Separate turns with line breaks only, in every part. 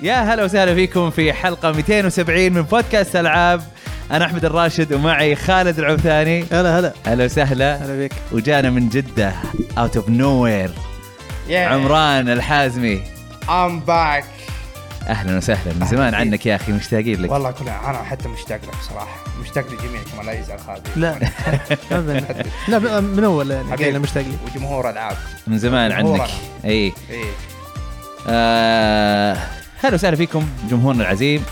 يا هلا وسهلا فيكم في حلقه 270 من بودكاست العاب انا احمد الراشد ومعي خالد العوثاني
هلا هلا
هلا وسهلا
هلا إيه. بك
وجانا من جده اوت اوف نوير عمران الحازمي
ام باك
اهلا وسهلا من زمان عنك يا اخي مشتاقين لك
والله كنا انا حتى مشتاق لك صراحه مشتاق لجميعكم الله يزعل خالد
لا ابدا لا ب- من اول يعني
حبيبي.
قايل مشتاق لي
وجمهور العاب
من زمان
مبهور
عنك إيه.
أنا.
اي
ايه
آه، هلا وسهلا فيكم جمهورنا العزيم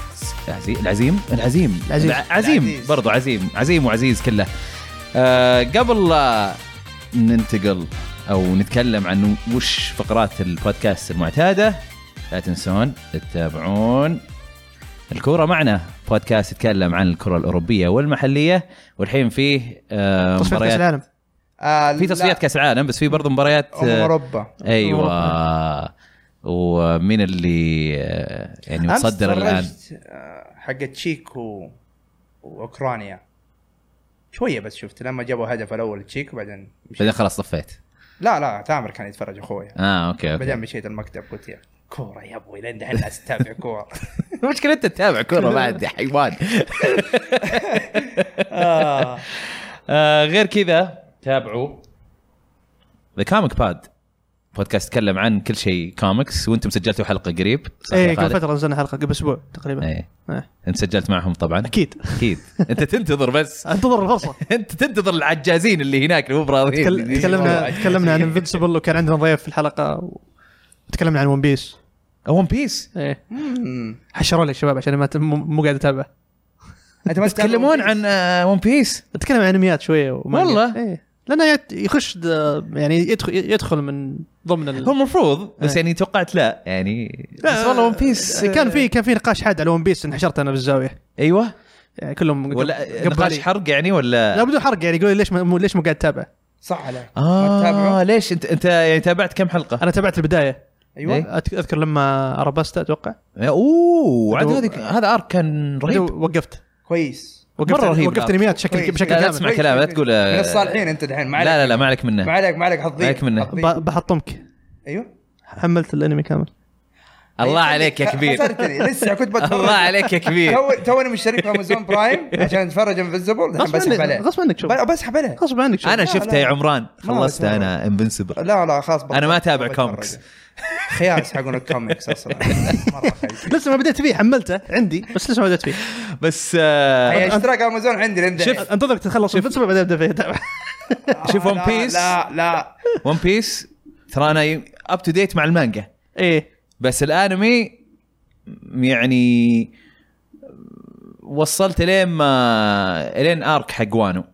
العزيم العزيم العزيم
العزيز.
الع- عزيم
العزيز.
برضو عزيم عزيم وعزيز كله آه، قبل لا ننتقل او نتكلم عن وش فقرات البودكاست المعتاده لا تنسون تتابعون الكوره معنا بودكاست يتكلم عن الكره الاوروبيه والمحليه والحين فيه آه،
تصفيات كاس
مباريات
العالم
آه
في تصفيات كاس العالم بس في برضو مباريات
امم
أمم،
آه،
اوروبا
ايوه ومين اللي يعني
أمس
متصدر الان
تفرجت، آه، حق تشيك و... واوكرانيا شويه بس شفت لما جابوا هدف الاول تشيك وبعدين مشيت.
بعدين خلاص طفيت
لا لا تامر كان يتفرج اخويا
اه اوكي اوكي
بعدين مشيت المكتب قلت يا كوره يا ابوي لين دحين الناس تتابع كوره
المشكله انت تتابع كوره بعد يا حيوان
آه.
آه غير كذا تابعوا ذا كوميك باد بودكاست يتكلم عن كل شيء كوميكس وانتم سجلتوا حلقه قريب صح يا
ايه
خالد؟
قبل فتره نزلنا حلقه قبل اسبوع تقريبا
إيه.
إيه.
انت سجلت معهم طبعا
اكيد
اكيد انت تنتظر بس
انتظر الفرصه
انت تنتظر العجازين اللي هناك اللي مو
تكل-
براضيين
تكلمنا تكلمنا عن انفنسبل وكان عندنا ضيف في الحلقه و- وتكلمنا عن ون بيس
ون بيس
ايه
مم.
حشروا لي الشباب عشان ما ت- مو مو قاعد اتابع
انت ما تتابع
يتكلمون
One Piece؟
عن آه، ون بيس
اتكلم عن انميات شويه وما
والله؟
ايه لانه يت- يخش د- يعني يدخل يدخل من ضمن ال...
هو المفروض بس
إيه.
يعني توقعت لا يعني بس والله ون بيس
كان في كان في نقاش حاد على ون بيس انحشرت انا بالزاويه
ايوه
يعني كلهم
ولا
قبالي.
نقاش حرق يعني ولا
لا بدون حرق يعني يقول لي ليش ما مو- ليش مو قاعد تتابع؟
صح عليك ما
اه
تتابعه
ليش انت انت يعني تابعت كم حلقه؟
انا تابعت البدايه
ايوه
إيه؟
أت- اذكر لما ارابستا اتوقع
اوه عاد
هذا-
هذه هذا ارك كان
بعدين
رهيب
وقفت
كويس
وقفت
مرة رهيب
وقفت
الأرك.
انميات بشكل
كويس.
بشكل
طيب. لا لا
كامل
تسمع كلام لا تقول آه،
من الصالحين انت دحين ما
لا
عليك
لا لا ما عليك منه
ما عليك ما عليك حظي
عليك منه.
حظي.
ب- بحطمك
ايوه
حملت الانمي كامل
الله عليك يا كبير
خسرتني أيوه. لسه كنت بتفرج
الله عليك يا كبير
تو توني مشترك في امازون برايم عشان اتفرج انفيزبل دحين بسحب عليه
غصب عنك غصب عنك شوف
ب- بسحب عليه
غصب عنك شوف
انا
لا،
شفته
لا.
يا عمران
ما
خلصت
بسمعه.
انا انفنسبل
لا لا خلاص بطلت.
أنا ما أتابع
بتفرج.
كوميكس.
خياس حقون الكوميكس اصلا مره خيس
لسه ما بديت فيه حملته عندي بس لسه ما بديت فيه
بس آه،
هي اشتراك امازون عندي لين دحين.
انتظرك تخلص انفنسبل بعدين ابدا فيه تابع
شوف
آه،
One
لا،
Piece.
لا لا
ون بيس ترى انا اب تو ديت مع المانجا
ايه
بس الانمي يعني وصلت لين ما لين ارك حق وانو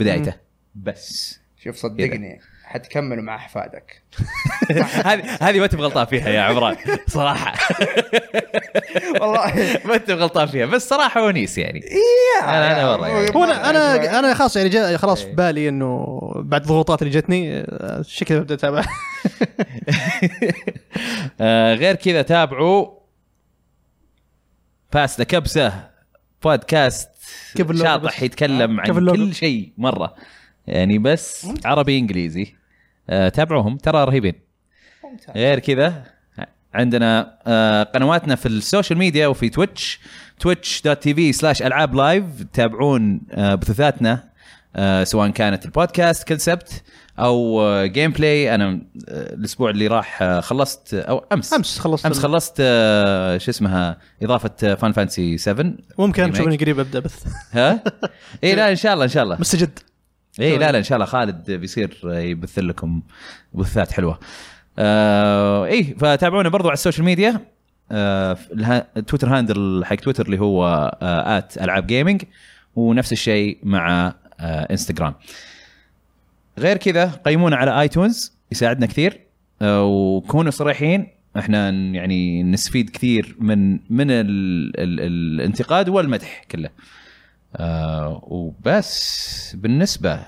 بدايته بس
شوف
إيه.
صدقني حتكملوا مع احفادك
هذه هذه ما انت بغلطان فيها يا عمران صراحه
والله
ما انت بغلطان فيها بس صراحه ونيس يعني أنا-
إيه.
أنا والله يعني.
هو انا انا انا خلاص يعني جاء خلاص
إيه.
في بالي انه بعد الضغوطات اللي جتني آه، شكلي ببدا اتابع
آه، غير كذا تابعوا باس ذا كبسه بودكاست
كيف اللغة
شاطح
بس؟ آه،
يتكلم
كيف
عن
اللغة؟
كل شيء مره يعني بس عربي انجليزي آه، تابعوهم ترى رهيبين
ممتاز.
غير كذا عندنا آه، قنواتنا في السوشيال ميديا وفي تويتش تويتش دوت تي في سلاش العاب لايف تابعون آه، بثوثاتنا آه، سواء كانت البودكاست كل سبت او آه، جيم بلاي انا آه، الاسبوع اللي راح آه، خلصت آه، او امس
امس خلصت
امس خلصت آه، شو اسمها آه، اضافه فان فانسي 7
ممكن
ريميك.
تشوفني قريب ابدا بث
ها اي لا ان شاء الله ان شاء الله
مستجد
اي إيه، لا لا ان شاء الله خالد بيصير آه، يبث لكم بثات حلوه. آه اي فتابعونا برضو على السوشيال ميديا آه الها- تويتر هاندل حق تويتر اللي هو آه ات العاب جيمنج ونفس الشيء مع آه انستغرام. غير كذا قيمونا على ايتونز يساعدنا كثير آه وكونوا صريحين احنا ن- يعني نستفيد كثير من من ال ال الانتقاد والمدح كله. آه وبس بالنسبه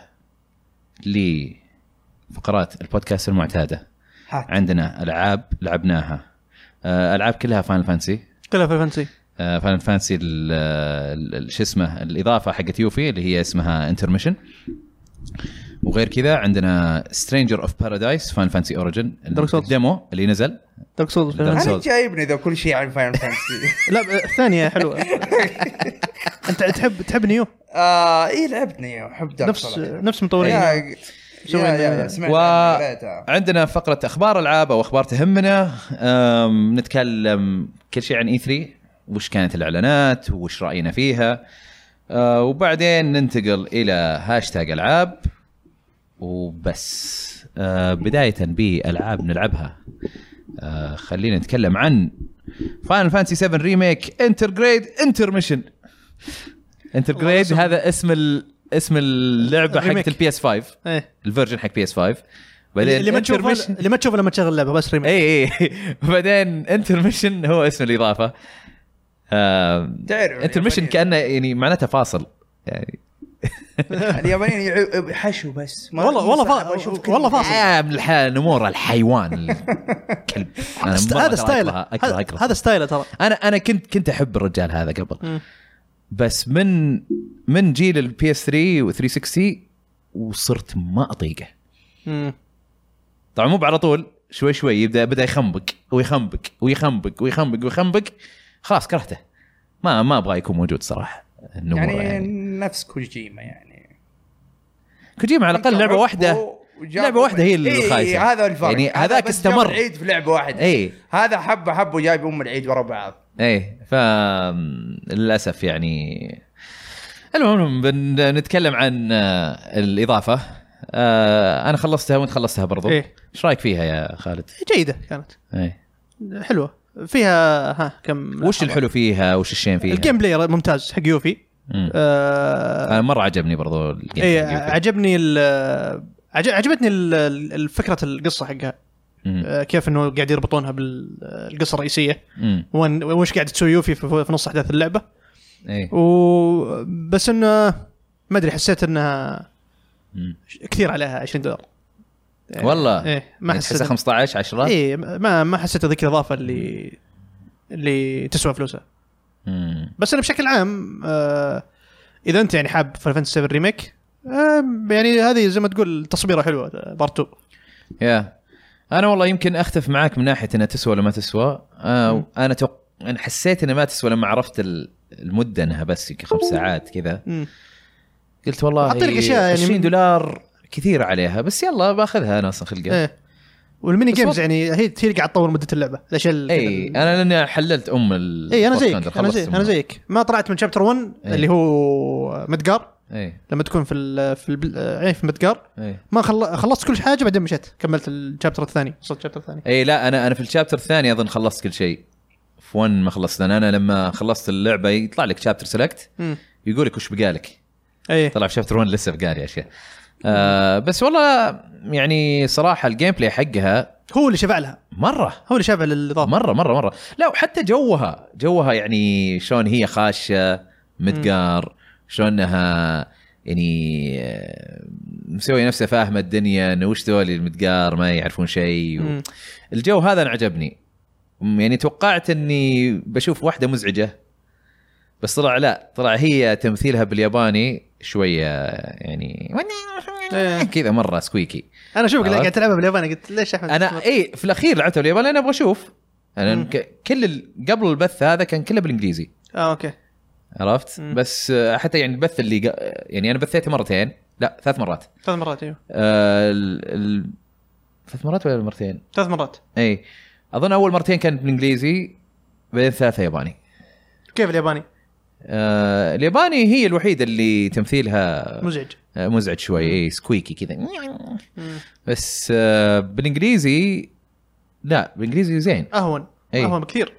لفقرات البودكاست المعتاده
هات.
عندنا العاب لعبناها آه العاب كلها فاينل فانسي
كلها في فانسي
آه فاينل فانسي ال- ال- ال- شو اسمه الاضافه حقت يوفي اللي هي اسمها انترميشن وغير كذا عندنا سترينجر اوف بارادايس فاينل فانسي اوريجن
Dark Souls.
الديمو اللي نزل
دارك سولز
Dark Souls.
انا جايبني ذا كل شيء عن فاينل فانتسي
لا ب- الثانيه حلوه انت تحب تحب نيو
آه ايه لعبتني احب دارك
نفس
صراحة.
نفس مطورين
يا
نيو.
يا-
مسوين-
يا- يا، سمعت
و-
عنها، قريتها.
عندنا فقرة أخبار ألعاب أو أخبار تهمنا أم، نتكلم كل شيء عن إي 3 وش كانت الإعلانات وش رأينا فيها أه، وبعدين ننتقل إلى هاشتاج ألعاب وبس أه، بداية بألعاب نلعبها أه، خلينا نتكلم عن فاينل فانسي 7 ريميك انترجريد انترميشن انترجريد
والله
هذا اسم ال... اسم اللعبه
الريميك.
حقت البي اس 5
إيه.
الفيرجن حق بي اس 5 بعدين
اللي ما تشوفه
Intermission- إيه.
اللي ما تشوفه لما تشغل اللعبه بس ريميك
اي اي بعدين انترميشن هو اسم الاضافه
تعرف
انترميشن
اليابانيين-
كانه يعني معناتها فاصل يعني
اليابانيين يعو- حشو بس ما-
والله-
ما
والله
صعب
فا-
أشوف
والله
كلمة.
فاصل.
يا ابن الحلال نمور الحيوان الكلب أنا
است-
مرة
هذا
ترى
ستايله
أكرهه- أكره
هذا-
أكره.
هذا ستايله ترى
انا انا كنت كنت احب الرجال هذا قبل
مم.
بس من من جيل البي اس 3 و 360 وصرت ما اطيقه
مم.
طبعا مو على طول شوي شوي يبدا بدا يخنبق ويخنبق ويخنبق ويخنبق ويخنبق خلاص كرهته ما ما ابغى يكون موجود صراحه النمور يعني,
يعني
يعني.
نفس كوجيما يعني
كوجيما على الاقل لعبه واحده لعبه واحده هي اللي
إيه
خايسه
هذا الفرق
يعني
هذا
هذاك
بس جاب
استمر إيه.
العيد في لعبه واحده
اي
هذا حبه حبه جايب ام العيد ورا بعض
ايه ف للاسف يعني المهم بنتكلم عن آه، الاضافه آه، انا خلصتها وانت خلصتها برضو
إيه.
ايش رايك فيها يا خالد؟
جيده كانت
ايه
حلوه فيها ها كم
وش الحلو فيها؟ وش الشين فيها؟
الجيم بلاي ممتاز حق يوفي
مم.
آه،
انا مره عجبني برضو الجيم
اي
حق يوفي.
عجبني ال- عج- عجبتني ال- ال- فكره القصه حقها
مم.
آه، كيف انه قاعد يربطونها بالقصه الرئيسيه
امم
وين- وش قاعد تسوي يوفي في في نص احداث اللعبه
ايه
و بس انه ما ادري حسيت انها
مم.
كثير عليها 20 دولار
والله
ايه ما إيه. حسيت
آه. يعني تحسها 15 10
اي ما ما حسيت ذيك الاضافه اللي اللي تسوى فلوسها
مم.
بس انا بشكل عام آه اذا انت يعني حاب فاينل فانتسي 7 ريميك آه يعني هذه زي ما تقول آه، تصبيره حلوه بارت 2
يا انا والله يمكن اختف معاك من ناحيه انها تسوى ولا ما تسوى آه
مم.
انا توق... انا حسيت انها ما تسوى لما عرفت ال- المده انها بس يمكن خمس ساعات كذا
مم.
قلت والله
حاط لك أشياء يعني
20
من-
دولار كثير عليها بس يلا باخذها انا اصلا خلقها
ايه والميني
بس إيه،
جيمز
وض-
يعني هي هي اللي قاعد تطور مده اللعبه الاشياء ال-
اي انا لاني حللت ام ال
اي انا
Force
إيه، زيك
Thunder،
انا
خلصت
زيك
أمها.
انا زيك ما طلعت من شابتر 1
إيه.
اللي هو مدقار
اي
لما تكون في ال في ال آه، في مدقار
اي
ما خل... خلصت كل حاجه بعدين مشيت كملت الشابتر الثاني وصلت الشابتر الثاني
اي إيه، لا انا انا في الشابتر الثاني اظن خلصت كل شيء في 1 ما خلصت لان انا لما خلصت اللعبه يطلع لك شابتر سيلكت
امم
يقول لك وش بقالك
اي
طلع في شابتر 1 لسه بقالي اشياء آه بس والله يعني صراحه الجيم بلاي حقها
هو اللي شفع لها
مره
هو اللي شفع للاضافه
مره مره مره لا وحتى جوها جوها يعني شلون هي خاشه مدقار شلون انها يعني آه، مسويه نفسها فاهمه الدنيا انه وش ذول المدقار ما يعرفون شيء و...
مم.
الجو هذا انا عجبني م- يعني توقعت اني بشوف واحده مزعجه بس طلع لا طلع هي تمثيلها بالياباني شويه يعني
إيه.
كذا مره سكويكي
انا اشوفك اللي
عرفت؟
قاعد تلعبها بالياباني قلت ليش احمد
انا اي إيه، في الاخير لعبتها بالياباني انا ابغى اشوف انا
مم.
ك- كل ال- قبل البث هذا كان كله بالانجليزي
اه اوكي
عرفت
مم.
بس آه، حتى يعني البث اللي ق- يعني انا بثيته مرتين لا ثلاث مرات
ثلاث مرات ايوه
آه، ال- ال- ثلاث مرات ولا مرتين
ثلاث مرات
اي اظن اول مرتين كانت بالانجليزي بعدين ثلاثه ياباني
كيف الياباني
أه. آه الياباني هي الوحيده اللي تمثيلها
مزعج
آه، مزعج شوي اي سكويكي كذا
مم.
بس آه بالانجليزي لا بالانجليزي زين
اهون
إيه.
اهون بكثير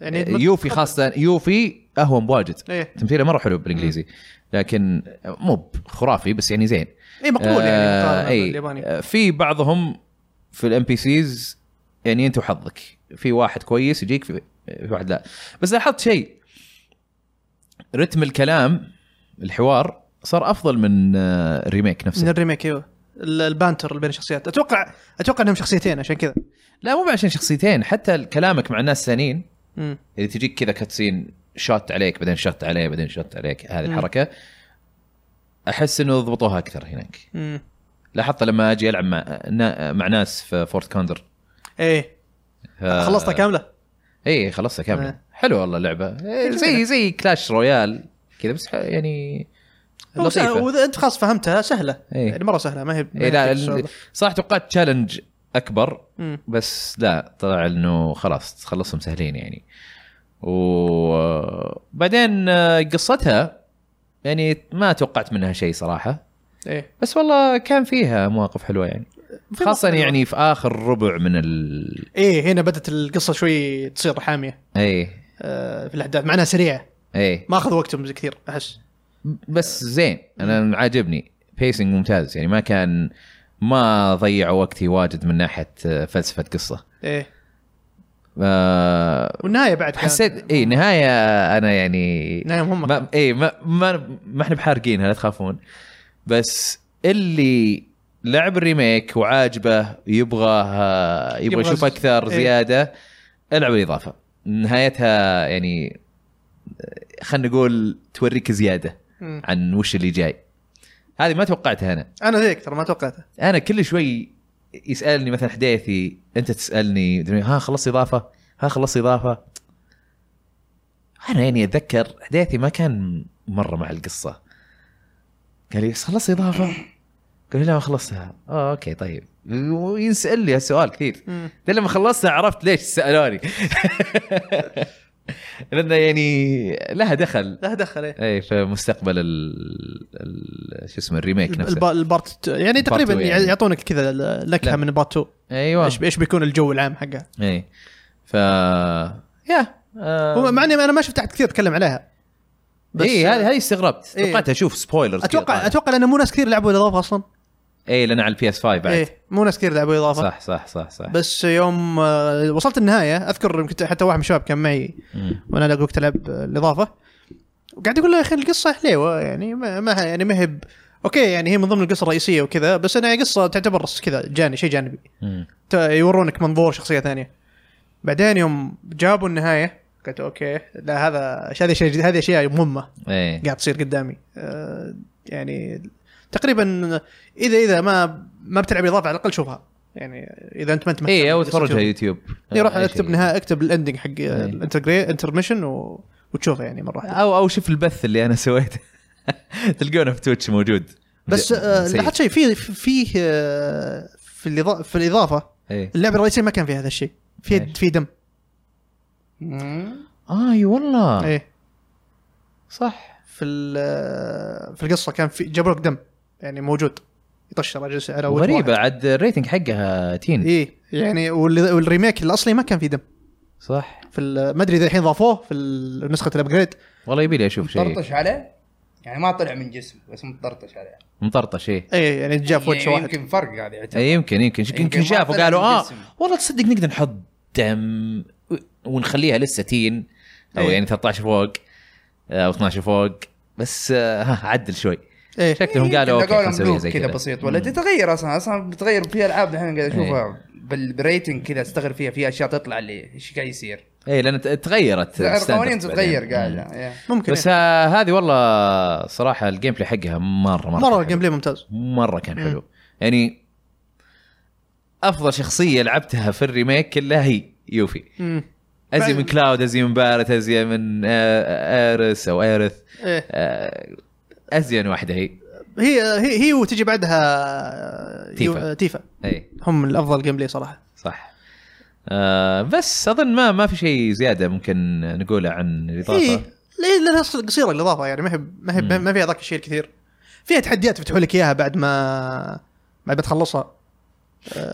يعني
آه، يوفي خاصه يوفي اهون بواجد
ايه
تمثيله مره حلو بالانجليزي لكن مو خرافي بس يعني زين
ايه مقبول يعني
آه،
مقارنه
إيه.
بالياباني
آه، في بعضهم في الام بي سيز يعني انت وحظك في واحد كويس يجيك في, في واحد لا بس لاحظت شيء رتم الكلام الحوار صار افضل من آه، الريميك
من
نفسه
الريميك ايوه ال- البانتر اللي بين الشخصيات اتوقع اتوقع انهم شخصيتين عشان كذا
لا مو عشان شخصيتين حتى كلامك مع ناس ثانيين
مم.
اللي تجيك كذا كاتسين شوت عليك بعدين شوت عليه بعدين شوت عليك هذه
مم.
الحركه احس انه ضبطوها اكثر هناك
مم.
آه، لاحظت لما اجي العب مع نا- مع ناس في فورت كوندر
ايه
آه،
خلصتها كامله
اي خلصتها كامله
آه.
إيه، حلو والله اللعبه إيه، زي زي كلاش رويال كذا بس ح- يعني لطيفه
واذا انت خلاص فهمتها سهله
إيه.
يعني مره سهله ما هي ما
إيه
هي
لا
فيك
ال-
صعوبة.
صراحه توقعت تشالنج اكبر
مم.
بس لا طلع انه خلاص تخلصهم سهلين يعني وبعدين آه، قصتها يعني ما توقعت منها شيء صراحه
ايه
بس والله كان فيها مواقف حلوه يعني
في
خاصه
مواقف
يعني في اخر ربع من ال
ايه هنا بدات القصه شوي تصير حاميه
اي
آه، في الاحداث معناها سريعه
اي
ما اخذ وقتهم زي كثير احس
بس زين انا عاجبني بيسنج ممتاز يعني ما كان ما ضيع وقتي واجد من ناحيه آه، فلسفه قصه
ايه
آه،
والنهايه بعد كانت-
حسيت اي نهايه انا يعني
نهايه مهمه
ما اي ما ما, ما احنا بحارقينها لا تخافون بس اللي لعب الريميك وعاجبه يبغى يبغى
يبغى
يشوف
ز-
اكثر
إيه.
زياده العب الاضافه نهايتها يعني آه، خلينا نقول توريك زياده
مم.
عن وش اللي جاي هذه ما توقعتها انا
انا زيك ترى ما توقعته
انا كل شوي يسالني مثلا حديثي انت تسالني مدري ها خلصت اضافه ها خلصت اضافه انا يعني اتذكر حديثي ما كان مره مع القصه قال لي خلصت اضافه قال لي لا ما خلصتها اه اوكي طيب وينسال لي هالسؤال كثير
مم.
ده لما خلصتها عرفت ليش سالوني لانه يعني لها دخل
لا دخل ايه
اي في مستقبل ال- ال- شو اسمه الريميك نفسه
الب- البارت يعني تقريبا
two يعني.
يعطونك كذا لكها
لا.
من بارت 2
ايوه
ايش ايش بيكون الجو العام حقها
اي ف آه، يا آه.
هو مع اني انا ما شفت احد كثير يتكلم عليها بس-
اي هذه هذه استغربت
إيه.
توقعت اشوف سبويلرز
اتوقع اتوقع لانه مو ناس كثير لعبوا الاضافه اصلا
اي لان على البي اس 5 بعد
ايه مو ناس كثير لعبوا الاضافه
صح صح صح صح
بس يوم آه، وصلت النهايه اذكر يمكن حتى واحد من الشباب كان معي
مم.
وانا لا وقت العب آه، الاضافه وقاعد يقول له يا اخي القصه حليوه يعني ما ما يعني ما هي ب- اوكي يعني هي من ضمن القصه الرئيسيه وكذا بس انها قصه تعتبر كذا جاني شيء جانبي
مم.
تا- يورونك منظور شخصيه ثانيه بعدين يوم جابوا النهايه قلت اوكي لا هذا هذه اشياء هذه اشياء مهمه
ايه
قاعد تصير قدامي آه، يعني تقريبا اذا اذا ما ما بتلعب اضافه على الاقل شوفها يعني اذا انت ما انت
اي او تفرج على يوتيوب
يروح
إيه، أي
اكتب
شيء. إيه.
نهايه اكتب الاندنج حق الانترميشن و... وتشوفه يعني مره واحده
او او شوف البث اللي انا سويته تلقونه في تويتش موجود
بس
ج-
آه،
سيء.
لاحظت شيء في في آه، في الإضا- في الاضافه
إيه.
اللعبه الرئيسيه ما كان فيها هذا الشيء في
إيش؟
في دم
مم.
اي والله
ايه
صح
في ال- في القصه كان في جابوا لك دم يعني موجود يطشر اجلس على وجه
غريبه
واحد.
عاد الريتنج حقها تين
ايه يعني وال- والريميك الاصلي ما كان في دم
صح
في ال- ما ادري اذا الحين ضافوه في ال- نسخه الابجريد
والله يبي لي اشوف شيء
طرطش عليه يعني ما طلع من جسمه بس مطرطش عليه
مطرطش ايه
اي يعني جاء في
يعني
وجه واحد
يمكن فرق هذا يعتبر
اي إيه، يمكن يمكن يمكن, يمكن
ما
شافوا
طلع
قالوا
من
اه
جسم.
والله تصدق نقدر نحط دم و- ونخليها لسه تين او
إيه.
يعني 13 فوق آه، او 12 فوق بس آه، ها، عدل شوي
إيه.
ايه
شكلهم قالوا اوكي خلينا نسويها زي
كذا
كذا إيه.
بسيط ولا تتغير اصلا اصلا بتغير في العاب الحين قاعد اشوفها بال- بالريتنج كذا استغرب فيها في اشياء تطلع اللي ايش قاعد يصير
اي لان إيه، ت- تغيرت
القوانين
standards
تتغير
بعدين. مم.
قاعده يا.
ممكن
بس
إيه.
آه، هذه والله صراحه الجيم بلاي حقها مره مره
مره
كان
الجيم بلاي ممتاز
حلو. مره كان
مم.
حلو يعني افضل شخصيه لعبتها في الريميك كلها هي يوفي
مم.
ازي
بعد-
من كلاود ازي من بارت ازي من آه، ايرس او ايرث
ايه
آه، ازين واحده هي
هي هي هي وتجي بعدها
تيفا.
يو- تيفا
اي
هم الافضل جيم بلاي صراحه
صح آه بس اظن ما ما في شيء زياده ممكن نقوله عن
ايه
الاضافه
ليه لانها أصلاً قصيره الاضافه يعني ما هي ما هي
مم.
ما فيها ذاك الشيء الكثير فيها تحديات يفتحوا لك اياها بعد ما بعد ما تخلصها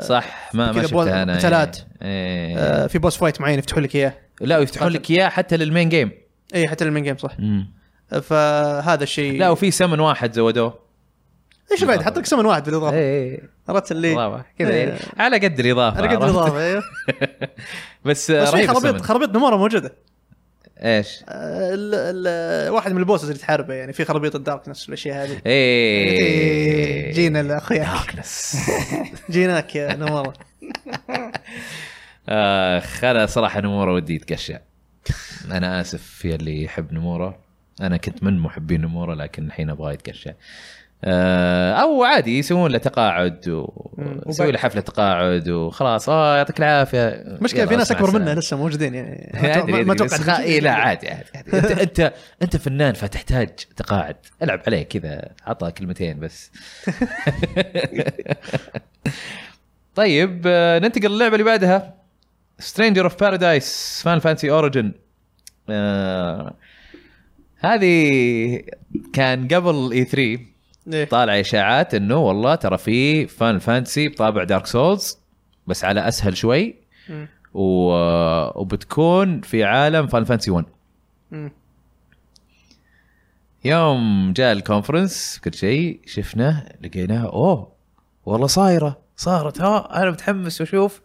صح ما ما
كذا بول-
شفتها انا
قتالات.
إيه. إيه.
آه في بوس فايت معين يفتحوا لك اياه
لا ويفتحون لك اياه حتى للمين جيم
اي حتى المين جيم صح فهذا الشيء
لا وفي سمن واحد زودوه
ايش بعد حط لك سمن واحد بالاضافه
ايه
عرفت اللي
اضافه كذا يعني
إيه.
على قد الاضافه
على قد
عرفت؟
الاضافه ايوه
بس
بس
آه،
في
رهيب
خرابيط
السمن
خرابيط نموره موجوده
ايش؟
آه، ال- ال- واحد من البوسز اللي تحاربه يعني في خرابيط الدارك نفس الاشياء هذه
ايه
إيه، جينا لاخوياك
داركنس
جيناك يا نموره
اخ انا صراحه نموره ودي يتقشع انا اسف يا اللي يحب نموره انا كنت من محبين نموره لكن الحين ابغى يتقشع آه، او عادي يسوون له تقاعد و- يسوي له حفله تقاعد وخلاص اه يعطيك العافيه
مشكله
يلا،
في ناس
مع
اكبر
السلامة.
منا لسه موجودين يعني
ادري
ما- ما
ادري بس خا-
اتوقع
إيه لا عادي عادي عادي. انت انت انت فنان فتحتاج تقاعد العب عليه كذا عطى كلمتين بس طيب آه، ننتقل للعبه اللي بعدها سترينجر اوف بارادايس فان فانسي اوريجن آه، هذه كان قبل E اي 3
إيه.
طالع اشاعات انه والله ترى في فان فانسي بطابع دارك سولز بس على اسهل شوي
مم.
و... وبتكون في عالم فان فانسي 1
مم.
يوم جاء الكونفرنس كل شيء شفناه لقيناه اوه والله صايره صارت ها انا متحمس واشوف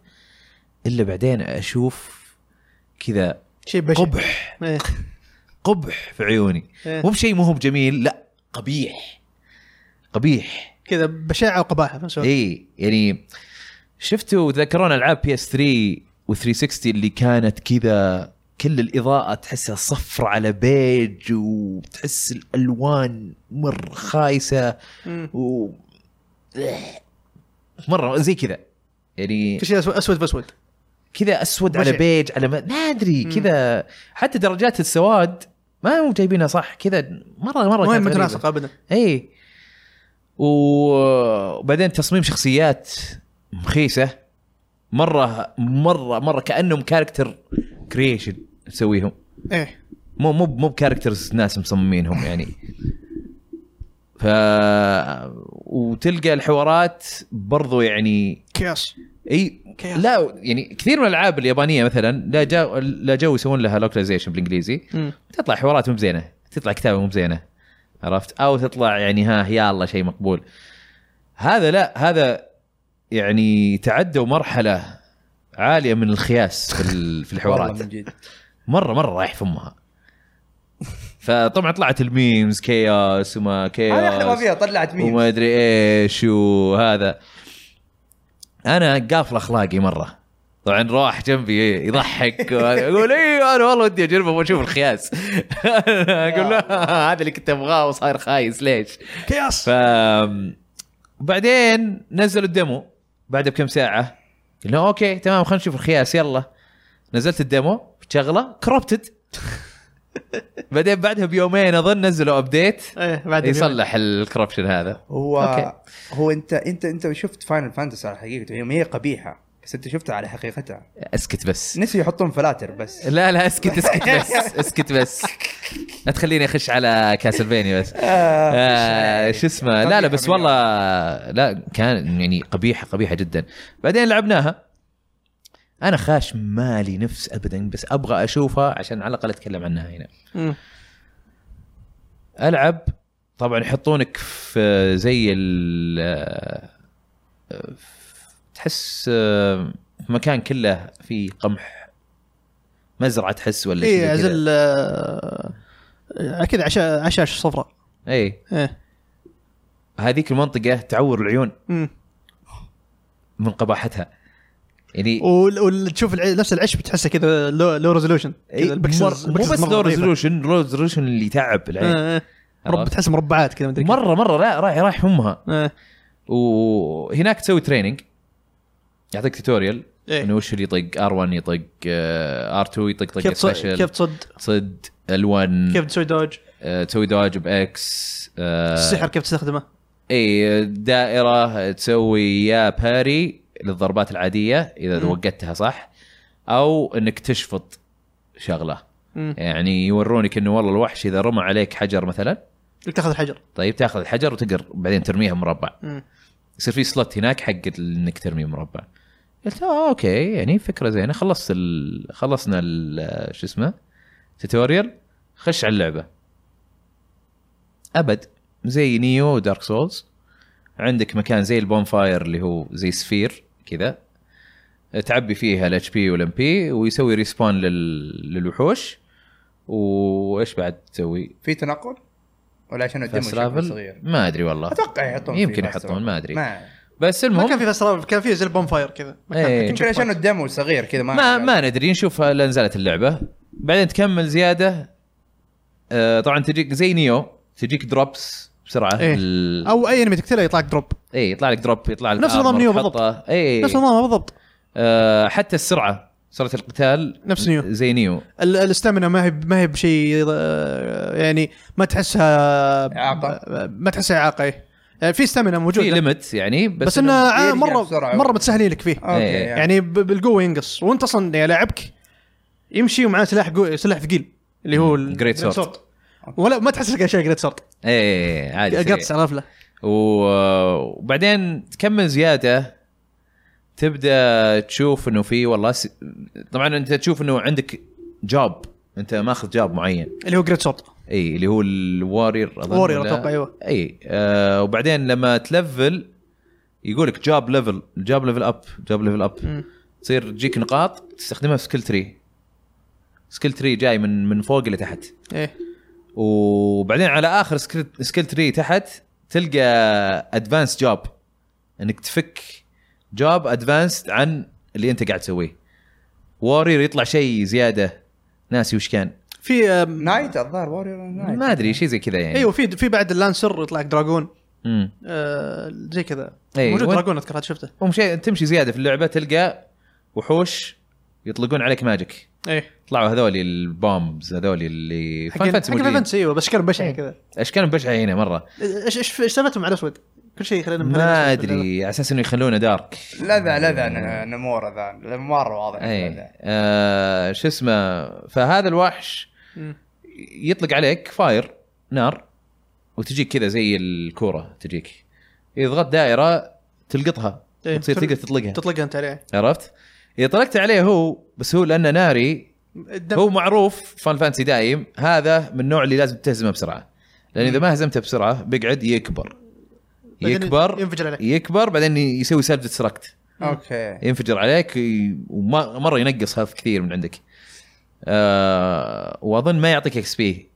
الا بعدين اشوف كذا
شيء بشع
قبح
إيه.
قبح في عيوني
إيه.
مو بشيء مو هو بجميل لا قبيح قبيح
كذا بشاعه وقباحه في نفس الوقت
اي يعني شفتوا تذكرون العاب بي اس 3 و360 اللي كانت كذا كل الاضاءه تحسها صفر على بيج وتحس الالوان مره خايسه
مم.
و مره زي كذا يعني
كل شيء أسود- اسود باسود
كذا اسود
بشع.
على بيج على ما, ما ادري كذا حتى درجات السواد ما هم جايبينها صح كذا مره مره
ما هي
كانت غريبة.
متناسقه ابدا
اي و- إيه. وبعدين تصميم شخصيات مخيسه مره مره مره كانهم كاركتر كرييشن مسويهم
ايه
مو مو مو بكاركترز ناس مصممينهم يعني ف وتلقى الحوارات برضو يعني
كياس
اي
كيف؟
لا يعني كثير من الالعاب اليابانيه مثلا لا جو لا جو يسوون لها لوكلايزيشن بالانجليزي
مم.
تطلع حوارات مو بزينه تطلع كتابه مو بزينه عرفت او تطلع يعني ها يا الله شيء مقبول هذا لا هذا يعني تعدوا مرحله عاليه من الخياس في ال- في الحوارات
والله من جد
مره مره رايح في امها فطبعا طلعت الميمز كياس وما كياس
هذه احلى ما فيها طلعت مين
أيوة. وما ادري ايش وهذا انا قافل اخلاقي مره طبعا راح جنبي يضحك وهذا. يقول ايوه انا والله ودي اجربه واشوف الخياس اقول لا هذا اللي كنت ابغاه وصاير خايس ليش؟
كياس
ف وبعدين نزلوا الديمو بعد بكم ساعه قلنا اوكي تمام خلينا نشوف الخياس يلا نزلت الديمو شغله كروبتد بعدين بعدها بيومين اظن نزلوا ابديت
ايه بعد
يصلح الكربشن هذا
هو
أوكي.
هو انت انت انت شفت فاينل فانتسي على حقيقته هي ما هي قبيحه بس انت شفتها على حقيقتها
اسكت بس
نسي يحطون فلاتر بس
لا لا اسكت اسكت بس اسكت بس لا تخليني اخش على كاسلفينيا بس آه شو اسمه لا لا بس والله لا كان يعني قبيحه قبيحه جدا بعدين لعبناها انا خاش مالي نفس ابدا بس ابغى اشوفها عشان على الاقل اتكلم عنها هنا
مم.
العب طبعا يحطونك في زي ال آه، آه، تحس آه، مكان كله فيه قمح مزرعه تحس ولا شيء
ايه
زي كذا.
زي كذا آه، عشا عشاش صفراء
اي
ايه
إيه، هذيك المنطقه تعور العيون
مم.
من قباحتها يعني
وال- وتشوف الع- نفس العش بتحسه كذا لو, لو ريزولوشن
إي،
كذا البكسلز
إيه، مر- مو بس لو ريزولوشن لو ريزولوشن اللي تعب
إيه، آه،
العين
مربع
عرفت؟
تحس مربعات كذا مدري
مره مره لا رايح رايح امها
إيه.
وهناك تسوي تريننج يعطيك توتوريال
إيه.
انه يعني وش اللي يطق ار1 يطق ار2 يطق طق
كيف تص-
سبيشل
كيف تصد
صد ال1
كيف تسوي دوج
آه، تسوي داج آه، باكس
السحر كيف تستخدمه
اي دائره إيه، تسوي يا باري للضربات العاديه اذا
مم.
وقتها صح او انك تشفط شغله
مم.
يعني يورونك انه والله الوحش اذا رمى عليك حجر مثلا
لك تاخذ الحجر
طيب تاخذ الحجر وتقر بعدين ترميها مربع
مم.
يصير في سلوت هناك حق ال- انك ترمي مربع قلت اه اوكي يعني فكره زينه خلصت ال... خلصنا ال... شو اسمه توتوريال خش على اللعبه ابد زي نيو دارك سولز عندك مكان زي البون فاير اللي هو زي سفير كذا تعبي فيها الاتش بي والام بي ويسوي ريسبون لل... للوحوش وايش بعد تسوي؟
في تنقل ولا عشان الدمو
فاست
شكله
لافل؟
صغير
ما ادري والله
اتوقع يحطون فيه
يمكن
فاست
يحطون
لافل.
ما إيه، ادري
ما
بس
ما كان
المهم
في فاست لافل، كان في زي البون فاير كذا ما كان-
إيه.
كان
يمكن
checkpoint.
عشان الدمو صغير كذا ما
ما ما ندري نشوف لا نزلت اللعبه بعدين تكمل زياده آه، طبعا تجيك زي نيو تجيك دروبس بسرعه
إيه.
ال-
او اي انمي تقتله يطلع لك دروب
اي يطلع لك دروب يطلع لك
نفس نظام
armor،
نيو
تحطه.
بالضبط.
اي
نفس نظامها بالضبط
آه حتى السرعه سرعه القتال
نفس نيو.
زي نيو
ال- الاستامنا ما هي ما هي بشيء آه، يعني ما تحسها
إعاقة.
ما تحسها اعاقه إيه. يعني في استامنا
في
موجوده
ليمت يعني بس,
بس انه آه،
يرجع
مره
بسرعة.
مره متسهلين لك فيه
اوكي
إيه.
يعني
يعني ب- بالقوه ينقص وانت اصلا يعني لاعبك يمشي ومعاه سلاح قو... سلاح ثقيل اللي هو ال-
Great sword.
sword. ولا ما تحس لك اشياء جريت سورد
اي إيه، عادي سريع.
قطس عرفله
و- وبعدين تكمل زياده تبدا تشوف انه في والله س... طبعا انت تشوف انه عندك جاب انت ماخذ جاب معين
اللي هو جريت سورد
اي اللي هو الوارير اظن
Warrior
ولا-
أتوقع، أيوة.
اي آه وبعدين لما تلفل يقول لك جاب ليفل جاب ليفل اب جاب ليفل اب تصير تجيك نقاط تستخدمها في سكيل تري سكيل تري جاي من من فوق لتحت
ايه
وبعدين على اخر سكيل سكيل تري تحت تلقى ادفانس جوب انك تفك جوب ادفانس عن اللي انت قاعد تسويه وارير يطلع شيء زياده ناسي وش كان
في آم،
نايت الظاهر واريور نايت
ما ادري شيء زي كذا يعني
ايوه في في بعد اللانسر يطلع لك دراجون
امم
آه زي كذا
إيه،
موجود
وين-
دراجون اذكر هذا شفته
ومشي تمشي زياده في اللعبه تلقى وحوش يطلقون عليك ماجيك
ايه
طلعوا هذول البومبز هذول اللي
حق حق
موجودين.
فانتسي ايوه بس كان بشع
إيه.
كذا
اشكالهم بشعه هنا مره
ايش ايش ايش سالفتهم على الاسود؟ كل شيء خلينا
ما ادري على اساس انه يخلونه دارك
لذع لذع ن- نمور ذا مره واضح
اي
لذع.
آه شو اسمه فهذا الوحش
مم.
يطلق عليك فاير نار وتجيك كذا زي الكوره تجيك اذا ضغطت دائره تلقطها
إيه،
وتصير
تل-
تقدر تطلقها
تطلقها انت عليه
عرفت؟ اذا طلقت عليه هو بس هو لانه ناري
الدم-
هو معروف فان فانسي دايم هذا من النوع اللي لازم تهزمه بسرعه لان اذا ما هزمته بسرعه بيقعد يكبر
بعدين
يكبر
ينفجر عليك
يكبر بعدين يسوي سيلف ديستركت
اوكي
ينفجر عليك ومره ينقص هذا كثير من عندك آه واظن ما يعطيك اكس بي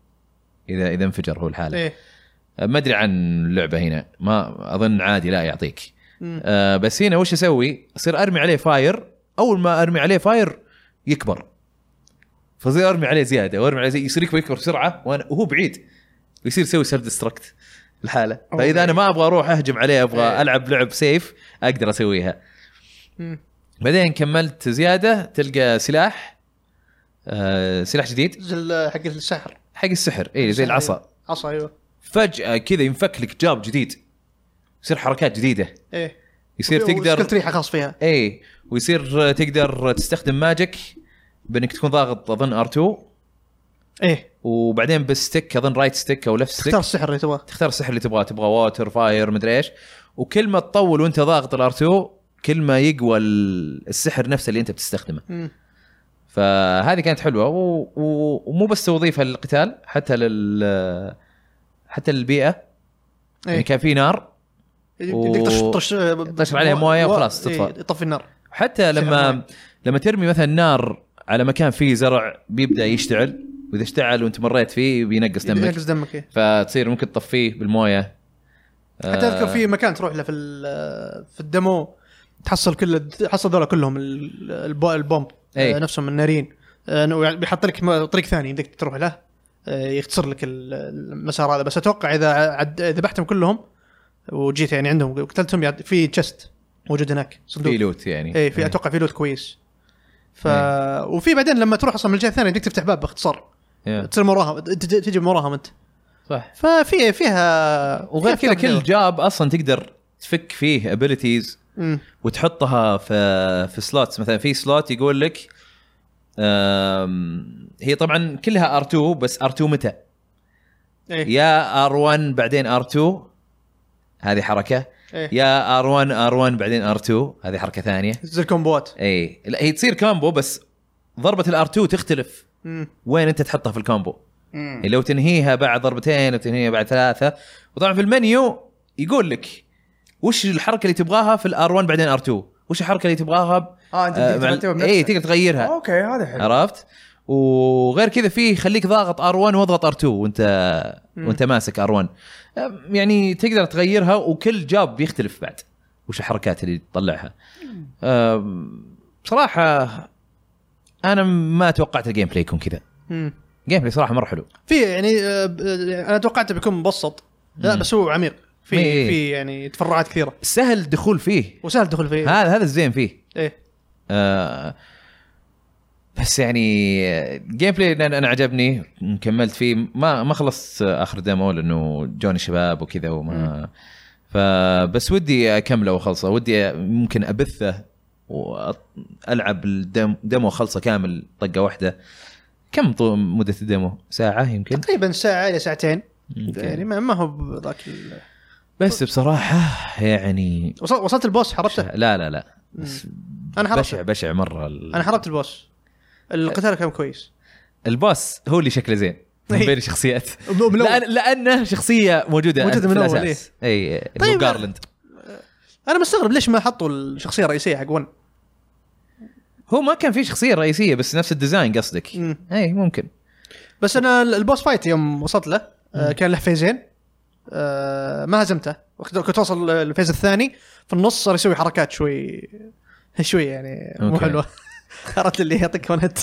اذا اذا انفجر هو لحاله
ايه
ما ادري عن اللعبه هنا ما اظن عادي لا يعطيك
مم.
آه بس هنا وش اسوي؟ اصير ارمي عليه فاير اول ما ارمي عليه فاير يكبر فزي ارمي عليه زياده وارمي عليه زي يصير يكبر يكبر بسرعه وانا وهو بعيد ويصير يسوي سيلف ديستركت الحالة فاذا انا ما ابغى اروح اهجم عليه ابغى
إيه.
العب لعب سيف اقدر اسويها
مم.
بعدين كملت زياده تلقى سلاح آه سلاح جديد
زي ال- آه، حق السحر
حق السحر اي زي العصا
عصا ايوه
فجأة كذا ينفك لك جاب جديد يصير حركات جديدة
ايه
يصير
كل
تقدر
ريحه خاص فيها
اي إيه، ويصير تقدر تستخدم ماجيك بانك تكون ضاغط اظن ار2
ايه
وبعدين بالستيك اظن رايت ستيك او لفت ستيك
تختار السحر اللي تبغاه
تختار السحر اللي تبغاه تبغى ووتر فاير مدري ايش وكل ما تطول وانت ضاغط الار2 كل ما يقوى ال- السحر نفسه اللي انت بتستخدمه
مم.
فهذه كانت حلوه و... و... ومو بس توظيفها للقتال حتى لل حتى للبيئه يعني
ايه
كان في نار و-
تقدر تش- تش-
تشرب عليها موية وخلاص
إيه،
تطفى.
تطفي النار
حتى
سحر
لما لما ترمي مثلا نار على مكان فيه زرع بيبدا يشتعل واذا اشتعل وانت مريت فيه بينقص دمك
ينقص دمك إيه.
فتصير ممكن تطفيه بالمويه
حتى
آه.
اذكر في مكان تروح له في ال- في الدمو تحصل كل تحصل ذولا كلهم ال- الب- البومب
إيه.
آه، نفسهم الناريين آه، إنه يعني بيحط لك م- طريق ثاني بدك تروح له آه، يختصر لك ال- المسار هذا بس اتوقع اذا عد- ذبحتهم كلهم وجيت يعني عندهم وقتلتهم يعد- في تشست موجود هناك صندوق
في لوت يعني
اي في اتوقع في لوت كويس ف وفي بعدين لما تروح اصلا من الجهه الثانيه بدك تفتح باب باختصار
إيه.
تصير وراهم ت- ت- تجي من وراهم انت
صح
ففي فيها
وغير
فيها
كذا كل
حلوة.
جاب اصلا تقدر تفك فيه ابيلتيز
مم.
وتحطها في في سلوتس مثلا في سلوت يقول لك آم، هي طبعا كلها ار2 بس ار2 متى؟ إيه،
ايه
يا ار1 بعدين ار2 هذه حركه
إيه.
يا ار1 ار1 بعدين ار2 هذه حركه ثانيه
زي الكومبوات
اي لا هي تصير كامبو بس ضربه الار2 تختلف
مم.
وين انت تحطها في الكامبو
مم.
يعني لو تنهيها بعد ضربتين وتنهيها بعد ثلاثه وطبعا في المنيو يقول لك وش الحركه اللي تبغاها في الار1 بعدين ار2 وش الحركه اللي تبغاها ب...
آه،
اه انت تقدر ترتبها بنفسك
اي آه، إيه، تقدر تغيرها
اوكي هذا حلو
عرفت وغير كذا في خليك ضاغط ار1 واضغط ار2 وانت وانت ماسك ار1 يعني تقدر تغيرها وكل جاب بيختلف بعد وش الحركات اللي تطلعها آه، أم، بصراحه انا ما توقعت الجيم بلاي يكون كذا
مم.
جيم بلاي صراحه مره حلو
في يعني آه، ب- آه، انا توقعته بيكون مبسط لا بس هو عميق في
إيه.
في يعني تفرعات كثيره
سهل الدخول فيه
وسهل الدخول فيه
هذا هذا الزين فيه
ايه
آه بس يعني جيم بلاي انا أنا عجبني كملت فيه ما ما خلصت اخر ديمو لانه جوني شباب وكذا وما فبس ودي اكمله واخلصه ودي ممكن ابثه والعب الديمو اخلصه كامل طقه واحده كم طو- مده الديمو؟ ساعه يمكن؟
تقريبا ساعه الى ساعتين يعني
يمكن.
ما ما هو بذاك ال-
بس بصراحه يعني
وصل- وصلت البوس حربته
لا لا لا
انا
بشع
حربته
بشع مره ال-
انا حربت البوس القتال كان كويس
الباص هو اللي شكله زين من
إيه.
بين الشخصيات
من أول.
لأن لانه شخصيه موجوده
موجودة
في
من أول،
الاساس اي
طيب.
طيب جارلند
انا مستغرب ليش ما حطوا الشخصيه الرئيسيه حق 1
هو ما كان في شخصيه رئيسيه بس نفس الديزاين قصدك
مم.
اي ممكن
بس انا ال- البوس فايت يوم وصلت له آه، كان له فيزين آه، ما هزمته وقت- كنت اوصل الفيز الثاني في النص صار يسوي حركات شوي شوي يعني مو
أوكي.
حلوه عرفت اللي يعطيك ون هيت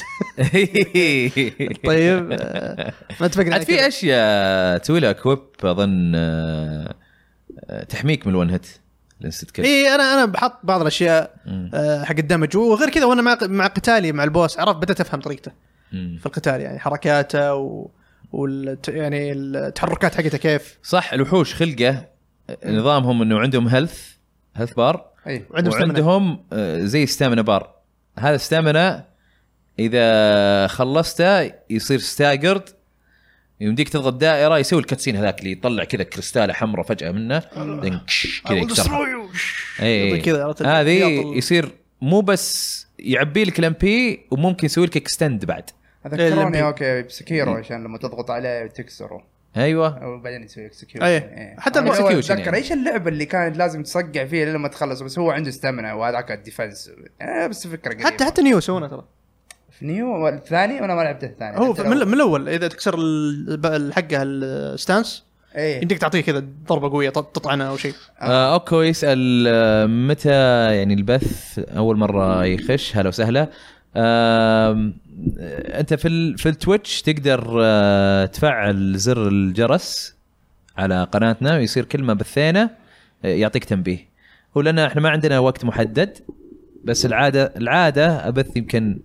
طيب آه، ما
عاد
اتفقنا على كذا.
في اشياء تسوي لها كويب اظن آه، آه، تحميك من الون هيت الانستنت كل
اي انا انا بحط بعض الاشياء
مم.
آه، حق الدمج وغير كذا وانا مع مع قتالي مع البوس عرفت بدات افهم طريقته
مم.
في القتال يعني حركاته و وال يعني التحركات حقته كيف
صح الوحوش خلقه نظامهم انه عندهم هيلث هيلث بار
اي
وعندهم stamina.
وعندهم آه، زي ستامنا بار هذا ستامنا اذا خلصته يصير ستاجرد يمديك تضغط دائره يسوي الكاتسين هذاك اللي يطلع كذا كريستاله حمراء فجاه منه بعدين كش كذا يكسرها
يعطيك
اي
كذا عرفت
هذه
الخياط ال-
يصير مو بس يعبي لك الام بي وممكن يسوي لك اكستند بعد
ال-
ذكروني اوكي بسكيرو عشان لما تضغط عليه تكسره
ايوه
وبعدين يسوي إيه. اكسكيوشن
أيه. حتى
ال execution
اتذكر
يعني.
ايش اللعبه اللي كان لازم تصقع فيها لما تخلص بس هو عنده استمنة وهذاك الديفنس آه بس فكره قريبه
حتى حتى نيو سوونا ترى
في نيو الثاني وانا ما لعبته الثاني
هو
يعني حتى
من,
لو-
من الاول اذا تكسر حقه الستانس
ايه
يمديك تعطيه كذا ضربه قويه ط- تطعنه او شيء
آه اوكو يسال آه، متى يعني البث اول مره يخش هلا وسهلا آم، آه انت في ال في التويتش تقدر آه تفعل زر الجرس على قناتنا ويصير كل ما بثينا آه، يعطيك تنبيه ولان احنا ما عندنا وقت محدد بس العاده العاده ابث يمكن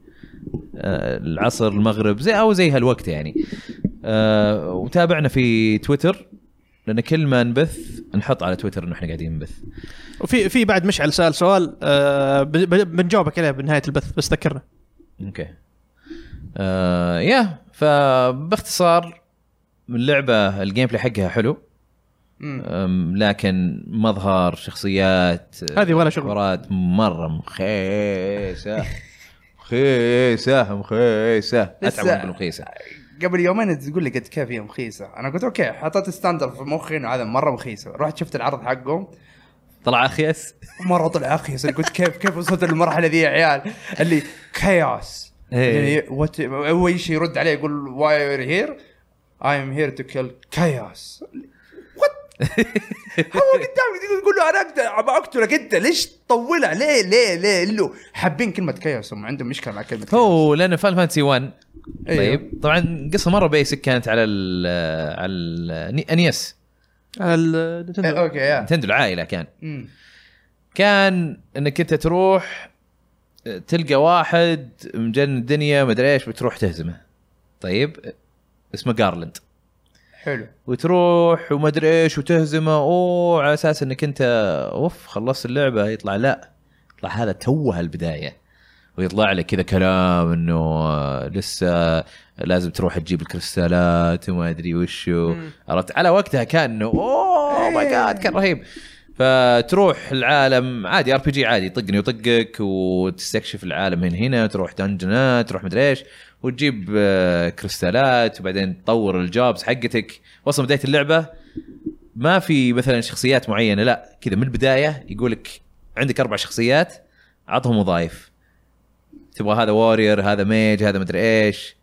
آه، العصر المغرب زي او زي هالوقت يعني آه، وتابعنا في تويتر لان كل ما نبث نحط على تويتر انه احنا قاعدين نبث
وفي في بعد مشعل سال سؤال آه ب- ب- بنجاوبك عليه بنهايه البث بس ذكرنا
اوكي آه يا فباختصار اللعبه الجيم بلاي حقها حلو
مم.
أم، لكن مظهر شخصيات
هذه ولا شغل
مرات مره مخيسه مخيسه مخيسه اتعب
لسه.
وأنا أقول مخيسه
قبل يومين تقول لي قد كيف هي مخيسه انا قلت اوكي حطيت ستاندر في مخي انه هذا مره مخيسه رحت شفت العرض حقه
طلع اخيس
مره طلع اخيس أنا قلت كيف كيف وصلت للمرحله ذي يا عيال اللي كياس
إيه.
يعني what- اول شيء يرد عليه يقول واي يور هير اي ام هير تو كيل كياس وات هو قدامك تقول له انا اقدر أبى اقتلك انت ليش تطول عليه ليه ليه له حابين كلمه كياس هم عندهم مشكله مع كلمه كياس
هو لانه فان فانتسي 1
أيوه.
طيب طبعا قصه مره بيسك كانت على ال على الانيس
على آه، ال-
إيه،
نتندو.
اوكي يا
نتندو العائله كان
مم.
كان انك انت تروح تلقى واحد مجن الدنيا مدري ايش بتروح تهزمه طيب اسمه جارلند
حلو
وتروح ومدري ايش وتهزمه اوه على اساس انك انت اوف خلصت اللعبه يطلع لا يطلع هذا توها البدايه ويطلع لك كذا كلام انه آه، لسه لازم تروح تجيب الكريستالات وما ادري وشو عرفت على وقتها كان انه اوه ماي جاد كان رهيب فتروح العالم عادي ار بي جي عادي طقني وطقك وتستكشف العالم من هنا تروح دنجنات تروح مدري ايش وتجيب آه، كريستالات وبعدين تطور الجوبز حقتك وصل بدايه اللعبه ما في مثلا شخصيات معينه لا كذا من البدايه يقول لك عندك اربع شخصيات عطهم وظائف تبغى هذا وارير هذا ميج هذا مدري ايش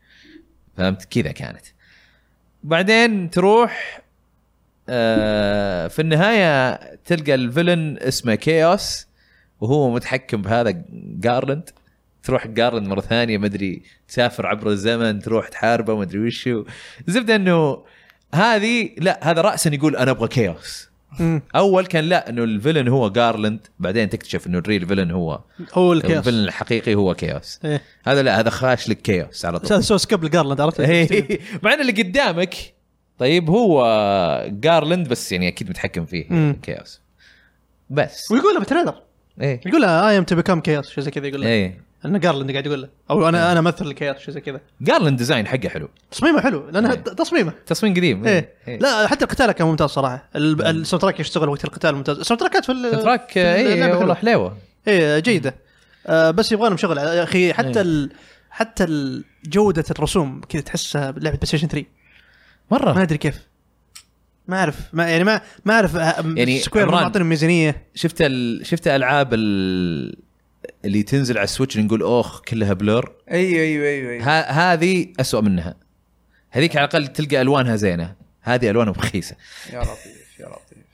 فهمت كذا كانت بعدين تروح آه في النهايه تلقى الفيلن اسمه كيوس وهو متحكم بهذا جارلند تروح جارلند مره ثانيه مدري تسافر عبر الزمن تروح تحاربه مدري وشو الزبده انه هذه لا هذا راسا يقول انا ابغى كيوس
مم.
اول كان لا انه الفيلن هو جارلاند بعدين تكتشف انه الريل فيلن هو
هو الكيوس
الفيلن الحقيقي هو كيوس
إيه.
هذا لا هذا خاش لك كيوس على
سوى
طول
سو سكيب لجارلاند عرفت؟
إيه. مع ان اللي قدامك طيب هو جارلاند بس يعني اكيد متحكم فيه
مم.
كيوس بس
ويقولها بالتريلر
ايه
يقول لها اي ام تو بيكام كيوس شيء زي كذا يقول لها
ايه
ان جارلاند قاعد يقول له او انا انا امثل الكيوس شيء زي كذا
جارلاند ديزاين حقه حلو
تصميمه حلو لانها
إيه.
تصميمه
تصميم قديم
ايه لا حتى القتال كان ممتاز صراحه ال- الساوند تراك يشتغل وقت القتال ممتاز الساوند تراكات في ال-
تراك
في اللعبة
اي
حلوة.
إيه. والله حليوه
ايه جيده آه بس يبغى لهم شغل يا اخي حتى ال... حتى ال- جوده الرسوم كذا تحسها لعبه بلاي ستيشن 3 ما
مره
ادري كيف ما اعرف ما يعني ما ما اعرف
يعني
يعني سكوير
عمران.
معطينهم ميزانيه
شفت ال... شفت العاب ال... اللي تنزل على السويتش نقول اوخ كلها بلور
ايوه ايوه ايوه ايوه
ه... هذه أسوأ منها هذيك على الاقل تلقى الوانها زينه هذه الوانها رخيصه
يا لطيف يا لطيف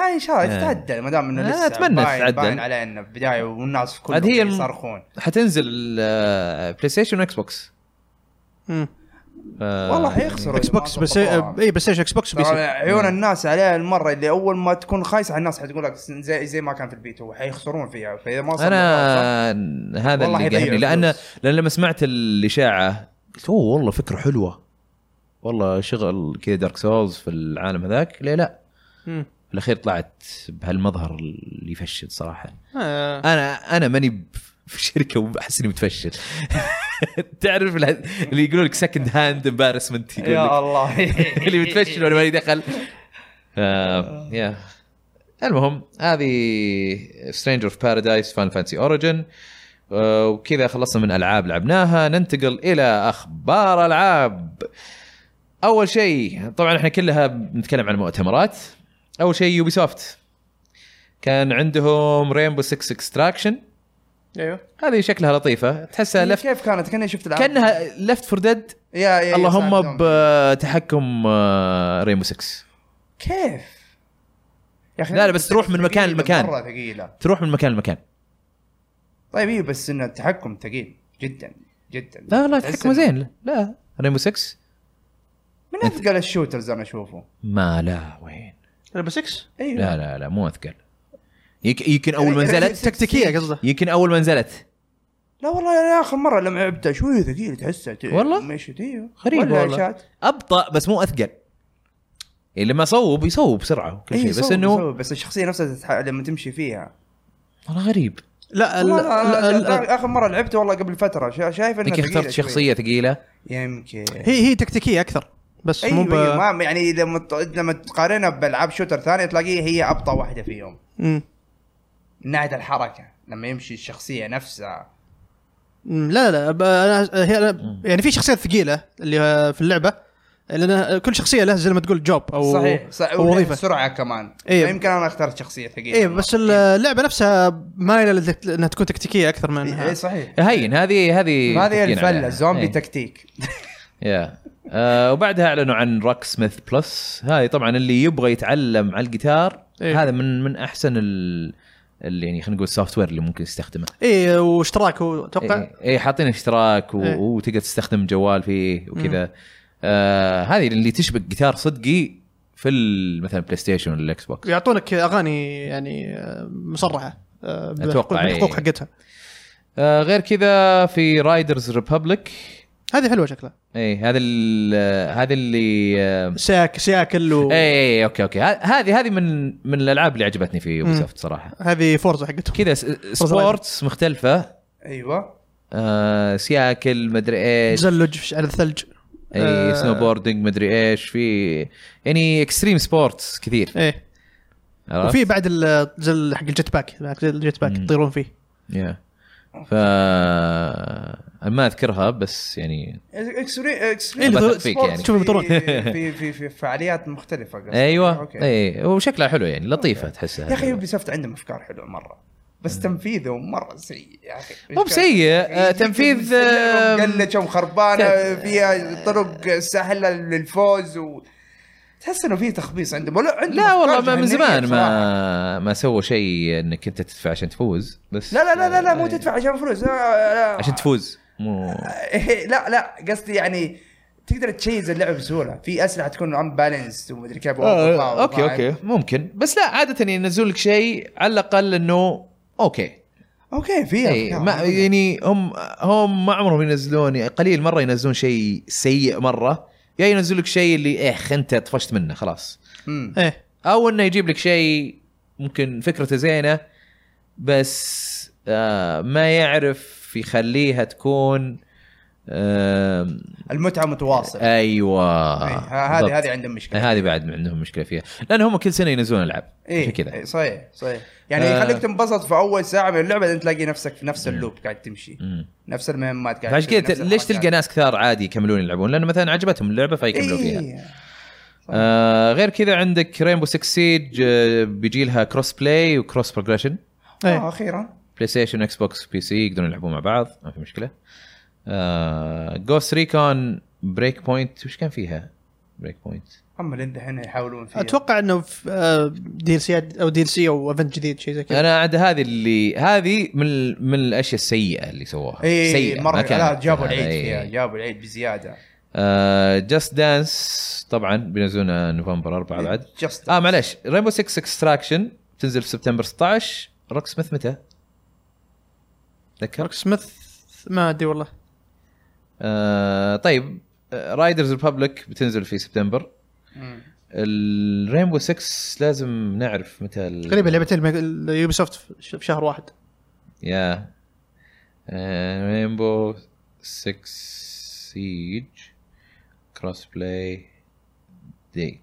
هاي ان شاء الله
آه.
تتعدل ما دام انه
آه،
لسه
أتمنى
باين-
تتعدل.
باين على انه بدايه والناس كلهم
عاد هي الم-
يصرخون
حتنزل آه، ال- بلاي ستيشن واكس بوكس
مم.
ف...
والله حيخسروا
اكس
إذا ما
بوكس بس
ظبطوها.
اي بلاي ستيشن اكس بوكس وبي
ترى
سي
عيون الناس عليها المره اللي اول ما تكون خايسه على الناس حتقول لك زي زي ما كان في البيت هو حيخسرون فيها فاذا ما صار
انا هذا
والله
اللي
يضيع
قهرني لان
فلوس.
لان لما سمعت الاشاعه قلت اوه والله فكره حلوه والله شغل كذا دارك سولز في العالم هذاك ليه لا
مم.
في الاخير طلعت بهالمظهر اللي يفشل صراحه
آه.
انا انا ماني ب- في شركه واحس اني متفشل تعرف الع- اللي يقولوا لك سكند هاند امبارسمنت يقول
يا
لك
الله
اللي متفشل وانا ماني دخل آه، يا المهم هذه سترينجر اوف بارادايس فان فانسي اوريجن آه، وكذا خلصنا من العاب لعبناها ننتقل الى اخبار العاب اول شيء طبعا احنا كلها بنتكلم عن مؤتمرات اول شيء يوبي سوفت كان عندهم رينبو 6 اكستراكشن
ايوه
هذه شكلها لطيفه تحسها لفت
إيه، كيف كانت كاني شفت العاب
كانها لفت فور ديد
يا يا
اللهم آه،
ساعدهم.
بتحكم ريمو 6
كيف يا
لا، لا، بس تروح من مكان
ثقيلة،
لمكان.
مره ثقيله
تروح من مكان لمكان
طيب ايه بس ان التحكم ثقيل جدا جدا
لا لا
تحس
تحكمه
إنه
زين لا ريمو 6
من اثقل الشوترز انا اشوفه
ما لا وين
ريمبو 6
ايوه
لا لا لا مو اثقل يك- يمكن اول ما
يعني
نزلت
تكتيكيه قصده
يمكن اول ما نزلت
لا والله انا اخر مره لما لعبتها شوي ثقيل تحسها ت-
والله؟
مشيت ايوه
غريب
ولا
والله.
شات.
ابطا بس مو اثقل يعني لما صوب يصوب بسرعه وكل
إيه،
شيء بس
صوب-
انه
صوب، بس الشخصيه نفسها تتح- لما تمشي فيها
والله غريب
لا ال-
والله أنا-
ال-
أنا
ال-
اخر مره لعبته والله قبل فتره شا- شايف انها
يمكن
ثقيلة
اخترت
شوي.
شخصيه ثقيله
يمكن
هي هي تكتيكيه اكثر بس
ايوه
مو ب
أيوة، ما يعني لما ت- لما تقارنها بالعاب شوتر ثانيه تلاقيها هي ابطا واحده فيهم
مم.
من ناحيه الحركه لما يمشي الشخصيه نفسها
مم، لا لا ب- انا هي أنا يعني في شخصيات ثقيله اللي آه، في اللعبه لان كل شخصيه لها زي ما تقول جوب او
صحيح صحيح
او وظيفه
سرعه كمان
إيه.
يمكن انا اخترت شخصيه ثقيله
إيه،
اي إيه، بس اللعبه نفسها مايله للت- انها تكون تكتيكيه اكثر من
اي
انها
إيه، صحيح
هين هذه هذه
هذه
متفقين عليها.
الفله زومبي
إيه.
تكتيك
يا آه وبعدها اعلنوا عن روك سميث بلس هاي طبعا اللي يبغى يتعلم على الجيتار
إيه.
هذا من من احسن ال اللي يعني خلينا نقول السوفت وير اللي ممكن يستخدمه
اي إيه، واشتراك هو اتوقع
اي إيه حاطين اشتراك و...
إيه.
وتقدر تستخدم جوال فيه وكذا آه هذه اللي تشبك جيتار صدقي في ال- مثلا بلاي ستيشن ولا الاكس بوكس
يعطونك اغاني يعني آه، مصرحه آه، بحقوق-
أتوقع، إيه.
بالحقوق حقتها
آه غير كذا في رايدرز ريببليك
هذه حلوه شكلها
اي هذا ال- هذا اللي آه إيه،
سياك سياكل و...
اي إي، اوكي اوكي ه- هذه هذه من من الالعاب اللي عجبتني في يوبي
مم.
سوفت صراحه
هذه فورزا حقتهم
كذا س- سبورتس مختلفه
ايوه
آه سياكل مدري ايش
تزلج في- على الثلج
اي
آه.
سنو بوردنج مدري ايش في يعني اكستريم سبورتس كثير
ايه
عرفت؟
وفي بعد ال- زي ال- حق الجيت باك معك زي الجيت باك
مم.
تطيرون فيه
يا.
Oh,
ف ما اذكرها بس يعني
اكستريم
إيه،
اكستريم
اللي
بثق فيك يعني.
شوف المطرون.
في في في فعاليات مختلفه قصدي.
ايوه
أوكي.
اي وشكلها حلو يعني لطيفه تحسها يعني.
يا اخي يوبي سوفت عندهم افكار حلوه مره بس تنفيذه مره سيء يا اخي
أمم. مو بسيء، آه، تنفيذ، آه،
قلتش ومخربانه
كان-
فيها طرق سهله للفوز و... تحس انه في تخبيص عندهم ولا عندهم
لا
أفكار
والله ما من
جهنمية
زمان
بصراحة.
ما ما سووا شيء انك انت تدفع عشان تفوز بس
لا لا لا لا, لا
آه.
مو تدفع عشان فلوس لا لا
عشان تفوز مو
إيه، لا لا قصدي يعني تقدر تشيز اللعبه بسهوله في اسلحه تكون ان بالانس ومدري كيف
آه اوكي اوكي ممكن بس لا عاده ينزلون لك شيء على الاقل انه اوكي
اوكي في
اي
أفكار.
ما يعني هم هم ما عمرهم ينزلون يعني قليل مره ينزلون شيء سيء مره يا ينزل لك شيء اللي ايه أخ، انت طفشت منه خلاص
مم.
ايه
او انه يجيب لك شيء ممكن فكرته زينه بس آه ما يعرف يخليها تكون آه
المتعه متواصله
ايوه
إيه، ه- هذه
بالضبط. آه، إيه،
هذه عندهم مشكله
هذه بعد عندهم مشكله فيها لان هم كل سنه ينزلون العاب
ايه
عشان كذا
إيه، صحيح صحيح يعني
آه.
يخليك تنبسط في اول ساعه من اللعبه بعدين تلاقي نفسك في نفس اللوب قاعد تمشي
مم.
نفس المهمات قاعد
فعشان
تسوي،
كذا
يعني نفس
ليش تلقى
الحركات.
ناس كثار عادي يكملون يلعبون لانه مثلا عجبتهم اللعبه فيكملون فيها
إيه.
آه غير كذا عندك رينبو 6 سيج آه بيجي لها كروس بلاي وكروس بروجريشن
اه
إيه.
ايه
اخيرا
بلاي ستيشن اكس بوكس بي سي يقدرون يلعبون مع بعض ما في آه، مشكله جوست ريكون بريك بوينت وش كان فيها؟ بريك بوينت
هم اللي الحين يحاولون فيها
اتوقع انه في آه، دي ال سي او دي ال سي او ايفنت جديد شيء زي كذا
انا عاد هذه اللي هذه من ال- من الاشياء السيئه اللي سووها
اي
سيئة،
مره
ما
إيه، لا
كانت-
جابوا العيد
إيه.
فيها جابوا العيد بزياده
جاست دانس طبعا بينزلونها نوفمبر 4 بعد
جست
اه معليش رينبو 6 اكستراكشن تنزل في سبتمبر 16 روك سميث متى؟ تذكر؟
كارك سميث ما ادري والله
آه طيب رايدرز ريببليك بتنزل في سبتمبر الرينبو 6 لازم نعرف متى ال-
تقريبا لعبتين اليوبي سوفت في شهر واحد
يا آه، رينبو 6 سيج كروس بلاي ديت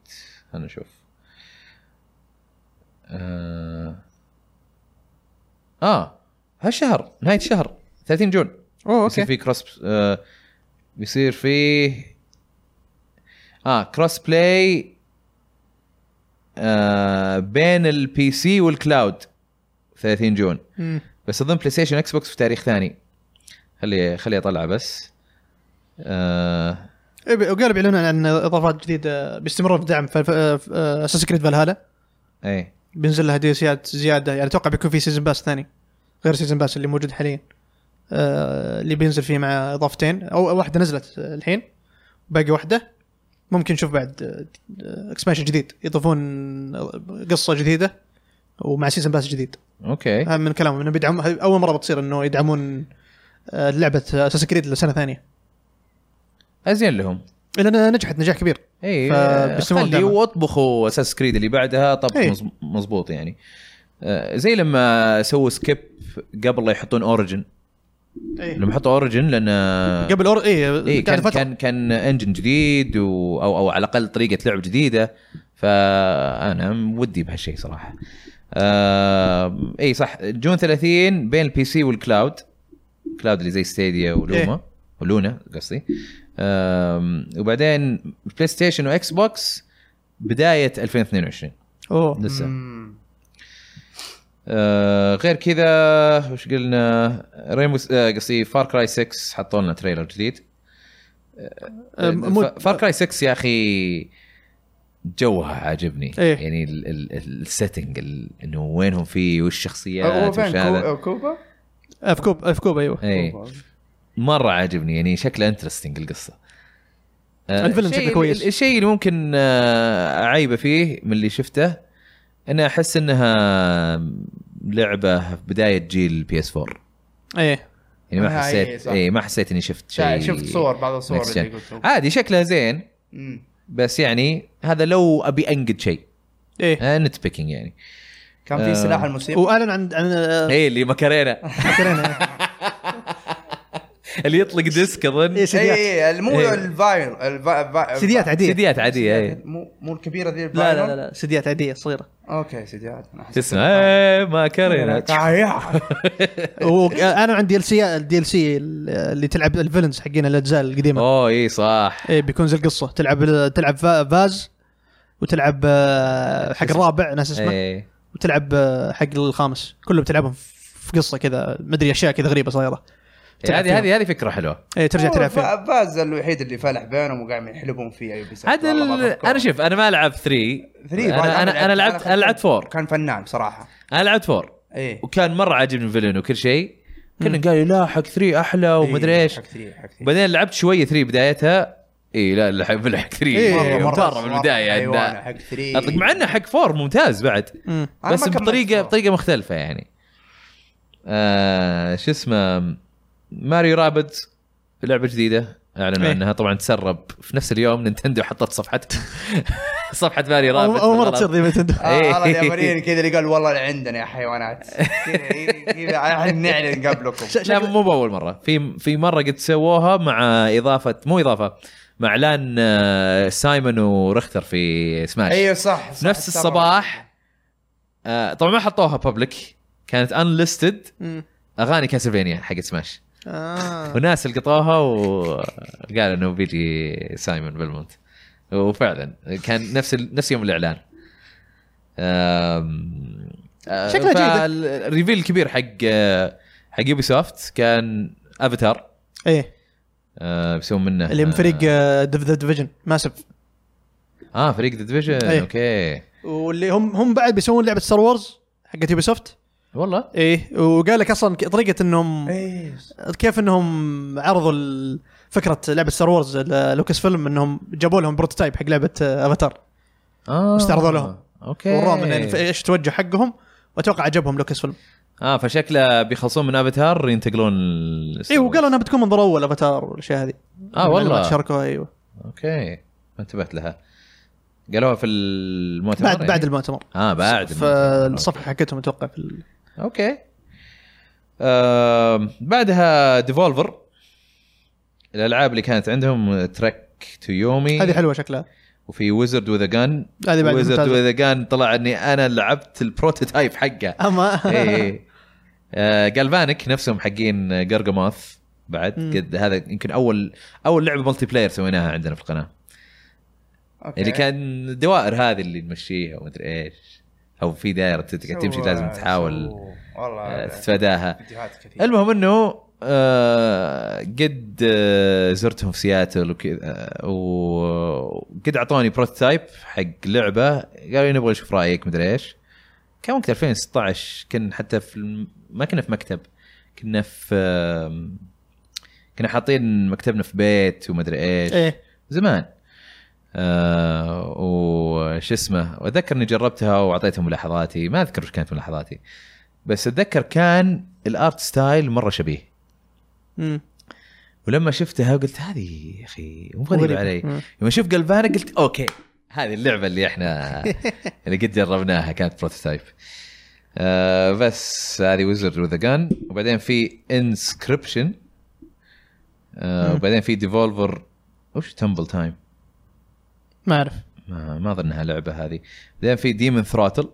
خلنا نشوف اه, آه. هالشهر نهايه الشهر 30 جون
اوه
يصير
اوكي
فيه كروس آه بيصير فيه اه كروس بلاي آه بين البي سي والكلاود 30 جون
مم.
بس اظن بلاي ستيشن اكس بوكس في تاريخ ثاني خلي خلي اطلعه بس آه
إيه، بي- وقالوا بيعلنون عن اضافات جديده بيستمرون في دعم آه، اساس كريد فالهالا
اي
بينزل لها ديسيات زياده يعني اتوقع بيكون في سيزون باس ثاني غير سيزون باس اللي موجود حاليا آه، اللي بينزل فيه مع اضافتين او أو واحده نزلت الحين باقي واحده ممكن نشوف بعد اكسبانشن جديد يضيفون قصه جديده ومع سيزون باس جديد
اوكي
هذا من كلامهم انه بيدعم هذه اول مره بتصير انه يدعمون آه، لعبه اساس كريد لسنه ثانيه
ازين لهم إيه،
لانها نجحت نجاح كبير
اي
فبيستمرون
خلي
دعمه.
واطبخوا اساس كريد اللي بعدها طبخ
إيه.
مز- مزبوط يعني آه زي لما سووا سكيب قبل لا يحطون اوريجن لما حطوا اوريجن لان
قبل أور... ايه,
اي
قاعد
إيه، كان
فترة.
كان كان انجن جديد و... او او على الاقل طريقه لعب جديده فانا ودي بهالشيء صراحه. آه... اي صح جون 30 بين البي سي والكلاود كلاود اللي زي ستيديا ولوما
إيه.
ولونا قصدي آه... وبعدين بلاي ستيشن واكس بوكس بدايه 2022
اوه
لسه
مم.
آه غير كذا وش قلنا ريموس آه قصدي فار كراي 6 حطوا لنا تريلر جديد
آه،
طيب،
مو-
فار كراي 6 يا اخي جوها عاجبني
إيه.
يعني السيتنج انه وينهم فيه
هو
والشخصيات
فين
وش هذا إيه.
كو- كوبا؟
آه، في كوب آه، في كوب ايوه
اي
كوبا.
مره عاجبني يعني شكله انترستنج القصه آه،
الفيلم
الشيء-
شكله كويس.
الشيء اللي ممكن آه، اعيبه فيه من اللي شفته انا احس انها لعبه بدايه جيل بي اس 4
ايه
يعني ما
آه، إيه،
حسيت
صح.
اي ما حسيت اني شفت شيء
شفت صور بعض الصور
Next
اللي
Gen.
قلت
عادي شكلها زين
مم.
بس يعني هذا لو ابي انقد شيء
ايه
نت بيكينج يعني
كان في سلاح الموسيقى
واعلن عن عن آه،
اي إيه، اللي مكرينا
فاكرينها.
اللي يطلق ديسك اظن
إيه، سيديات.
اي إي، مو
إيه.
الفايل الفا- الفا-
سيديات عاديه
سيديات إيه. عاديه اي
مو مو الكبيره ذي
لا
الفاينل
لا لا, لا سيديات عاديه صغيره
اوكي سيديات أنا حسيت-
تسمع ايه مكرينا
تعيع.
وانا عندي ال سي الدي ال سي اللي تلعب الفيلنز حقين الاجزاء القديمه
اوه اي إيه، صح
ايه بيكون زي القصه تلعب تلعب فا- فاز وتلعب آه، حق الرابع ناس اسمه إيه.
اي
وتلعب آه، حق الخامس كلهم تلعبهم في قصه كذا مدري اشياء كذا غريبه صايره
هذه
تلعب فيهم.
هذه هذه فكره حلوه
ايه ترجع
هو
تلعب فيه
فا- فاز الوحيد اللي فلح بينهم وقاعد يحلبون فيه اي
عاد ال- انا شوف انا ما لعب 3 انا انا انا لعبت انا لعبت 4
كان فنان بصراحه
انا لعبت 4
ايه
وكان مره عاجبني الفيلن وكل شيء كلنا قالوا لا إيه، حق 3 احلى ومدري ايش
إيه، حق ثري حق ثري
بعدين لعبت شويه 3 بدايتها اي لا لا، حق حق 3
إيه،
مرة- أيوة. مره من البدايه
حيوانة
إنه-
أيوة، حق ثري
اطلق مع انه حق فور ممتاز بعد
مم.
أنا ما
بس
كملت
بطريقه
صراحة.
بطريقه مختلفه يعني آه شو اسمه ماريو رابد لعبه جديده اعلنوا
إيه.
عنها طبعا تسرب في نفس اليوم نينتندو حطت صفحه صفحه ماريو رابد
اول أول مره تصير ذي نتندو
إيه.
آه، هذا اليابانيين كذا اللي قال والله اللي عندنا يا حيوانات كذا- إيه، كذا احنا نعلن قبلكم
لا مو باول مره في في مره قد سووها مع اضافه مو اضافه مع اعلان آه، سايمون ورختر في سماش
ايوه صح,
في
صح
أيوة، نفس
ترى.
الصباح آه، طبعا ما حطوها بابليك كانت انليستد
مم.
اغاني كاسلفينيا حقت سماش
آه.
وناس لقطوها وقال انه بيجي سايمون بالمونت وفعلا كان نفس ال... نفس يوم الاعلان أم...
شكلها جيدة.
جيد الريفيل الكبير حق حق يوبي سوفت كان افاتار
ايه
أه، بيسوون منه
اللي من فريق آه، ديف ذا ديفيجن ماسف
اه فريق ذا ديفيجن
أيه.
اوكي
واللي هم هم بعد بيسوون لعبه ستار وورز حقت يوبي سوفت
والله
ايه وقال لك اصلا ك- طريقه انهم
إيه.
كيف انهم عرضوا ال- فكره لعبه ستار وورز ل- لوكس فيلم انهم جابوا لهم بروتوتايب حق لعبه آه، افاتار
اه
واستعرضوا لهم.
اوكي
وراهم إن- إن- ايش توجه حقهم واتوقع عجبهم لوكس فيلم
اه فشكله بيخلصون من افاتار ينتقلون
اي إيه، وقالوا انها بتكون منظر اول افاتار والاشياء هذه
اه
المعلومات
والله
شاركوها ايوه
اوكي ما انتبهت لها قالوها في المؤتمر
بعد بعد
يعني؟
المؤتمر
اه بعد المؤتمر.
فالصفحه حقتهم اتوقع في ال-
اوكي آه بعدها ديفولفر الالعاب اللي كانت عندهم ترك تو يومي
هذه حلوه شكلها
وفي ويزرد وذا جان
هذه بعد
ويزرد
ممتازة.
وذا جان طلع اني انا لعبت البروتوتايب حقه إيه،
اما
اي جالفانك نفسهم حقين جرجموث بعد
مم.
قد هذا يمكن اول اول لعبه ملتي بلاير سويناها عندنا في القناه
أوكي.
اللي يعني كان الدوائر هذه اللي نمشيها ومدري ايش او في دائره تت- قاعد تمشي
سووا-
لازم تحاول
سووا-
آه،
والله
تتفاداها
فيديوهات كثير
المهم انه آه، قد آه، زرتهم في سياتل وكذا آه، وقد اعطوني بروتوتايب حق لعبه قالوا نبغى نشوف رايك مدري ايش كان وقت 2016 كنا حتى في الم- ما كنا في مكتب كنا في آم، كنا حاطين مكتبنا في بيت ومدري ايش
ايه
زمان آه وش اسمه واتذكر اني جربتها واعطيتهم ملاحظاتي ما اذكر وش كانت ملاحظاتي بس اتذكر كان الارت ستايل مره شبيه
مم.
ولما شفتها قلت هذه يا اخي مو غريبه
غريبة.
علي
مم.
لما شفت قلبانا قلت اوكي هذه اللعبه اللي احنا اللي قد جربناها كانت بروتوتايب آه بس هذه ويزرد وذا جان وبعدين في انسكربشن آه
مم.
وبعدين في ديفولفر وش تمبل تايم
ما اعرف
ما ما اظنها لعبه هذه بعدين في ديمن ثراتل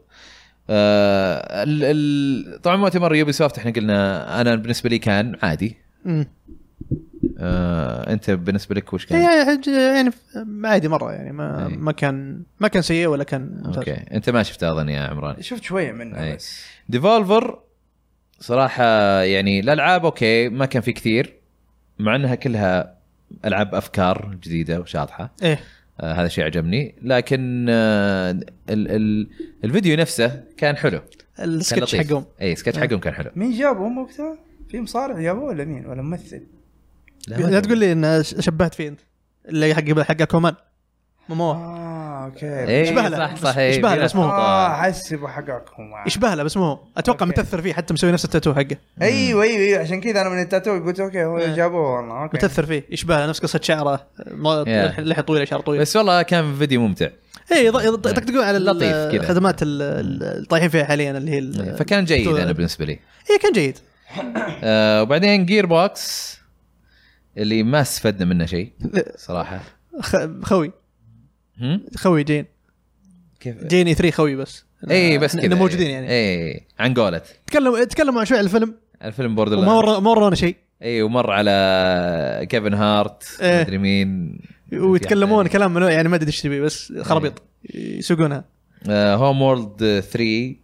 آه ال ال طبعا مؤتمر يوبي سوفت احنا قلنا انا بالنسبه لي كان عادي
مم.
آه انت بالنسبه لك وش كان؟
يعني يعني عادي مره يعني ما
إيه.
ما كان ما كان سيء ولا كان
اوكي
ممتاز
انت ما شفتها اظن يا عمران
شفت شويه منه
إيه.
بس
ديفولفر صراحه يعني الالعاب اوكي ما كان في كثير مع انها كلها العاب افكار جديده وشاطحه
ايه
آه هذا شيء عجبني لكن آه ال ال الفيديو نفسه كان حلو كان
السكتش
لطيف
حقهم آه.
اي سكتش حقهم كان حلو
مين جابهم وقتها؟ في مصارع جابوه ولا مين؟ ولا ممثل؟
ما
لا تقول لي ان ش- شبهت فيه انت اللي حق حق كومان
آه.
مومو
اه اوكي
ايه
يشبه له.
صح
بس-
صح ايه
يشبه له، بس مو هو.
اه حسب حقكم
يشبه له بس مو هو اتوقع
أوكي.
متاثر فيه حتى مسوي نفس التاتو حقه
ايوه ايوه ايوه عشان كذا انا من التاتو قلت اوكي هو
آه.
إيه.
جابوه والله اوكي
متاثر فيه يشبه له نفس قصه شعره ما-
Yeah.
لحيه طويله شعر طويل
بس والله كان فيديو ممتع
اي يض- يض- يطقطقون على ال-
لطيف كذا.
الخدمات ال- ال- اللي طايحين فيها حاليا اللي هي ال-
فكان جيد
تو-
انا بالنسبه لي
اي كان جيد
آه وبعدين جير بوكس اللي ما استفدنا منه شيء صراحه
خ- خوي
هم؟
خوي جين
كيف
جين اي 3 خوي بس
اي إيه، بس كذا
إنه آه، موجودين يعني
اي عن قولت
تكلموا تكلموا عن شوي على الفيلم
الفيلم بوردر
وما ور- ما ورونا شيء
اي ومر على كيفن هارت
إيه.
مدري مين
ويتكلمون كلام من يعني ما ادري ايش تبي بس خرابيط يسوقونها
هوم وورلد 3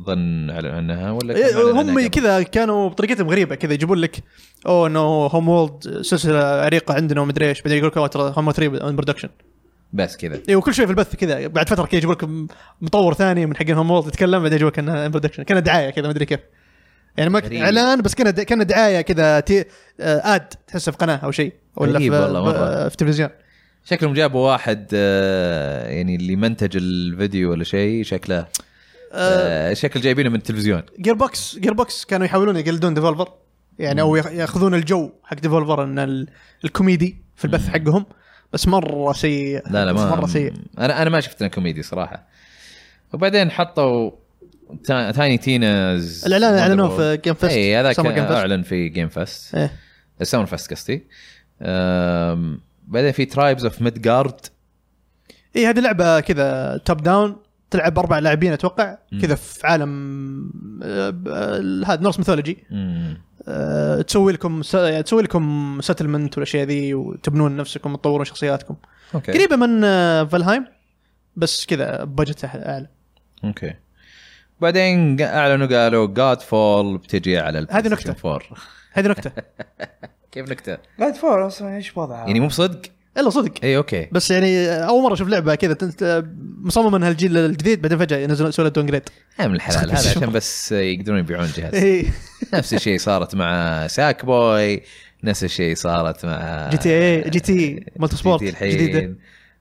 اظن اعلنوا عنها ولا كان
إيه،
أعلن عنها
هم
قبل؟
كذا كانوا بطريقتهم غريبه كذا يجيبون لك اوه انه هوم وولد سلسله عريقه عندنا ومدري ايش بعدين يقول لك "أوه، ترى هوم 3 اون برودكشن
بس كذا
اي إيه، وكل شوي في البث كذا بعد فتره كذا يجيبون لك م- مطور ثاني من حقين هوم وولد يتكلم بعدين يجيبون لك انها ان برودكشن كانها دعايه كذا ما ادري كيف يعني ما ك-
غريب.
اعلان بس كانها د- كانها دعايه كذا تي... آه، اد تحسها في قناه او شيء ولا في,
غريب والله مرة.
في تلفزيون
شكلهم جابوا واحد آه، يعني اللي منتج الفيديو ولا شيء شكله آه، شكل جايبينه من التلفزيون
جير بوكس جير بوكس كانوا يحاولون يقلدون ديفولفر يعني او ياخ- ياخذون الجو حق ديفولفر ان ال- الكوميدي في البث
مم.
حقهم بس مره سيء
لا لا
بس
ما
مره سيء
انا انا ما شفت انه كوميدي صراحه وبعدين حطوا تا- تايني تيناز
الاعلان اعلنوه
Wonderworld.
في جيم فيست
اي هذا كان
فيست
اعلن في جيم فاست
إيه.
سمر فاست قصدي أم، بعدين في ترايبز اوف ميدجارد
اي إيه، هذه لعبه كذا توب داون تلعب اربع لاعبين اتوقع
مم.
كذا في عالم آه، ب- آه، هذا نورس ميثولوجي آه، تسوي لكم س... يعني تسوي لكم سيتلمنت والاشياء ذي وتبنون نفسكم وتطورون شخصياتكم
اوكي
قريبه من آه، فالهايم بس كذا بجت اعلى
اوكي بعدين قا- اعلنوا قالوا جاد فول بتجي على ال
هذه نكتة.
PlayStation 4
هذه نكته
كيف نكته؟
جاد فور اصلا ايش وضعها؟
يعني مو بصدق؟ إيه،
الا صدق
اي اوكي
بس يعني آه، اول مره اشوف لعبه كذا تنت- آه، مصممه انها الجيل الجديد بعدين فجاه ينزلون يسوون لها دون جريد
يا آه، من الحلال هذا عشان بس يقدرون يبيعون جهاز
إيه.
نفس الشيء صارت مع ساك بوي نفس الشيء صارت مع
جي تي اي جي تي إيه، مالتي سبورت جديده
جديده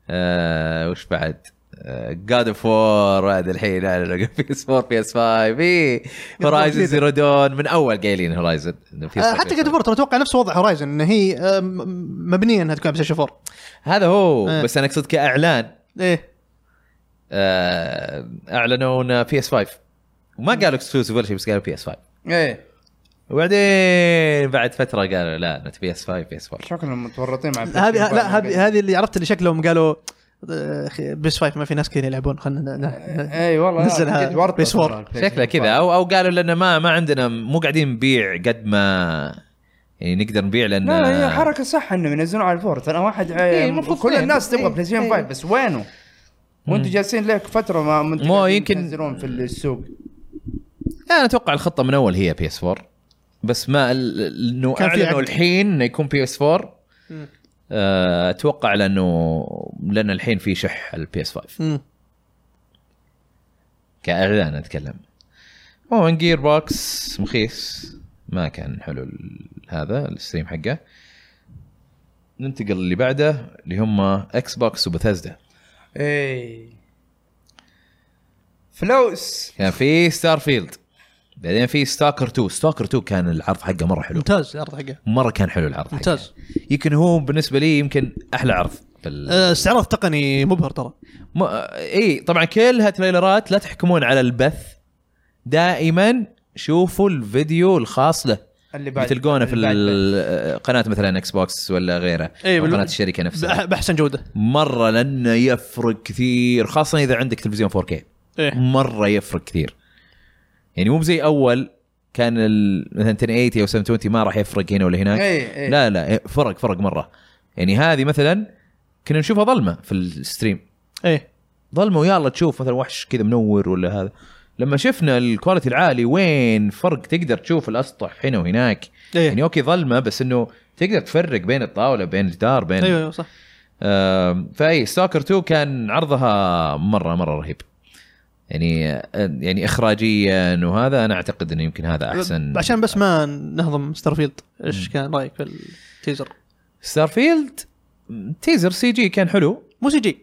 آه وش بعد؟ آه، جاد اوف وور هذا الحين اعلنوا في سبور بي اس 5 اي هورايزن
جديدة.
زيرو دون من اول قايلين هورايزن
آه، حتى جاد فور اتوقع نفس وضع هورايزن ان هي آه، م- م- مبنيه انها تكون بلاي ستيشن 4
هذا هو
إيه.
بس انا اقصد كاعلان
ايه
آه، اعلنوا انه بي اس 5 وما قالوا اكسكلوسيف ولا شيء بس قالوا بي اس 5
ايه
وبعدين بعد فتره قالوا لا بي اس 5 بي اس 4
شكلهم متورطين مع
هذه لا هذه هذه اللي عرفت اللي شكلهم قالوا آه، أخي، بيس فايف ما في ناس كثير يلعبون خلينا
اي والله
نزلها بيس وور.
شكله كذا او او قالوا لنا ما ما عندنا مو قاعدين نبيع قد ما يعني نقدر نبيع لان
لا لا هي حركه صح انه ينزلون على الفور ترى واحد إيه
المفروض
كل
فين.
الناس تبغى
إيه،
بلاي ستيشن 5 بس وينه؟ وانتم جالسين لك فتره ما ما انتوا
مو
قاعدين
يمكن-
تنزلون في السوق
انا اتوقع الخطه من اول هي بي اس 4 بس ما ال- ال- انه
كان في
اعلنوا
عقد.
الحين إنه يكون بي اس 4
مم.
آه، اتوقع لانه لان الحين في شح على البي اس 5
مم.
كاعلان اتكلم عموما جير بوكس مخيس ما كان حلو ال- هذا الستريم حقه ننتقل اللي بعده اللي هم اكس بوكس وبثزدا
ايه فلوس
كان في ستار فيلد بعدين في ستاكر 2 ستاكر 2 كان العرض حقه مره حلو
ممتاز العرض حقه
مره كان حلو العرض حقه.
ممتاز.
يمكن هو بالنسبه لي يمكن احلى عرض في ال...
آه، استعراض تقني مبهر ترى
م... اي طبعا كلها تريلرات لا تحكمون على البث دائما شوفوا الفيديو الخاص له
اللي بعد
بتلقونه في
اللي بعد-
ال- قناه مثلا اكس بوكس ولا غيره
إيه،
أو
بال-
قناه الشركه نفسها
بأح- باحسن جوده
مره لانه يفرق كثير خاصه اذا عندك تلفزيون 4K
إيه.
ايه
مره يفرق كثير يعني مو زي اول كان ال- مثلا 1080 او 720 ما راح يفرق هنا ولا هناك
إيه، إيه.
لا لا إيه، فرق فرق مره يعني هذه مثلا كنا نشوفها ظلمه في الستريم
ايه
ظلمه ويلا تشوف مثلا وحش كذا منور ولا هذا لما شفنا الكواليتي العالي وين فرق تقدر تشوف الاسطح هنا وهناك
إيه.
يعني اوكي ظلمه بس انه تقدر تفرق بين الطاوله بين الجدار بين
ايوه أيوة، صح
آم، فاي ستوكر 2 كان عرضها مره مره رهيب يعني آه، يعني اخراجيا وهذا انا اعتقد انه يمكن هذا احسن
ب- عشان بس ما نهضم ستارفيلد ايش كان رايك في التيزر؟
ستارفيلد تيزر سي جي كان حلو
مو سي جي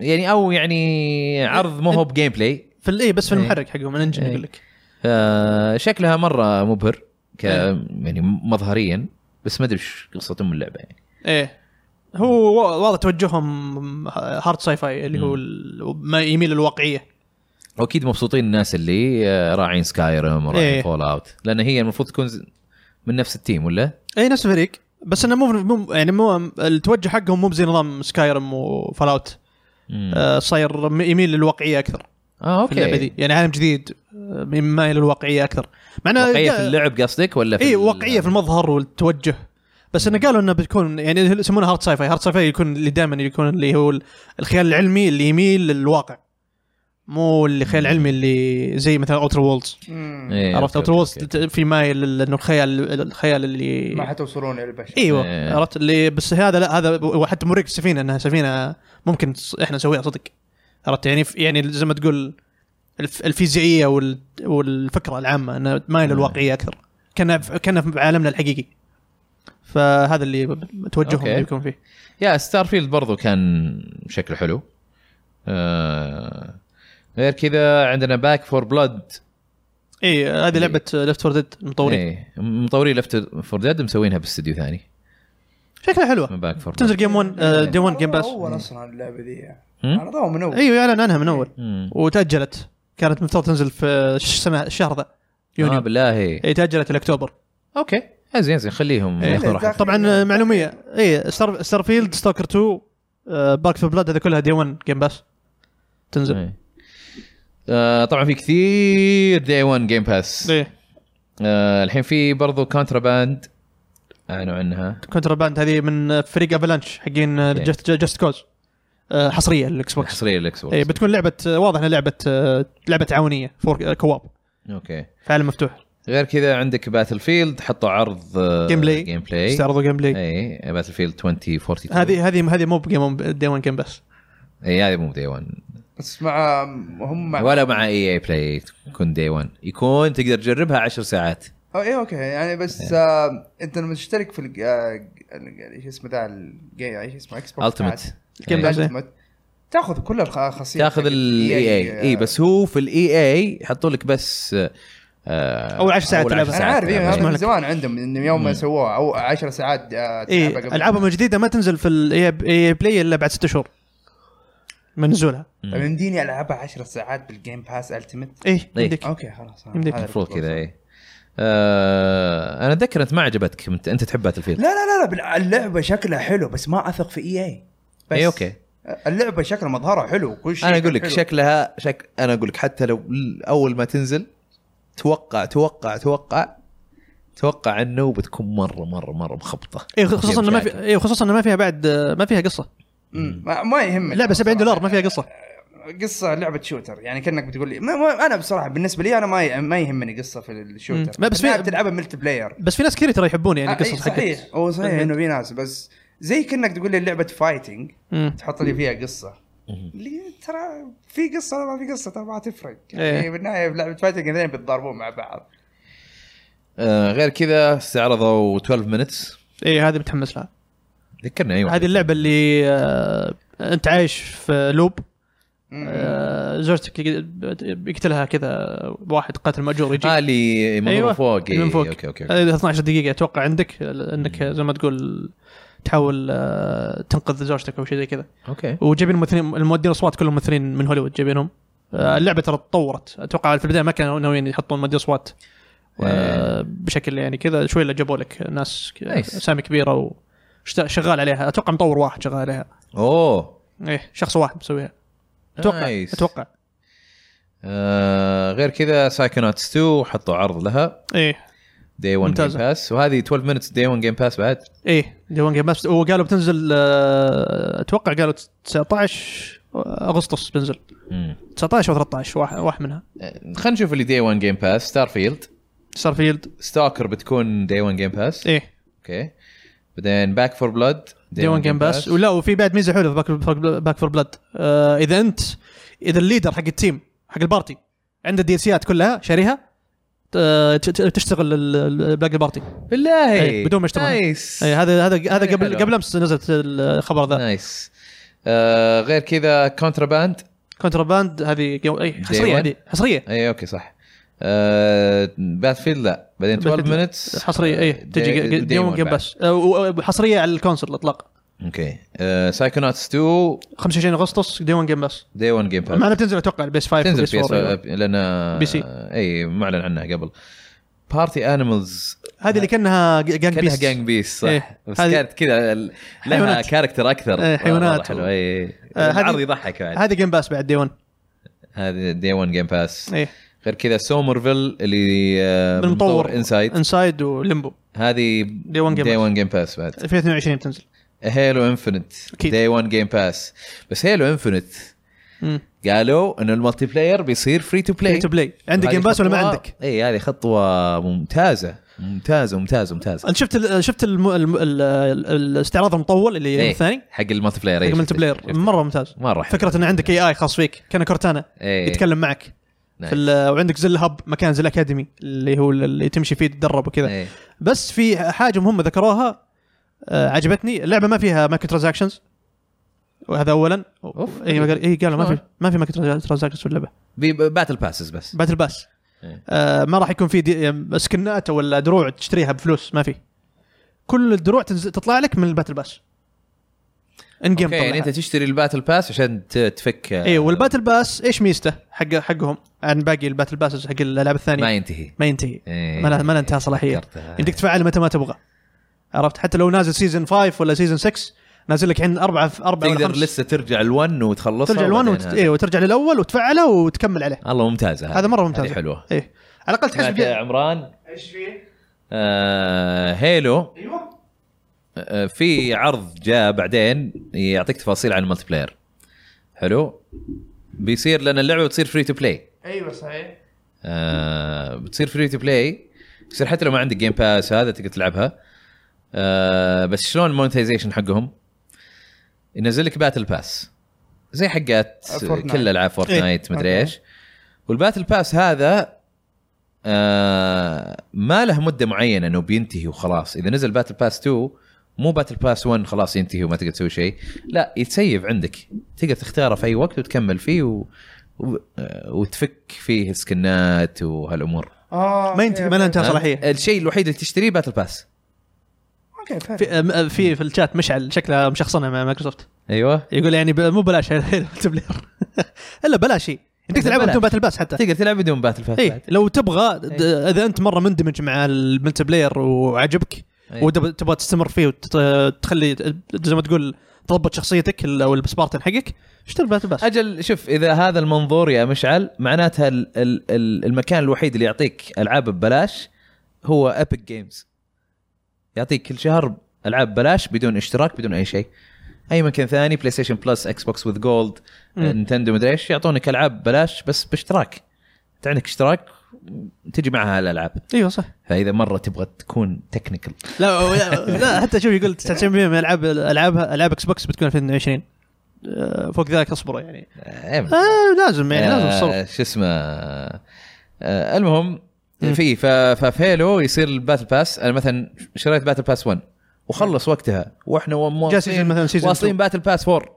يعني او يعني عرض مو هو بجيم بلاي
في ال- ايه بس في
إيه.
المحرك حقهم الانجن
إيه.
يقول لك
آه، شكلها مره مبهر ك
إيه.
يعني مظهريا بس ما ادري ايش قصه ام اللعبه يعني
ايه هو وا- واضح توجههم هارد ساي فاي اللي هو ال- ما يميل للواقعيه
واكيد مبسوطين الناس اللي آه، راعين سكايرم وراعين
إيه.
فول اوت لان هي المفروض تكون ز- من نفس التيم ولا؟
اي إيه، نفس الفريق بس انه مو مو- يعني مو التوجه حقهم مو بزي نظام سكايرم وفلاوت
مم.
آه صاير م- يميل للواقعيه اكثر
اه
في
اوكي
اللعبه دي يعني عالم جديد آه، مايل للواقعيه اكثر مع انه
واقعيه في اللعب قصدك ولا في
اي
ال-
واقعيه إيه، في المظهر والتوجه بس انه قالوا انه بتكون يعني يسمونها هارد ساي فاي هارد ساي فاي يكون اللي دائما يكون اللي هو ال- الخيال العلمي اللي يميل للواقع مو اللي خيال العلمي اللي زي مثلا اوتر وولز
مم.
إيه، أوكي،
عرفت اوتر وولز
أوكي، أوكي.
في مايل انه الخيال الخيال اللي
ما حتوصلون للبشر
ايوه
إيه.
عرفت اللي بس هذا لا هذا وحتى مريك في السفينه انها سفينه ممكن تص- احنا نسويها صدق عرفت يعني يعني زي ما تقول الف- الفيزيائيه وال-
إيه.
والفكره العامه انها مايله للواقعيه اكثر كنا كنا في عالمنا الحقيقي فهذا اللي توجههم
أوكي.
اللي بيكون فيه
يا ستار فيلد برضو كان شكله حلو آه غير كذا عندنا باك فور بلاد
اي إيه، هذه لعبه
إيه.
ليفت فور ديد المطورين
ايه مطوري لفت فور ديد مسوينها باستديو ثاني
شكلها حلوه
باك فور
تنزل آه، جيم
إيه.
1 دي 1 جيم باس
اول اصلا اللعبه ذي
مم.
انا ضاو من اول
ايوه اعلن عنها من اول
بلاد
وتاجلت كانت المفترض تنزل في ش- السنه الشهر ذا
اه
يونيو إيه،
بالله
اي تاجلت لاكتوبر
اوكي زين زين خليهم
إيه.
ياخذوا راحتهم
طبعا معلوميه اي ستار ستار فيلد ستوكر 2 باك في بلاد هذا كلها دي 1 جيم باس تنزل
إيه. آه طبعا في كثير دي 1 جيم باس
ايه
آه الحين في برضو كونتراباند اعلنوا عنها
كونتراباند هذه من فريق افلانش حقين
أوكي.
جست جست كوز حصريه للاكس آه، بوكس
حصريه للاكس بوكس
اي بتكون لعبه واضح انها لعبه لعبه تعاونيه فور كواب
اوكي
في عالم مفتوح
غير كذا عندك باتل فيلد حطوا عرض آه، إيه،
Game play.
جيم بلاي
استعرضوا جيم بلاي
اي باتل فيلد 2042
هذه هذه هذه مو بجيم دي 1 جيم بس
اي إيه، هذه مو دي 1
بس مع هم
ولا مع اي اي بلاي تكون دي 1 يكون تقدر تجربها 10 ساعات
أو ايه اوكي يعني بس
إيه.
آه انت لما تشترك في الج- آه، ال- ايش اسمه ذا الجي- ايش اسمه اكس بوكس
التمت
Game Pass.
التمت تاخذ كل إيه، الخاصيه
إيه. تاخذ
E
الاي
إيه، آه.
اي اي إيه، بس هو في الاي اي يحطوا لك بس آه
أول 10 ساعات تلعبها.
انا عارف إيه، هذا
تلعبها.
من زمان عندهم من يوم ما سووها او 10 ساعات آه،
اي
تلعبها قبل.
العابهم الجديده إيه، ما تنزل في إيه، الاي بلاي الا بعد ست شهور من نزولها
طيب يمديني العبها 10 ساعات بالجيم باس التمت
اي
إيه.
يمديك
اوكي خلاص
يمديك.
هذا
المفروض
الفكرة.
كذا اي آه انا اتذكر انت ما عجبتك انت, انت تحب باتل فيلد
لا لا لا لا بال- اللعبه شكلها حلو بس ما اثق في اي اي بس
اي
إيه،
اوكي
اللعبه شكلها مظهرها حلو وكل شيء
انا اقول لك
حلو.
شكلها شك انا اقول لك حتى لو ال- اول ما تنزل توقع توقع توقع توقع انه بتكون مره مره مره مخبطه
اي خصوصا انه إيه، ما
مشاكل.
في اي خصوصا انه ما فيها بعد ما فيها قصه
مم. ما, ما يهمك
اللعبه 70 دولار ما فيها
آه،
قصه
قصه لعبه شوتر يعني كانك بتقول لي ما ما انا بصراحه بالنسبه لي انا ما ي- ما يهمني قصه في
مم.
الشوتر
ما بس في-
ألعاب تلعبها ملتي بلاير
بس في ناس كثير ترى يحبون يعني
آه،
قصص
إيه، صحيح هو صحيح انه في ناس بس زي كانك تقول لي لعبه فايتنج
مم.
تحط لي فيها قصه اللي ترى في قصه ولا ما في قصه ترى ما تفرق
إيه.
يعني بالنهايه في لعبه فايتنج اثنين بيتضاربون مع بعض
آه غير كذا استعرضوا 12 مينتس
اي إيه، هذه متحمس لها
ذكرني ايوه
هذه اللعبه اللي آه، انت عايش في لوب
مم.
آه، زوجتك يقتلها كذا واحد قاتل ماجور يجي
آه اللي من أيوة. فوق إيه،
من فوق
اوكي اوكي,
أيوه.
أوكي.
آه، 12 دقيقه اتوقع عندك آه، انك زي ما تقول تحاول آه، تنقذ زوجتك او شيء زي كذا
أوكي.
وجايبين ممثلين المؤدين اصوات كلهم ممثلين من هوليوود جايبينهم آه، اللعبه ترى تطورت اتوقع في البدايه ما كانوا ناويين يحطون مؤدين اصوات آه، بشكل يعني كذا شوي اللي جابوا لك ناس ك-
إيه. نايس.
اسامي كبيره وشغال عليها اتوقع مطور واحد شغال عليها
اوه
ايه شخص واحد مسويها اتوقع
نايس.
اتوقع
آه غير كذا سايكوناتس 2 حطوا عرض لها
ايه
دي 1 جيم
ممتازة.
باس وهذه 12 مينتس دي 1 جيم باس بعد
ايه دي وان جيم بس وقالوا بتنزل آه، اتوقع قالوا 19 اغسطس بنزل
مم.
19 او 13 واحد, واحد منها
آه، خلينا نشوف اللي دي 1 جيم باس ستار فيلد
ستار فيلد
ستاكر بتكون دي 1 جيم باس
ايه
اوكي بعدين باك فور بلاد
دي وان جيم باس ولا وفي بعد ميزه حلوه في باك, باك فور بلاد آه اذا انت اذا الليدر حق التيم حق البارتي عنده الدي سيات كلها شاريها آه، ت- ت- تشتغل ال- ال- باقي البارتي
بالله
إيه، بدون ما يشتغلون.
نايس
إيه، هذا هذا هذا قبل
حلوة.
قبل امس نزلت الخبر ذا
نايس آه غير كذا كونتراباند
كونتراباند هذه جو- أي،
Day
حصريه
one.
هذه حصريه
اي اوكي إيه، صح آه بات فيلد لا بعدين 12
Battlefield.
مينتس
حصريه اي تجي جيم جيم بس حصريه على الكونسول الاطلاق
اوكي آه سايكوناتس 2
25 اغسطس دي 1 جيم بس
دي 1 جيم باس
معنا بتنزل اتوقع البيس 5
طيب. تنزل آه، بي اس
والبيس 4 أيوة.
لان
بي سي.
اي آه، معلن عنها قبل بارتي انيمالز
هذه اللي كانها جانج
كانها
بيس
جانج بيس صح
إيه،
بس
هذه-
كانت كذا ال- لها
حيوانات.
كاركتر اكثر
إيه، حيوانات
مرة حلو
و-
اي إي.
آه، هذه-
العرض يضحك بعد
هذه جيم باس بعد دي 1
هذه دي 1 جيم باس
ايه
غير كذا سومرفيل اللي آه،
من مطور
انسايد
انسايد وليمبو
هذه
Day One Game
دي
Pass.
1 جيم باس بعد
في 22 بتنزل
هيلو انفنت
أكيد.
دي 1 جيم باس بس هيلو انفنت
مم.
قالوا انه الملتي بلاير بيصير فري تو بلاي
Free to play. عندك Game Pass ولا ما عندك؟
اي إيه، هذه خطوه ممتازه ممتازه ممتازه ممتازه
انت شفت ال شفت الم... ال... ال... ال... الاستعراض المطول اللي
إيه،
يوم الثاني
حق الملتي بلاير
حق
إيه،
الملتي
شفت-
بلاير
شفت.
مره ممتاز
مره حلو
فكره ان عندك اي اي خاص فيك كان كورتانا
إيه.
يتكلم معك
نايس.
في ال- وعندك زل هب مكان زل اكاديمي اللي هو اللي تمشي فيه تتدرب وكذا
إيه.
بس في حاجه مهمه ذكروها آه عجبتني اللعبه ما فيها مايكرو ترانزاكشنز وهذا اولا
أوف.
اي قال- اي قالوا ما
شلون؟
في ما في مايكرو ترانزاكشنز في اللعبه
باتل باسز بس
باتل باس
إيه.
آه ما راح يكون في دي- سكنات ولا دروع تشتريها بفلوس ما في كل الدروع تنز... تطلع لك من الباتل باس ان جيم
اوكي يعني انت تشتري الباتل باس عشان ت- تفك آه،
اي إيه، والباتل باس ايش ميزته حق حقهم عن باقي الباتل باسز حق الالعاب الثانيه
ما ينتهي
ما ينتهي
إيه.
يعني ما لها ما لها انتهى صلاحيه
فكرتها.
يمديك تفعل متى ما تبغى عرفت حتى لو نازل سيزون 5 ولا سيزون 6 نازل لك عند أربعة في أربعة ولا
تقدر
خمسة.
لسه ترجع ال1 وتخلصها
ترجع الوان
وبعدين
وت...
هذا. آه.
إيه وترجع للاول وتفعله وتكمل عليه
الله ممتازه هذه.
هذا مرة ممتازة.
هذه حلوه
ايه على الاقل تحس
معك يا
بجا...
عمران
ايش فيه؟
آه هيلو
ايوه
آه، في عرض جاء بعدين يعطيك تفاصيل عن الملتي بلاير حلو بيصير لان اللعبه بتصير فري تو بلاي
ايوه صحيح
آه، بتصير فري تو بلاي يصير حتى لو ما عندك جيم باس هذا تقدر تلعبها آه، بس شلون المونتايزيشن حقهم؟ ينزل لك باتل باس زي حقات
فورتنايت.
كل العاب فورتنايت
إيه،
مدري
أوكي.
ايش والباتل باس هذا آه، ما له مده معينه انه بينتهي وخلاص اذا نزل باتل باس 2 مو باتل باس 1 خلاص ينتهي وما تقدر تسوي شيء لا يتسيف عندك تقدر تختاره في اي وقت وتكمل فيه و... و... آه، وتفك فيه سكنات وهالامور
اه
ما ينتهي ما لها انتهى صلاحيه
الشيء الوحيد اللي تشتريه باتل باس
اوكي فاهم.
في آم، آه، في في الشات مشعل شكلها مشخصنها مع مايكروسوفت
ايوه
يقول يعني ب... مو بلاش البلاير الا بلاشي يمديك تلعبها
بلاش.
بدون باتل باس حتى
تقدر تلعب بدون باتل باس
اي لو تبغى د- اذا انت مره مندمج مع الملتي بلاير وعجبك
أي.
وتبغى تستمر فيه وتخلي زي ما تقول تضبط شخصيتك ال- او السبارتن حقك اشتري باتل باس
اجل شوف اذا هذا المنظور يا مشعل معناتها ال ال ال المكان الوحيد اللي يعطيك العاب ببلاش هو ابيك جيمز يعطيك كل شهر العاب ببلاش بدون اشتراك بدون اي شيء اي مكان ثاني بلاي ستيشن بلس اكس بوكس وذ جولد
مم.
نينتندو مدري ايش يعطونك العاب ببلاش بس باشتراك انت عندك اشتراك تجي معها الالعاب
ايوه صح
فاذا مره تبغى تكون تكنيكال
لا لا, لا حتى شوف يقول 99% من العاب العابها العاب اكس بوكس بتكون 2020 آه، فوق ذلك اصبروا يعني آه لازم يعني لازم تصبر
آه، شو اسمه آه المهم في ف- ففيلو يصير الباتل باس انا مثلا شريت باتل باس 1 وخلص وقتها واحنا و-
جاء سيزون
مواصلين
مثلا سيزون
واصلين
2.
باتل باس 4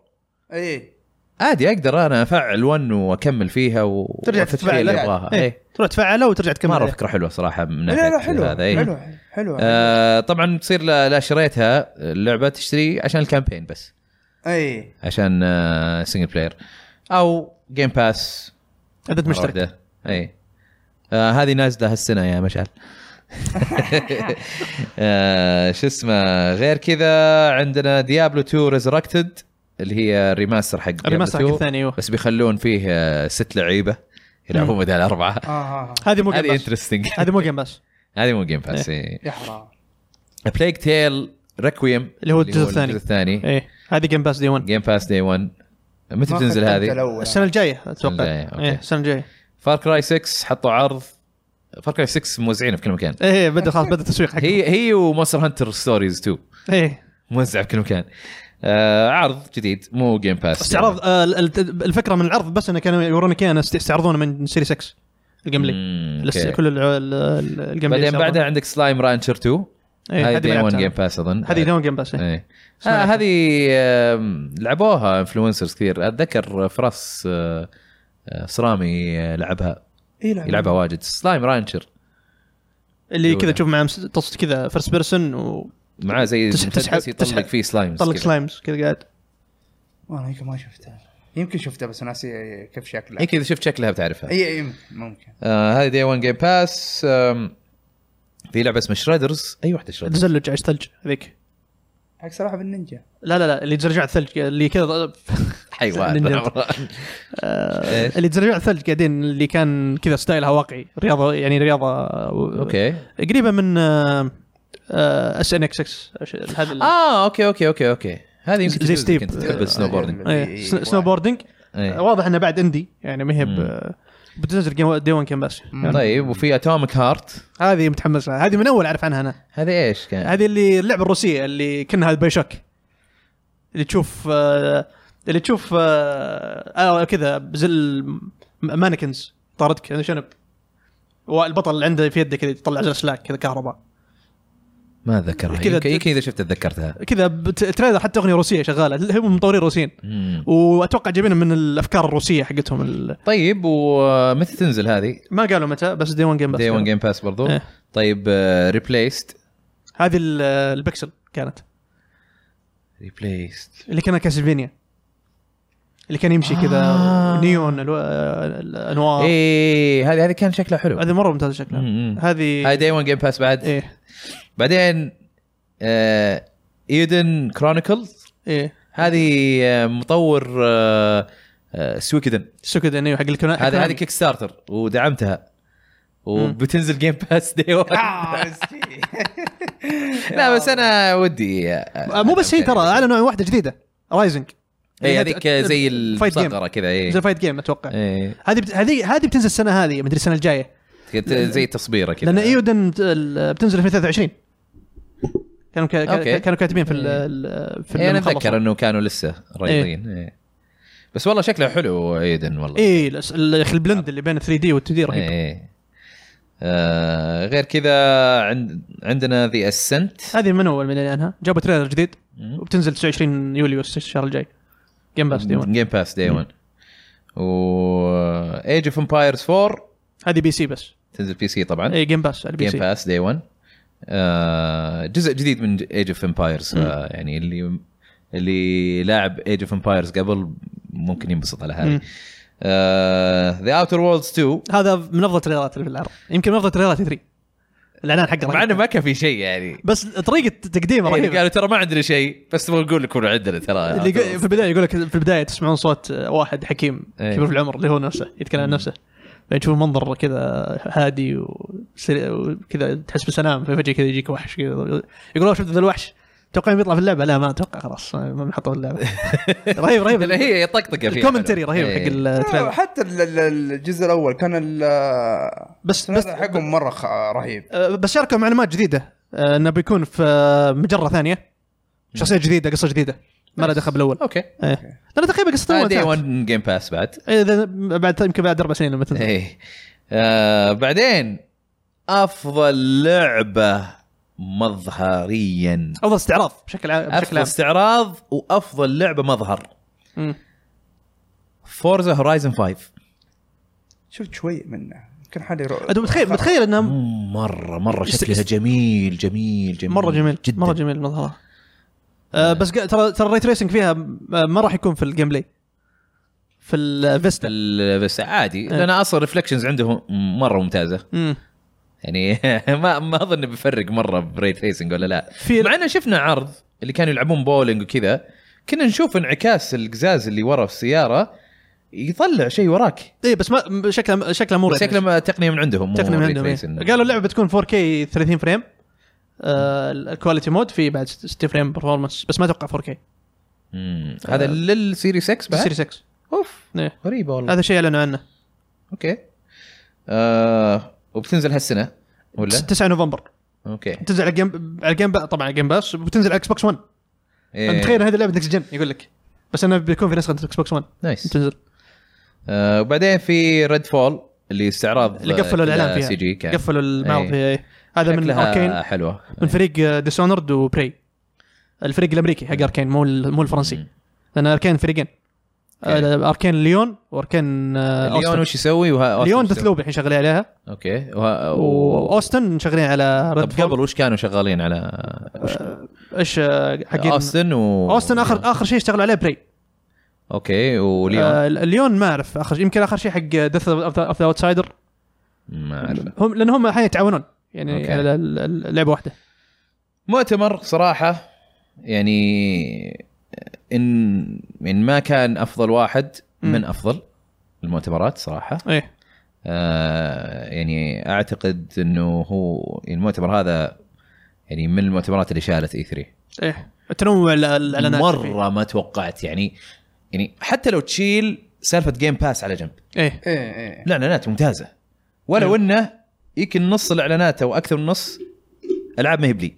اي
عادي اقدر انا افعل 1 واكمل فيها و...
ترجع
وأفتح
تتفعل
فيها اللي
لها.
ابغاها
إيه،
إيه.
تروح تفعله وترجع تكمل
مره
عليه.
فكره حلوه صراحه من ناحيه
لا لا حلو
هذا إيه.
حلو حلو
آه طبعا تصير لا لا شريتها اللعبه تشتري عشان الكامبين بس
اي
عشان آه سنجل بلاير او جيم باس
اذا انت مشترك
مرة واحدة. اي إيه. آه هذه نازله هالسنه يا مشعل آه شو اسمه غير كذا عندنا ديابلو 2 ريزركتد اللي هي الريماستر حق ديابلو
الريماستر
2.
حق الثاني ايوه
بس بيخلون فيه آه ست لعيبه يلعبون بدل اربعه
اه اه آه.
هذه مو
هذه
جيم باس
انترستنج
هذه مو جيم باس
هذه مو إيه. جيم باس
يا حرام
بلايك تيل ريكويم
اللي هو الجزء الثاني. إيه.
الثاني
ايه هذه جيم باس دي 1
جيم باس دي 1 متى
ما
بتنزل
ختمت
هذه؟
الأول.
السنه الجايه اتوقع
الجاية، أوكي.
ايه السنه الجايه
فار كراي 6 حطوا عرض فار كراي 6 موزعينه في كل مكان
ايه بدا خلاص بدا التسويق حقه
هي هي ومونستر هانتر ستوريز 2
ايه
موزع بكل مكان آه عرض جديد مو جيم باس
استعراض آه ال- ال- الفكره من العرض بس انه كانوا يورونا اياه است- يستعرضونه من سيري 6 القملي لسه كل الع- ال- ال- القملي
بعدين
يستعرضونه.
بعدها عندك سلايم رانشر 2 هذه
إيه، هذه ما
دي 1
لعبتها.
جيم باس اظن
هذه دون جيم باس إيه.
إيه.
ما
آه
لعبتها.
هذه آم، لعبوها انفلونسرز كثير اتذكر فراس آه، آه، صرامي آه، لعبها
اي
يعني
يلعبها واجد سلايم رانشر
اللي
الأولى.
كذا تشوف معاه مس- تص كذا فيرست بيرسون وطلق
معاه زي
تسحب-
مسدس
تسحب-
يطلق
تسحب-
فيه سلايمز كذا.
سلايمز كذا قاعد
والله يمكن ما شفتها يمكن شفتها بس ناسي كيف شكلها
إيه.
يمكن اذا شفت شكلها بتعرفها
اي اي ممكن- إيه، ممكن
آه، هذه دي 1 جيم باس آم، في لعبه اسمها شريدرز اي واحده شريدرز
تزلج عايش ثلج هذيك
حق سلاحف بالنينجا
لا لا لا اللي تزرجع الثلج اللي كذا
حيوان
نينجا.
عمران.
آه،
إيش؟
اللي تزرجع الثلج قاعدين اللي كان كذا ستايلها واقعي رياضه يعني رياضه و-
اوكي
قريبه من آه، اس ان اكس اكس هذا ال-
اه اوكي اوكي اوكي اوكي هذه يمكن
زي
تجوز
ستيب. آه،
يمكن إيه. تتقبل سنو بوردنج
إيه،
إيه،
سن- سنو بوردنج واضح انها بعد اندي يعني ما هي ب- بتنزل جيم- دي 1 كان بس
طيب وفي اتوميك هارت
هذه متحمس لها هذه من اول اعرف عنها انا
هذه ايش كان؟
هذه اللي اللعبه الروسيه اللي كانها البيشك اللي تشوف آه، اللي تشوف آه، آه، كذا زي مانكنز طاردك انا شنب والبطل اللي عنده في يده كذا يطلع زي سلاك كذا كهرباء
ما اتذكرها
كذا-
يمكن يمكن اذا شفت تذكرتها
كذا بت- تريلر حتى اغنيه روسيه شغاله هم مطورين روسيين
مم.
واتوقع جايبينها من الافكار الروسيه حقتهم ال-
طيب ومتى تنزل هذه؟
ما قالوا متى بس دي 1 جيم بس
دي 1 جيم باس برضو
إيه.
طيب ريبليست
هذه ال- البكسل كانت
ريبليست
اللي كان كاسلفينيا اللي كان يمشي كذا
آه.
نيون الو- آه، الانوار
اي إيه، هذه هذه كان شكلها حلو
هذه مره ممتازه شكلها
مم. هاي
هذه
داي 1 جيم باس بعد
ايه
بعدين آه ايدن كرونيكلز
ايه
هذه آه، مطور آه آه سويكدن
سوكودن ايوه حق الكنا
هذا هذه كيك ستارتر ودعمتها وبتنزل جيم باس دي 1
آه، مسكين.
لا بس انا ودي آه،
آه، يعني مو بس هي ترى اعلنوا عن واحده جديده رايزنج
اي إيه، هذيك زي
فايت جيم
المصغره كذا إيه.
زي
اي
فايت جيم اتوقع
إي.
هذه بت- هذه هذه بتنزل السنه هذه مدري السنه الجايه
كت- زي تصبيره كذا
لان ايودن بت- ال- بتنزل في 2023 كانوا كا- كا-
أوكي.
كانوا كاتبين في ال- ال- في
إيه انا
لما خلصوا.
اتذكر انه كانوا لسه رايضين إيه. بس والله شكله حلو ايدن والله
اي الأس- إيه، ال- يا اخي البلند اللي بين 3 دي وال 2 دي رهيب
آه. إيه. آه غير كذا عند عندنا ذا اسنت
هذه من اول من الانها جابوا تريلر جديد وبتنزل 29 يوليو الشهر الجاي جيم
آه،
باس دي 1
جيم باس دي 1 و ايج اوف امبايرز 4
هذه بي سي بس
تنزل بي سي طبعا
اي جيم باس إيه، على البي
جيم
سي
باس دي 1 آه جزء جديد من ايج اوف امبايرز يعني اللي اللي لاعب ايج اوف امبايرز قبل ممكن ينبسط على هذه آه،
مم.
ذا اوتر وولدز 2
هذا من افضل تريلرات اللي في العرض يمكن من افضل تريلرات 3 الاعلان حقه
مع
رهيب.
انه ما كان في شيء يعني
بس طريقه تقديمه
إيه،
رهيبه
قالوا ترى ما عندنا شيء بس نبغى نقول لكم إنه عندنا ترى
اللي يقول- في البدايه يقول لك في البدايه تسمعون صوت واحد حكيم
آه، إيه.
كبير في العمر اللي هو نفسه يتكلم عن نفسه بعدين تشوف منظر كذا هادي وسري- وكذا تحس بسلام فجاه كذا يجيك وحش كذا يقول "أوه، شفت ذا الوحش تتوقع بيطلع في اللعبه؟ لا ما اتوقع خلاص ما بنحطه في اللعبه رهيب رهيب
لا، هي طقطقه فيها
الكومنتري
حلو.
طيب، رهيب
إيه.
حق التريلر
حتى ال- ال- الجزء الاول كان ال-
بس بس
السناد حقهم مره خ- رهيب
آه، بس شاركوا معلومات جديده آه، انه بيكون في آه، مجره ثانيه شخصيه جديده قصه جديده ما لها دخل بالاول
اوكي
إيه. لانه تقريبا قصه
دي 1 جيم باس بعد
اذا إيه، بعد يمكن بعد اربع سنين لما تنزل
ايه آه بعدين افضل لعبه مظهريا
افضل استعراض بشكل عام بشكل
افضل
عام
استعراض وافضل لعبه مظهر
مم.
فورزا هورايزن 5
شفت شوي منه يمكن حالي رو...
انت متخيل متخيل انها
مم، مره مره
است-
شكلها
است-
جميل جميل جميل
مره جميل
جدا
مره جميل مظهرها آه بس قا- ترى ترى الري تريسنج فيها م- ما راح يكون في الجيم بلاي في الفيستا
ال- بس عادي
إيه.
لان اصلا ريفلكشنز عندهم مره ممتازه
مم.
يعني ما ما اظن بيفرق مره بريت فيسنج ولا لا
في
مع ان شفنا عرض اللي كانوا يلعبون بولينج وكذا كنا نشوف انعكاس القزاز اللي ورا في السياره يطلع شيء وراك
اي إيه، بس ما م- شكلها شكلها مو
بس
Ray Tracing.
شكله ما- تقنيه من عندهم مو
تقنيه من
Ray
عندهم إيه.
Tracing.
قالوا اللعبه بتكون 4K 30 فريم آه الكواليتي مود في بعد 60 فريم برفورمانس بس ما اتوقع 4K
مم.
آه.
هذا للسيريس 6 بعد
سيريس 6
اوف
إيه.
غريبه والله
هذا شيء اعلنوا عنه
اوكي آه وبتنزل هالسنه ولا
9 نوفمبر
اوكي
تنزل على الجيم على الجيم با- طبعا على الجيم باس وبتنزل على اكس بوكس 1
إيه.
تخيل هذه لعبه نكس جن يقول لك بس انه بيكون في نسخه اكس بوكس 1
نايس
تنزل
آه وبعدين في ريد فول اللي استعراض
اللي قفلوا الاعلان فيها
سي جي كان
قفلوا المعرض
إيه.
فيها إيه. هذا من
شكلها
اركين
حلوه
من فريق ديسونرد وبري الفريق الامريكي حق اركين مو ال- مو الفرنسي
مم.
لان اركين فريقين آه، اركين ليون واركين آه،
ليون
أوستن.
وش يسوي وها أوستن
ليون
وش
ديث
يسوي؟
لوب الحين شغالين عليها
اوكي وها و...
واوستن شغالين على ريد
طب قبل وش كانوا شغالين على
ايش آه، حقين
اوستن و
اوستن اخر اخر شيء اشتغلوا عليه بري
اوكي وليون
آه ليون ما اعرف اخر شيء يمكن اخر شيء حق ديث اوف ذا اوتسايدر
ما اعرف
هم لان هم احيانا يتعاونون يعني
أوكي.
على ال- ال- لعبه واحده
مؤتمر صراحه يعني ان ان ما كان افضل واحد من
مم.
افضل المؤتمرات صراحه
ايه
آه يعني اعتقد انه هو المؤتمر هذا يعني من المؤتمرات اللي شالت اي 3
ايه التنوع ال- الاعلانات فيه.
مره ما توقعت يعني يعني حتى لو تشيل سالفه جيم باس على جنب
ايه
ايه ايه
الاعلانات ممتازه ولو انه يمكن نص الاعلانات او اكثر من نص العاب ما هي بلي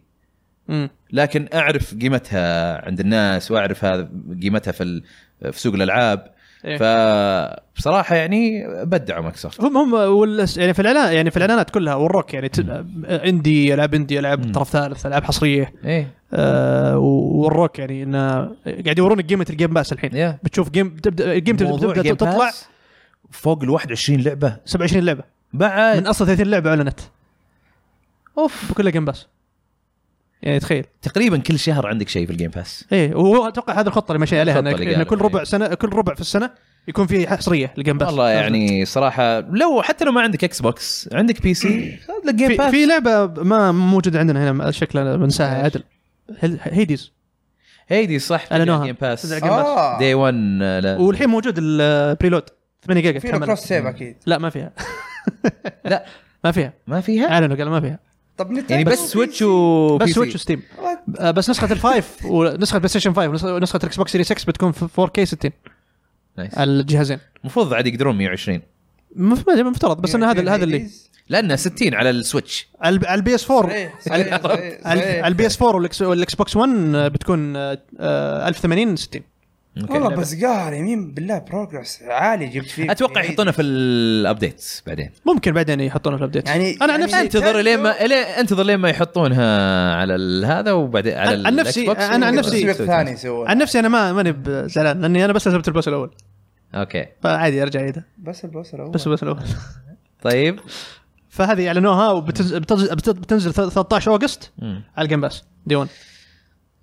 امم
لكن اعرف قيمتها عند الناس واعرف هذا قيمتها في ال- في سوق الالعاب
إيه.
فبصراحه يعني بدعوا مايكروسوفت
هم هم والس... يعني في الاعلان يعني في الاعلانات كلها وروك يعني ت... اندي العاب اندي العاب طرف ثالث العاب حصريه
ايه
آه وروك يعني انه قاعد يورونك قيمه الجيم باس الحين
يا
بتشوف جيم تبدا جيم تبدا,
موضوع
تبدأ
Game
تطلع
Pass فوق ال 21 لعبه
27 لعبه
بعد
من اصل 30 لعبه اعلنت اوف كلها جيم باس يعني تخيل
تقريبا كل شهر عندك شيء في الجيم باس
ايه وهو اتوقع هذه الخطه اللي ماشي عليها
الخطة
انه
اللي
إنه
قالوا،
كل ربع
إيه.
سنه كل ربع في السنه يكون في حصريه للجيم باس
والله يعني صراحه لو حتى لو ما عندك اكس بوكس عندك بي سي خذ لك جيم
في,
باس
في لعبه ما موجوده عندنا هنا شكلها
إيش؟
بنساها عدل هيل- هيديز
هيدي صح تبيع
أعلنوها.
جيم باس
تبيع جيم باس.
اه
دي 1 آه. لا
والحين موجود البريلود 8 جيجا
في
تحمل.
له كروس سيف اكيد
لا ما فيها
لا.
ما فيها
ما فيها
اعلنوا قالوا ما فيها
طب
آه،
نتندو
يعني بس سويتش و
بس
PC.
سويتش وستيم آه، بس نسخه الفايف ونسخه بلاي ستيشن 5 ونسخه ونسخة الاكس بوكس سيريس 6 بتكون في 4 كي 60
نايس.
على الجهازين
المفروض عاد يقدرون 120
مف- ما أدري، مفترض بس ان هذا هذا
إيه،
اللي
لانه 60 على السويتش
على على البي اس 4
صحيح، صحيح، صحيح، صحيح.
على البي اس 4 والإكس- والاكس بوكس 1 آه، بتكون آه، آه، 1080 60
والله بس قهر يمين بالله بروجرس عالي جبت فيه
اتوقع يحطونه في الابديتس بعدين
ممكن بعدين يحطونه في الابديت
يعني-
انا عن
يعني
نفسي
انتظر لين ما لين انتظر لين ما يحطونها على ال- هذا وبعدين على
عن- عن نفسي-
الإكس بوكس.
أنا عن نفسي-
تسويق إيه، ثاني سوى
عن نفسي انا ما ماني ب- زعلان لاني انا بس سبت البوس الاول
اوكي
فعادي ارجع اعيدها
بس البوس الاول
بس البوس الاول
طيب
فهذه اعلنوها وبتنزل بتنزل, بتنزل 13 اوغست
مم.
على الجيم باس دي 1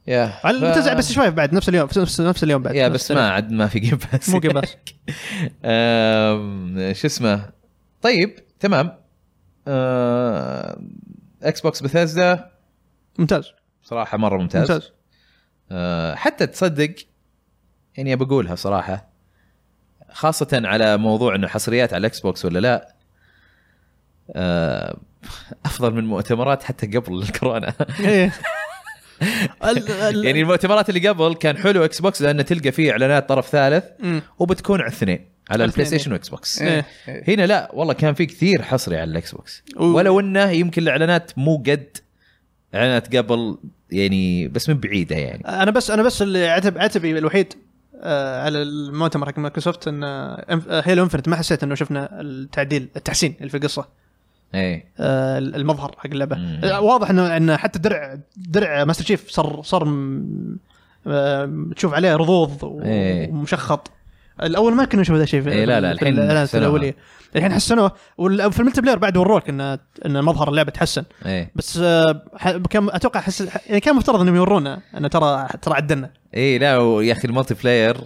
يا
على
ف-
بتنزل بس شوي بعد نفس اليوم في نفس نفس اليوم بعد
يا
نفس
بس
اليوم.
ما عاد ما في جيم باس
مو جيم باس
آم، شو اسمه طيب تمام آه، اكس بوكس بثيزدا
ممتاز
صراحه مره ممتاز,
ممتاز
آه، حتى تصدق يعني بقولها صراحه خاصة على موضوع انه حصريات على الاكس بوكس ولا لا آه، افضل من مؤتمرات حتى قبل الكورونا
إيه. ال- ال-
يعني المؤتمرات اللي قبل كان حلو اكس بوكس لانه تلقى فيه اعلانات طرف ثالث
مم.
وبتكون على الاثنين على البلاي
الاثنين.
ستيشن واكس بوكس
إيه.
هنا لا والله كان في كثير حصري على الاكس بوكس
و-
ولو انه يمكن الاعلانات مو قد اعلانات قبل يعني بس من بعيده يعني
انا بس انا بس اللي عتب عتبي الوحيد آه، على المؤتمر حق مايكروسوفت ان آه، إنف- آه، هيلو انفنت ما حسيت انه شفنا التعديل التحسين اللي في القصه
ايه
آه، المظهر حق اللعبه
مم.
آه، واضح انه انه حتى درع درع ماستر شيف صار صار م- آه، تشوف عليه رضوض و-
إيه.
ومشخط الاول ما كنا نشوف هذا الشيء في
إيه، لا، لا،
في
الحين
الإعلانات
حسنوها.
الاوليه الحين حسنوه وال- في الملتي بلاير بعد وروك ان ان مظهر اللعبه تحسن
ايه
بس آه، ح- كان اتوقع حس يعني كان مفترض انهم يورونا ان ترى ترى عدلنا
ايه لا و- يا اخي المالتي بلاير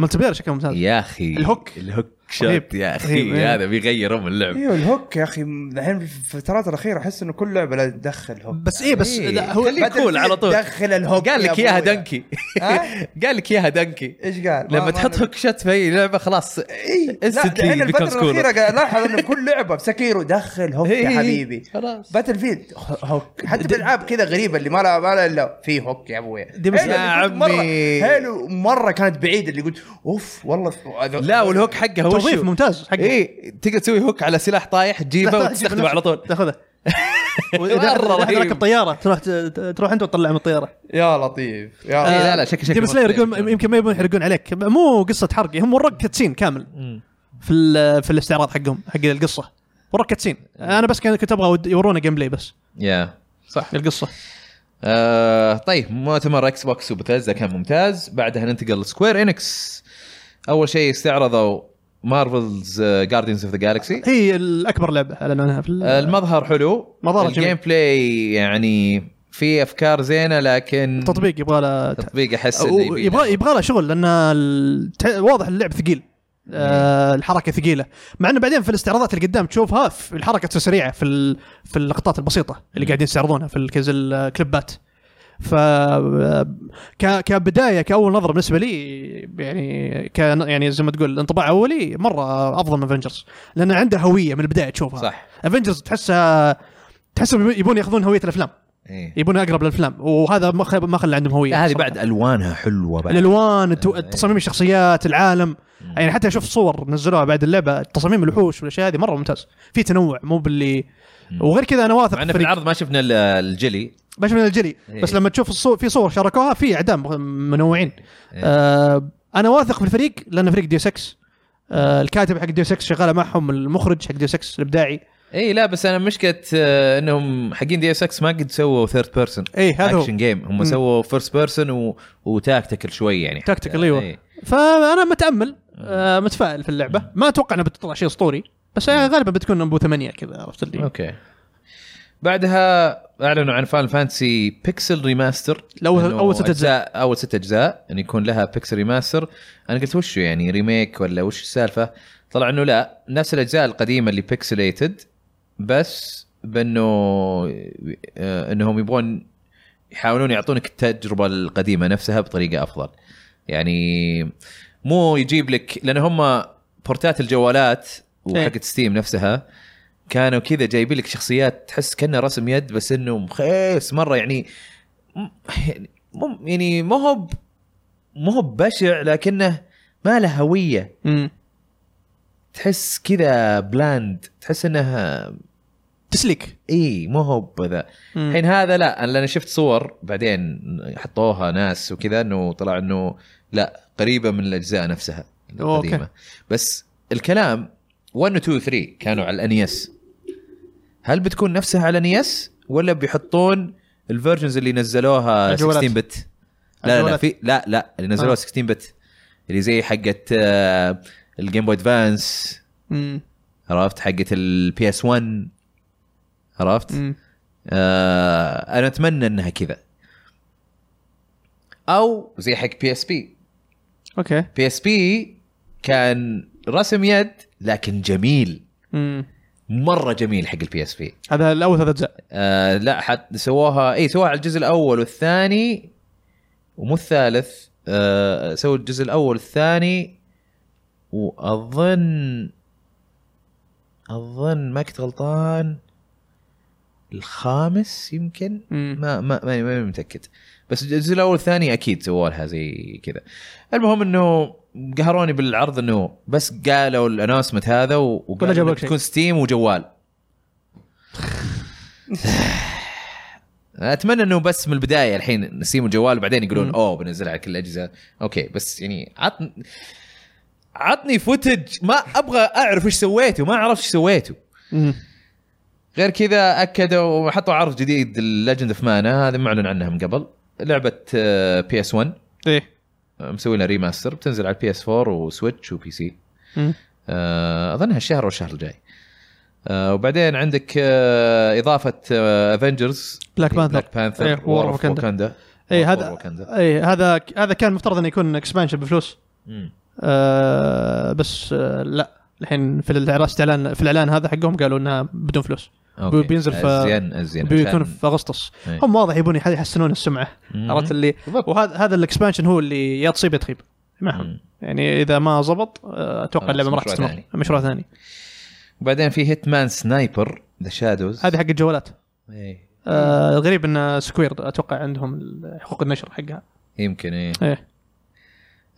ملتي بلاير شكله ممتاز
يا اخي
الهوك.
الهوك
رهيب.
شوت يا
رهيب،
اخي
إيه.
هذا بيغير ام اللعب
ايوه الهوك يا اخي الحين في الفترات الاخيره احس انه كل لعبه لا تدخل هوك
بس ايه بس
إيه.
لا هو
خليه كول على طول.
دخل الهوك
قال
يا
لك اياها
أبويا.
دنكي
ها؟
قال لك اياها دنكي
ايش قال؟
لما تحط هوك شوت في اي لعبه خلاص
اي
instantly
الحين
becomes
الفتره
cooler.
الاخيره قاعد الاحظ انه كل لعبه بسكيرو دخل هوك يا
إيه.
حبيبي
خلاص
باتل فيلد هوك حتى بالالعاب كذا غريبه اللي ما لها ما لها الا في هوك يا ابويا
دي بس-
هيلو
يا
اللي كنت مرة-
عمي.
هيلو مره كانت بعيده اللي قلت اوف والله
لا والهوك حقه هو
توظيف
شو؟
ممتاز حق
ايه تقدر تسوي هوك على سلاح طايح تجيبه وتستخدمه على طول
تاخذه
مرة رهيب.
تركب طياره تروح تروح انت وتطلع من الطياره
يا لطيف
إيه،
يا لطيف.
لا لا شكل شكل
ديم سلاير يقول يمكن ما يبون يحرقون عليك مو قصه حرق هم وراك كاتسين كامل في ال- في الاستعراض حقهم حق القصه وراك كاتسين انا بس كان- كنت ابغى ود- يورونا جيم بلاي بس
يا صح
القصه
آه طيب مؤتمر اكس بوكس وبتازا كان ممتاز بعدها ننتقل لسكوير انكس اول شيء استعرضوا آه، مارفلز جاردينز اوف ذا جالكسي
هي الاكبر لعبه اعلنوا عنها في ال-
آه، المظهر حلو
آه، مظهر جميل.
الجيم بلاي يعني في افكار زينه لكن
التطبيق يبغى له
تطبيق احس
أو-
انه يبي-
يبغى يبغى له شغل لان ال- تع- واضح اللعب ثقيل آه الحركه ثقيله مع انه بعدين في الاستعراضات اللي قدام تشوفها في الحركه تصير سريعه في ال- في اللقطات البسيطه اللي قاعدين يستعرضونها في الكز الكليبات ف ك- كبدايه كاول نظره بالنسبه لي يعني ك يعني زي ما تقول انطباع اولي مره افضل من افنجرز لان عنده هويه من البدايه تشوفها
صح
افنجرز تحسها تحسهم يبون ياخذون هويه الافلام
إيه.
يبون اقرب للافلام وهذا ما خ- ما خلى عندهم هويه
لا هذه
صراحة.
بعد الوانها حلوه بعد إيه.
الالوان التو... تصاميم الشخصيات العالم يعني حتى اشوف صور نزلوها بعد اللعبه تصاميم الوحوش والاشياء هذه مره ممتاز في تنوع مو باللي وغير كذا انا واثق
مع انه في
فريق-
العرض ما شفنا ال- الجلي
ما شفنا الجري
إيه.
بس لما تشوف الصور في صور شاركوها في اعدام منوعين
إيه.
آه انا واثق في الفريق لان فريق ديو 6 آه الكاتب حق ديو 6 شغاله معهم المخرج حق ديو 6 الابداعي
اي إيه، لا بس انا مشكله آه، انهم حقين دي اس اكس ما قد سووا ثيرد بيرسون
اي إيه، هذا هو
اكشن جيم هم سووا فيرست بيرسون و... وتاكتيكال شوي يعني
تاكتيكال ايوه
إيه.
فانا متامل آه متفائل في اللعبه ما اتوقع انها بتطلع شيء اسطوري بس آه، غالبا بتكون نمبو ثمانية كذا عرفت اللي
اوكي بعدها اعلنوا عن فان فانسي بيكسل ريماستر
الأول-
إنه
أول ست أجزاء.
أجزاء اول ست اجزاء ان يكون لها بيكسل ريماستر انا قلت وشو يعني ريميك ولا وش السالفه طلع انه لا نفس الاجزاء القديمه اللي بيكسليتد بس بانه آه، انهم يبغون يحاولون يعطونك التجربه القديمه نفسها بطريقه افضل يعني مو يجيب لك لان هم بورتات الجوالات وحقت ستيم نفسها كانوا كذا جايبين لك شخصيات تحس كانه رسم يد بس انه مخيس مره يعني م- يعني مو يعني مو هو ب- مو هو بشع لكنه ما له هويه
مم.
تحس كذا بلاند تحس انها
تسليك
اي مو هو بذا
مم.
الحين هذا لا انا لأن شفت صور بعدين حطوها ناس وكذا انه طلع انه لا قريبه من الاجزاء نفسها القديمه
أوكي.
أوكي. بس الكلام 1 و 2 و 3 كانوا على الانيس هل بتكون نفسها على الانيس ولا بيحطون الفيرجنز اللي نزلوها
الجوالات.
16 بت لا لا لا
الجوالات.
في لا لا اللي نزلوها
آه.
16 بت اللي زي حقت آه، الجيم بوي ادفانس
مم.
عرفت حقت البي اس 1 عرفت؟
مم.
آه انا اتمنى انها كذا او زي حق بي اس بي
اوكي
بي اس بي كان رسم يد لكن جميل
مم.
مره جميل حق البي اس بي
هذا الاول ثلاث اجزاء
آه لا حتى سووها اي سووها على الجزء الاول والثاني ومو الثالث آه سووا الجزء الاول والثاني واظن اظن ما كنت غلطان الخامس يمكن
مم.
ما ما ماني ماني متاكد بس الجزء الاول الثاني اكيد سووا لها زي كذا المهم انه قهروني بالعرض انه بس قالوا الانونسمنت هذا و-
ولا جابوا
وقالوا
لك شيء.
تكون ستيم وجوال اتمنى انه بس من البدايه الحين نسيم وجوال وبعدين يقولون
مم.
اوه بنزلها على كل الاجهزه اوكي بس يعني عطني عطني فوتج ما ابغى اعرف ايش سويته ما عرفت ايش سويته
مم.
غير كذا اكدوا وحطوا عرض جديد ليجند اوف مانا هذه معلن عنها من قبل آه، لعبه بي اس 1
ايه
آه، مسوي لها ريماستر بتنزل على البي اس 4 وسويتش وبي سي
مم.
آه، اظنها الشهر والشهر الجاي آه، وبعدين عندك آه، اضافه افنجرز
Black Panther.
بلاك
إيه،
بانثر
War
وور
of
اوف
Wakanda.
وكاندا
إيه، هذا- ايه هذا هذا كان المفترض انه يكون اكسبانشن بفلوس آه بس آه لا الحين في الإعلان- استعلان في الاعلان هذا حقهم قالوا انها بدون فلوس بينزل في-
ازين ازين
بيكون
عشان-
في اغسطس
إيه.
هم واضح يبون يح- يحسنون السمعه
مم.
عرفت اللي
بالضبط.
وهذا هذا الاكسبانشن هو اللي يا تصيب يا تخيب معهم
مم.
يعني اذا ما زبط آه، اتوقع
خلاص،
اللعبه ما راح
مشروع
تستمر
ثاني.
مشروع ثاني
وبعدين في هيتمان سنايبر ذا شادوز
هذه حق الجوالات
إيه،
آه، الغريب ان سكوير اتوقع عندهم حقوق النشر حقها
يمكن ايه
ايه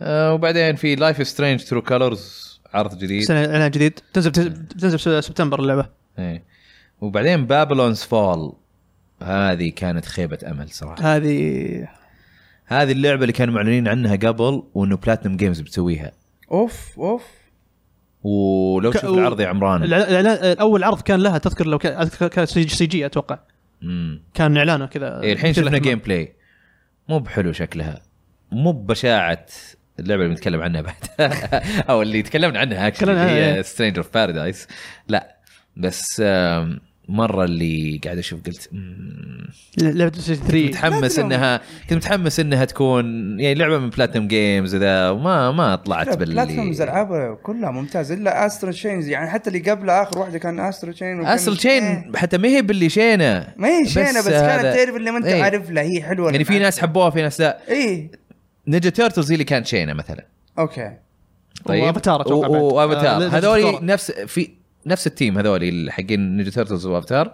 آه، وبعدين في لايف سترينج ترو كولرز عرض جديد
سنه اعلان جديد تنزل
إيه.
تنزل في سبتمبر اللعبه
ايه وبعدين بابلونز فول هذه كانت خيبه امل صراحه
هذه
هذه اللعبه اللي كانوا معلنين عنها قبل وانه بلاتنم جيمز بتسويها
اوف اوف
ولو
ك-
شوف العرض يا عمران
الإعلان- الإعلان- اول عرض كان لها تذكر لو كان أذكر كان سي سي جي اتوقع
مم.
كان اعلانه كذا
إيه، الحين شفنا
كذا
جيم بلاي مو بحلو شكلها مو ببشاعه اللعبه اللي بنتكلم عنها بعد او اللي تكلمنا عنها actually،
تكلمنا
اللي
عنها، إيه.
هي سترينجر اوف بارادايس لا بس آم، مره اللي قاعد اشوف قلت مم،
لعبه سي 3
متحمس
بلاتينوم.
انها كنت متحمس انها تكون يعني لعبه من بلاتنم جيمز وذا وما ما
لا،
طلعت باللي
بلاتفورمز العابها كلها ممتازه الا استرو تشينز يعني حتى اللي قبله اخر واحده كان استرو تشين وكان- إيه.
اصل تشين حتى ما هي باللي شينه
ما هي شينه بس, كانت
هذا-
تعرف اللي ما انت
إيه.
عارف لها هي إيه. حلوه
يعني في ناس حبوها في ناس لا
اي
نينجا تيرتلز هي اللي كانت طيب؟ شينه مثلا
اوكي
وأفاتار أتوقع بعد. آه،
وافاتار
نينجا تيرتلز.
هذول نفس في نفس التيم هذول حقين نينجا تيرتلز وافاتار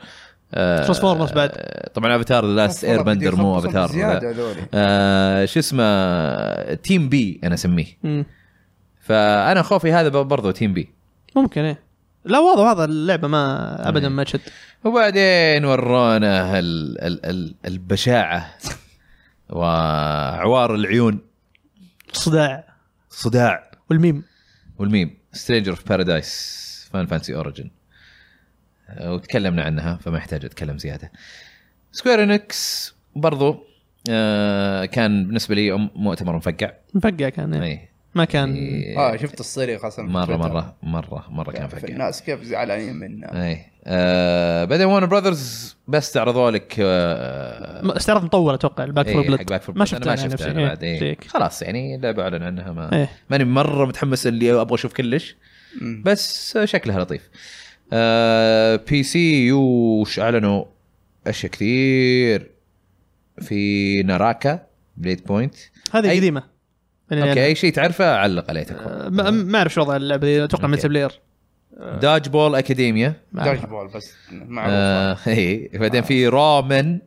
آه،
Transformers بعد.
آه، طبعا افاتار لاست اير بندر مو افاتار
زياده
لا.
هذول
آه، شو اسمه تيم بي انا اسميه فانا خوفي هذا برضو تيم بي
ممكن ايه لا واضح واضح اللعبه ما
إيه.
ابدا ما تشد
وبعدين ورونا ال ال ال البشاعه وعوار العيون
صداع
صداع
والميم
والميم سترينجر اوف بارادايس فان فانسي اوريجن آه، وتكلمنا عنها فما يحتاج اتكلم زياده سكوير انكس برضو آه، كان بالنسبه لي أم- مؤتمر مفقع إيه.
مفقع كان يعني.
اي
ما كان
إيه.
اه شفت الصريخ اصلا في
مره
تويتر.
مره مره مره كان
في
مفقع
الناس كيف زعلانين منا
اي آه بعدين ون براذرز بس تعرضوا لك آه
ما- استعراض مطول اتوقع الباك فور
إيه، حق
بلد
Back for Blood.
ما شفته
أنا ما
أنا
شفتها
نفسي.
أنا
إيه،
بعد إيه.
زيك.
خلاص يعني لعبه اعلن عنها ما
إيه.
ماني مره متحمس اللي ابغى اشوف كلش
مم.
بس شكلها لطيف آه بي سي يوش اعلنوا اشياء كثير في ناراكا بليد بوينت
هذه
أي-
قديمة يعني
اوكي
أنا-
اي شيء تعرفه علق عليه تكفى
آه، ما ما اعرف شو وضع اللعبة دي اتوقع
أه. أوكي.
ملتي بلاير آه.
داج بول اكاديميا
ما أعرف.
داش بول بس معروفه
آه إيه. بعدين في رامن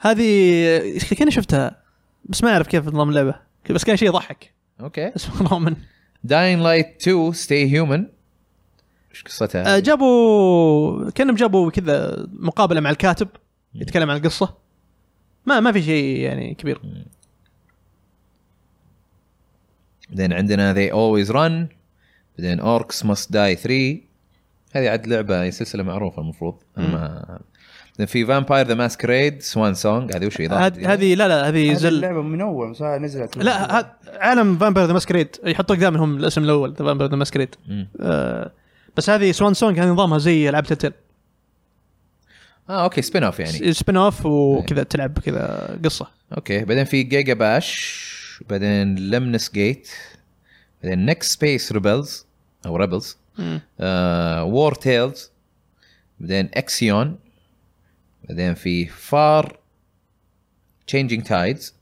هذه آه، كاني شفتها بس ما اعرف كيف نظام اللعبة بس كان شيء يضحك
اوكي
اسمه رومان
أه. داين لايت 2 ستي هيومن ايش قصتها؟
آه، جابوا كانهم جابوا كذا مقابله مع الكاتب يتكلم عن القصه ما ما في شيء يعني كبير
بعدين عندنا ذي اولويز رن بعدين اوركس ماست داي 3 هذه عاد لعبه هي سلسله معروفه المفروض أنا ما بعدين في فامباير ذا ماسكريد سوان سونج هذه وش اضافه
هذه هذه- لا لا هذه
هذه
زل
اللعبه من اول بس هاي نزلت من
لا هذا عالم فامبير ذا ماسكريد يحطوا قدامهم الاسم الاول فامبير ذا ماسكريد
مم.
أه، بس هذه سوان سونج هذه نظامها زي العاب تتل
اه اوكي سبين اوف يعني إيه.
سبين اوف وكذا تلعب كذا قصه
اوكي بعدين في جيجا باش بعدين لمنس جيت بعدين نكست سبيس ريبلز او ريبلز آه، وور تيلز بعدين اكسيون بعدين في فار تشينجينج تايدز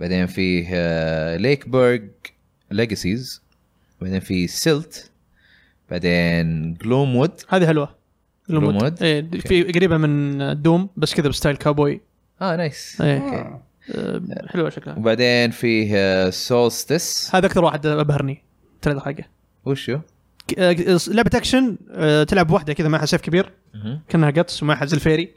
بعدين في ليكبرج ليجاسيز بعدين في سيلت بعدين جلوم وود
هذه حلوه
لومود؟
لومود. إيه، في قريبه من دوم بس كذا بستايل كاوبوي
اه نايس
إيه.
آه.
آه، حلوه شكلها
وبعدين فيه سولستس
هذا اكثر واحد ابهرني ترى حقه
وشو؟
ك- آه، لعبه اكشن آه، تلعب وحده كذا معها سيف كبير
مهم.
كانها جاتس ومعها زي الفيري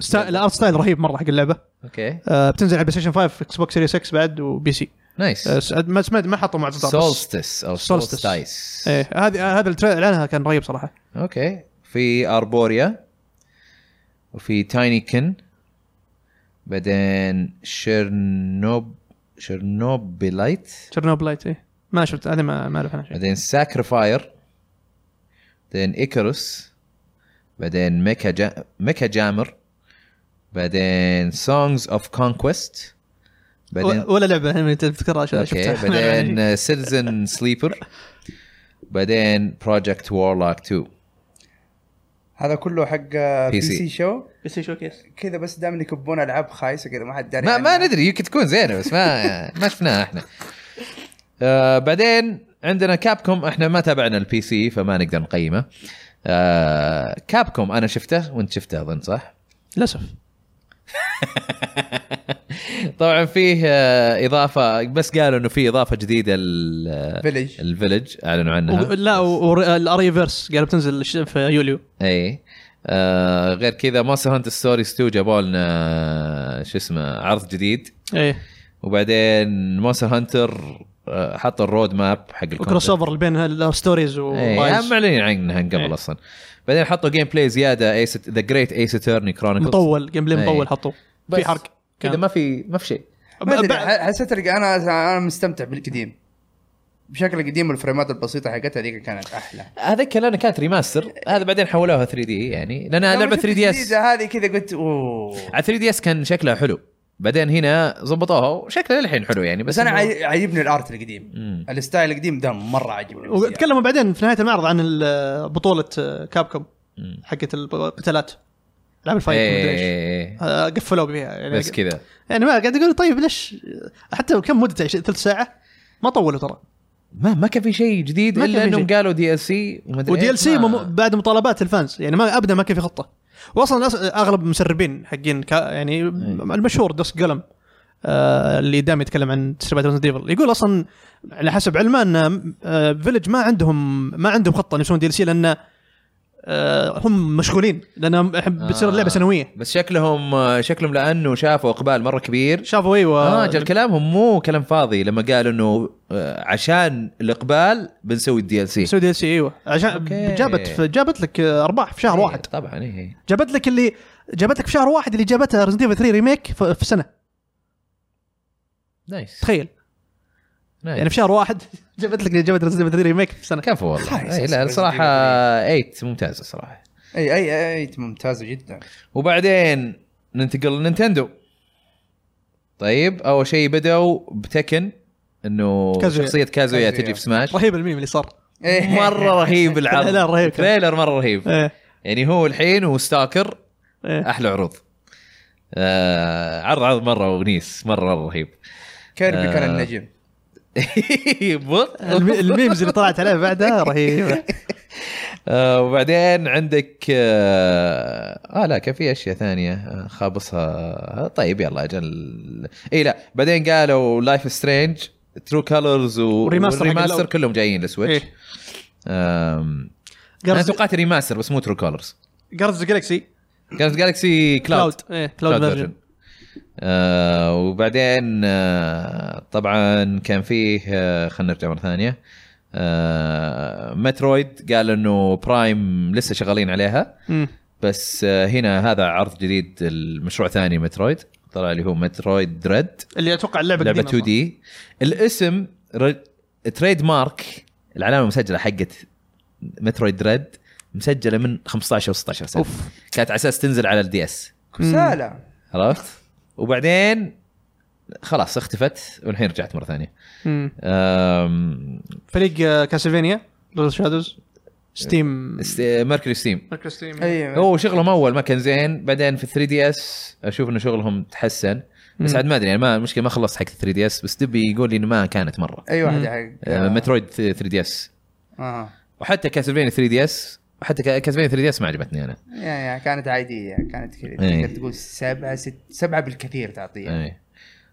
ستا... الارت ستايل رهيب مره حق اللعبه
اوكي
آه، بتنزل على بلاي ستيشن 5 اكس بوكس سيريس 6 بعد وبي سي
نايس
آه، س- ما ما- ما حطوا معطى بس-
سولستس او
Solstice. Eh.
سولستايس
ايه هذه آه، هذا التريلر اعلانها كان رهيب صراحه
اوكي في اربوريا وفي تايني كن بعدين شيرنوب شيرنوبيلايت
Eh. تشيرنوبلايت ايه ما شفت هذه ما ما اعرف عنها شيء
بعدين ساكرفاير بعدين ايكروس بعدين ميكا جا... ميكا جامر بعدين سونجز اوف كونكويست بعدين
و- ولا لعبه يعني تذكرها ش-
اوكي
شفتها يعني
بعدين سيتيزن سليبر بعدين بروجكت وارلوك 2
هذا كله حق بي
سي.
سي شو
بس شو كيس
كذا بس دائما يكبون العاب خايسه كذا يعني ما حد داري
ما ما
عنها.
ندري يمكن تكون زينه بس ما ما شفناها احنا. آه بعدين عندنا كابكوم احنا ما تابعنا البي سي فما نقدر نقيمه. آه كابكوم انا شفته وانت شفته اظن صح؟
للاسف
طبعا فيه آه اضافه بس قالوا انه في اضافه جديده ال-
فيلج
الفيلج اعلنوا عنها
و- لا والاري فيرس قالوا بتنزل ش- في يوليو
اي آه غير كذا مونستر هانت ستوريز 2 جابوا لنا آه، شو اسمه عرض جديد
ايه
وبعدين مونستر هانتر آه، حط الرود ماب حق
وكروس
الكونتنت
اوفر اللي بين الستوريز
ايه
ورايز.
معلنين عنها من قبل
إيه.
اصلا بعدين حطوا جيم بلاي زياده ايس ذا جريت ايس اترني كرونيكلز
مطول جيم بلاي
إيه.
مطول حطوه
بس
في حرق
كذا ما في ما في شيء
ما ادري
بعد-
ح- حسيت إني انا انا مستمتع بالقديم بشكل القديم والفريمات البسيطه حقتها ذيك كانت احلى
هذيك لانه كانت ريماستر هذا بعدين حولوها 3 دي يعني لانها
لما
لعبه
شفت
3 دي اس
الجديدة هذه كذا قلت اوه
على 3 دي اس كان شكلها حلو بعدين هنا ضبطوها وشكلها الحين حلو يعني بس,
بس انا
إنه-
عاي- عاجبني الارت القديم
مم.
الستايل القديم ده مره عاجبني
وتكلموا بعدين في نهايه المعرض عن ال- بطوله كابكوم
مم.
حقت القتالات العاب الفايت
إيه،
ومدري ايش
إيه، إيه.
آه، قفلوا بها يعني
بس كذا
يعني ما قاعد اقول طيب ليش حتى لو كم مدته عش- ثلث ساعه ما طولوا ترى
ما ما كان في شيء جديد
ما كان
الا
في
انهم
شيء.
قالوا دي ال سي ومدري
ودي ال
إيش،
سي
إيه، ما-
بعد مطالبات الفانز يعني ما ابدا ما كان في خطه واصلا أص- اغلب المسربين حقين كا- يعني
إيه.
المشهور دوس قلم آه اللي دائما يتكلم عن تسريبات ريزنت ديفل يقول اصلا آه، على حسب علمه ان فيلج ما عندهم ما عندهم خطه إن يسوون دي ال سي لان آه، هم مشغولين لانهم أحب-
آه.
بتصير اللعبه سنويه
بس شكلهم شكلهم لانه شافوا اقبال مره كبير
شافوا ايوه
اه جل كلامهم مو كلام فاضي لما قالوا انه آه، عشان الاقبال بنسوي الدي ال سي
سوي دي ال سي ايوه عشان
أوكي. إيه.
جابت جابت لك آه، ارباح في شهر واحد
طبعا اي
جابت لك اللي جابت لك في شهر واحد اللي جابتها ريزنت 3 ريميك في في سنه
نايس
تخيل
نايس.
يعني في شهر واحد جابت لك اللي جابت ريزنت 3 ريميك في سنه
كفو والله
خايس
أي لا
أصلاً
الصراحه 8
Resident
ممتازه صراحه
اي اي اي ممتازه جدا
وبعدين ننتقل لنينتندو طيب اول شيء بدأوا بتكن انه
كازويا.
شخصيه كازويا
كازويا.
تجي في سماش
رهيب الميم اللي صار
مره رهيب العرض
لا، رهيب كان.
تريلر مره رهيب
ايه
يعني هو الحين وستاكر
ايه
احلى عروض آه عرض عرض مره ونيس مره رهيب
كيربي
آه.
كان النجم
بط.
المي- الميمز اللي طلعت عليه بعدها رهيبه
آه وبعدين عندك آه, اه لا كان في اشياء ثانيه آه، خابصها آه، طيب يلا اجل اي لا بعدين قالوا لايف سترينج ترو كلرز
والريماستر حق
والريماستر
الأول.
كلهم جايين للسويتش
إيه.
آم، انا
جارز
توقعت ريماستر بس مو ترو كلرز
جاردز جالكسي
كانت جالكسي كلاود
ايه كلاود فيرجن
version. آه وبعدين آه طبعا كان فيه آه خلينا نرجع مره ثانيه آه مترويد قال انه برايم لسه شغالين عليها
مم.
بس آه هنا هذا عرض جديد المشروع ثاني مترويد طلع اللي هو مترويد دريد
اللي اتوقع اللعبه
لعبه
قديمة
2 دي الاسم ر- تريد مارك العلامه المسجله حقت مترويد دريد مسجله من 15 و 16 سنه
اوف
كانت على اساس تنزل على الدي اس
كسالى
عرفت؟ وبعدين خلاص اختفت والحين رجعت مره ثانيه.
مم.
أم...
فريق آه، كاسلفينيا ليتل شادوز ستيم
است... ميركوري ستيم
ماركو ستيم
اي
هو شغلهم اول ما كان زين بعدين في 3 دي اس اشوف انه شغلهم تحسن بس
مم.
عاد ما ادري يعني ما المشكله ما خلصت حق 3 دي اس بس دبي يقول لي انه ما كانت مره
اي واحده
أه.
حق
مترويد 3 دي اس
اه
وحتى كاسلفينيا 3 دي اس وحتى كاسلفينيا 3 دي اس ما عجبتني انا
يعني كانت عاديه كانت كذا
إيه.
تقدر تقول سبعه ست سبعه بالكثير تعطيها
اي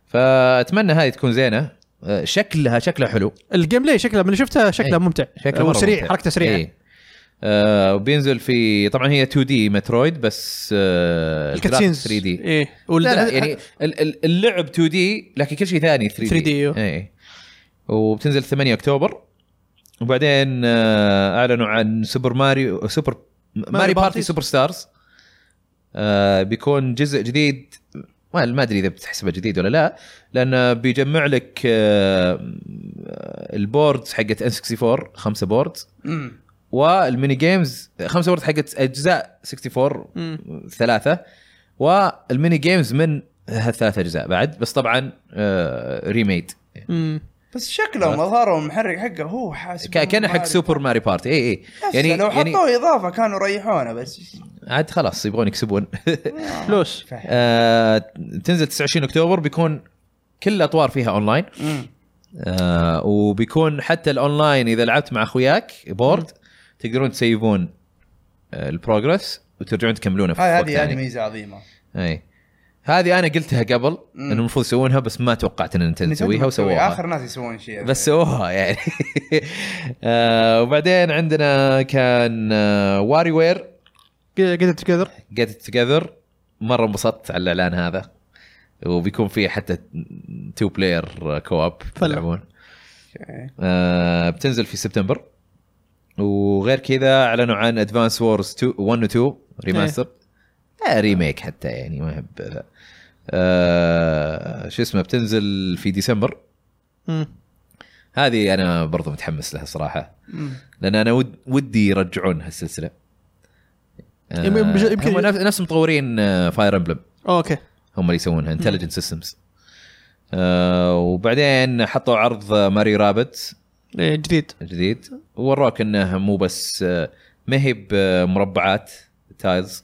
فاتمنى هذه تكون زينه أه، شكلها شكلها حلو
الجيم بلاي شكله من اللي شفته شكله
إيه.
ممتع
شكله
آه،
مره
وسريع
ممتع.
حركته سريعه
إيه. آه وبينزل في طبعا هي 2 دي مترويد بس آه الجرافيك 3 دي
ايه
لا لا يعني ال- ال- اللعب 2 دي لكن كل شيء ثاني 3
3D أيوه.
اي وبتنزل 8 اكتوبر وبعدين آه اعلنوا عن سوبر ماريو سوبر ماري بارتي
بارتيز.
سوبر ستارز آه بيكون جزء جديد ما ما ادري اذا بتحسبه جديد ولا لا لانه بيجمع لك آه البوردز حقت ان 64 خمسه بوردز
مم.
والميني جيمز خمسه بورد حقت اجزاء 64
مم.
ثلاثه والميني جيمز من ثلاث اجزاء بعد بس طبعا آه ريميد
مم.
بس شكلهم اظهروا المحرك حقه هو حاسب
آه. ك- كان حق سوبر ماري بارتي اي اي
يعني
يعني
لو
يعني
حطوه اضافه كانوا ريحونا بس
عاد خلاص يبغون يكسبون
فلوس
فاهم.
آه تنزل 29 اكتوبر بيكون كل الاطوار فيها اونلاين
مم.
آه وبيكون حتى الاونلاين اذا لعبت مع اخوياك بورد تقدرون تسيفون آه البروجرس وترجعون تكملونه في
هاي
وقت
هذه يعني.
ثاني.
هذه ميزه عظيمه
اي هذه انا قلتها قبل
مم.
انه المفروض يسوونها بس ما توقعت ان نينتندو تسويها
نتندو بتسوي.
وسووها
اخر ناس يسوون شيء
بس سووها يعني آه وبعدين عندنا كان آه واري وير
قدر تقدر
جيت توجذر مره انبسطت على الاعلان هذا وبيكون فيه حتى تو بلاير كواب
فلا.
يلعبون
إيه،
آه بتنزل في سبتمبر وغير كذا اعلنوا عن ادفانس وورز 2 1 و 2 ريماستر آه ريميك حتى يعني ما هب ذا. آه شو اسمه بتنزل في ديسمبر
مم.
هذه انا برضو متحمس لها صراحه
مم.
لان انا ود ودي يرجعون هالسلسله آه
يم- يم- يمكن-
هم نفس نفس مطورين فاير امبلم
اوكي
هم اللي يسوونها انتليجنت سيستمز وبعدين حطوا عرض ماري رابت
إيه، جديد
جديد وراك انه مو بس آه، ما هي بمربعات تايلز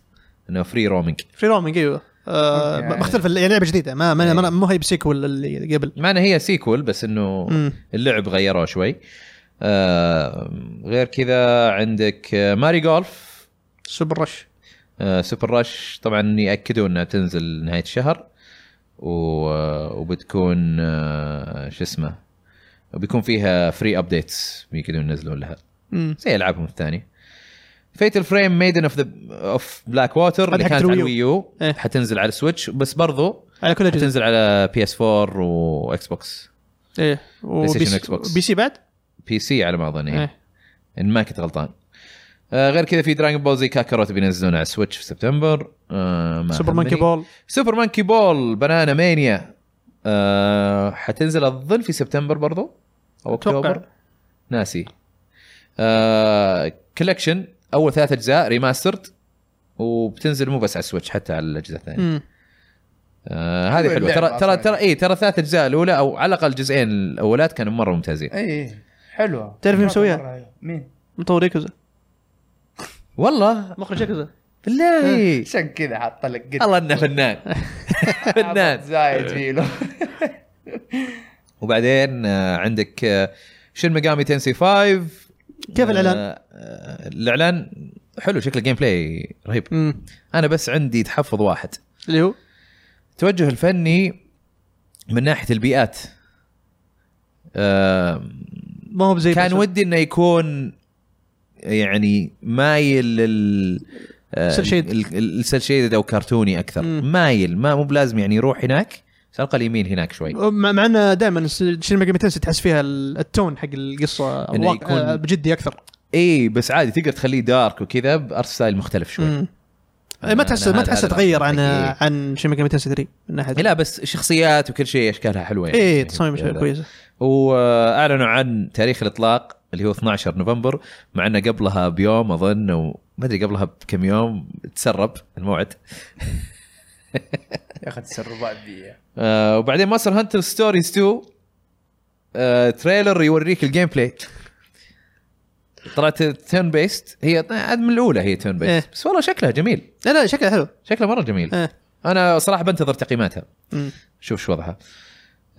انه فري رومينج
فري رومينج ايوه آه،
أوكي.
مختلف يعني لعبه جديده ما ما ما-
إيه.
مو هي بسيكول اللي قبل
مع انه هي سيكول بس انه
مم.
اللعب غيروه شوي آه، غير كذا عندك آه، ماري جولف
سوبر رش
آه، سوبر راش طبعا ياكدوا انها تنزل نهايه الشهر و... آه، وبتكون آه، شو اسمه وبيكون فيها فري ابديتس بيقدرون ينزلون لها
مم.
زي العابهم الثانيه فيتل فريم ميدن اوف ذا اوف بلاك ووتر اللي
حقت
كانت على
الويو.
الويو
إيه.
حتنزل على السويتش بس برضو
على كل الاجهزه
حتنزل على بي اس 4 واكس بوكس
ايه
ستيشن
وبي-
وإكس بوكس.
بي سي بعد؟
بي سي على ما اظن إيه.
ايه
ان ما كنت غلطان آه غير كذا في دراجون بول زي كاكاروت بينزلونه على السويتش في سبتمبر آه ما
سوبر
همني.
مانكي بول
سوبر مانكي بول بنانا مانيا آه حتنزل الظل في سبتمبر برضو او
أتوقع.
اكتوبر ناسي آه كولكشن اول ثلاث اجزاء ريماسترد وبتنزل مو بس على السويتش حتى على الاجهزه الثانيه
مم.
آه هذه حلوه
اللعبة
ترى ترى
أصلاً.
ترى اي ترى الثلاث اجزاء الاولى او على الاقل الجزئين الاولات كانوا مره ممتازين
اي حلوه
تعرف مين
مرة-
مسويها؟
مرة- مين؟
مطور يكوزا
والله
مخرج يكوزا
بالله
عشان كذا حاط لك قد
الله انه فنان فنان
زايد فيلو
وبعدين آه، عندك آه، شين ميجامي تنسي 5
كيف الإعلان؟
آه، آه، الاعلان حلو شكل الجيم بلاي رهيب
مم.
انا بس عندي تحفظ واحد
اللي هو
التوجه الفني من ناحيه البيئات آه،
ما هو بزي
كان
بيرسونا.
ودي انه يكون يعني مايل لل آه،
Cel shaded.
السل شيدد او كرتوني اكثر
مم.
مايل ما مو بلازم يعني يروح هناك بس على الاقل يميل هناك شوي
مع مع انه دائما شين ميجامي تنسي تحس فيها ال- التون حق القصه
إنه
الواقع
يكون-
آه، بجدي اكثر
اي بس عادي تقدر تخليه دارك وكذا بارت ستايل مختلف شوي
مم. إيه، ما
أنا-
تحس
أنا
ما
هذا-
تحس
هذا
تغير عن
رأيي.
آه، عن شين ميجامي تنسي 3 من ناحيه
لا بس الشخصيات وكل شيء اشكالها حلوه يعني
ايه تصاميم شوي كويسه
واعلنوا عن تاريخ الاطلاق اللي هو 12 نوفمبر مع انه قبلها بيوم اظن او ما ادري قبلها بكم يوم تسرب الموعد
يا اخي تسربات ذي
آه وبعدين ماستر هانتر ستوريز 2 آه تريلر يوريك الجيم بلاي طلعت تيرن بيست هي طيب، عاد من الاولى هي تيرن بيست
إيه.
بس والله شكلها جميل
لا لا شكلها حلو
شكلها مره جميل
ايه
انا صراحه بنتظر تقييماتها
مم.
شوف شو وضعها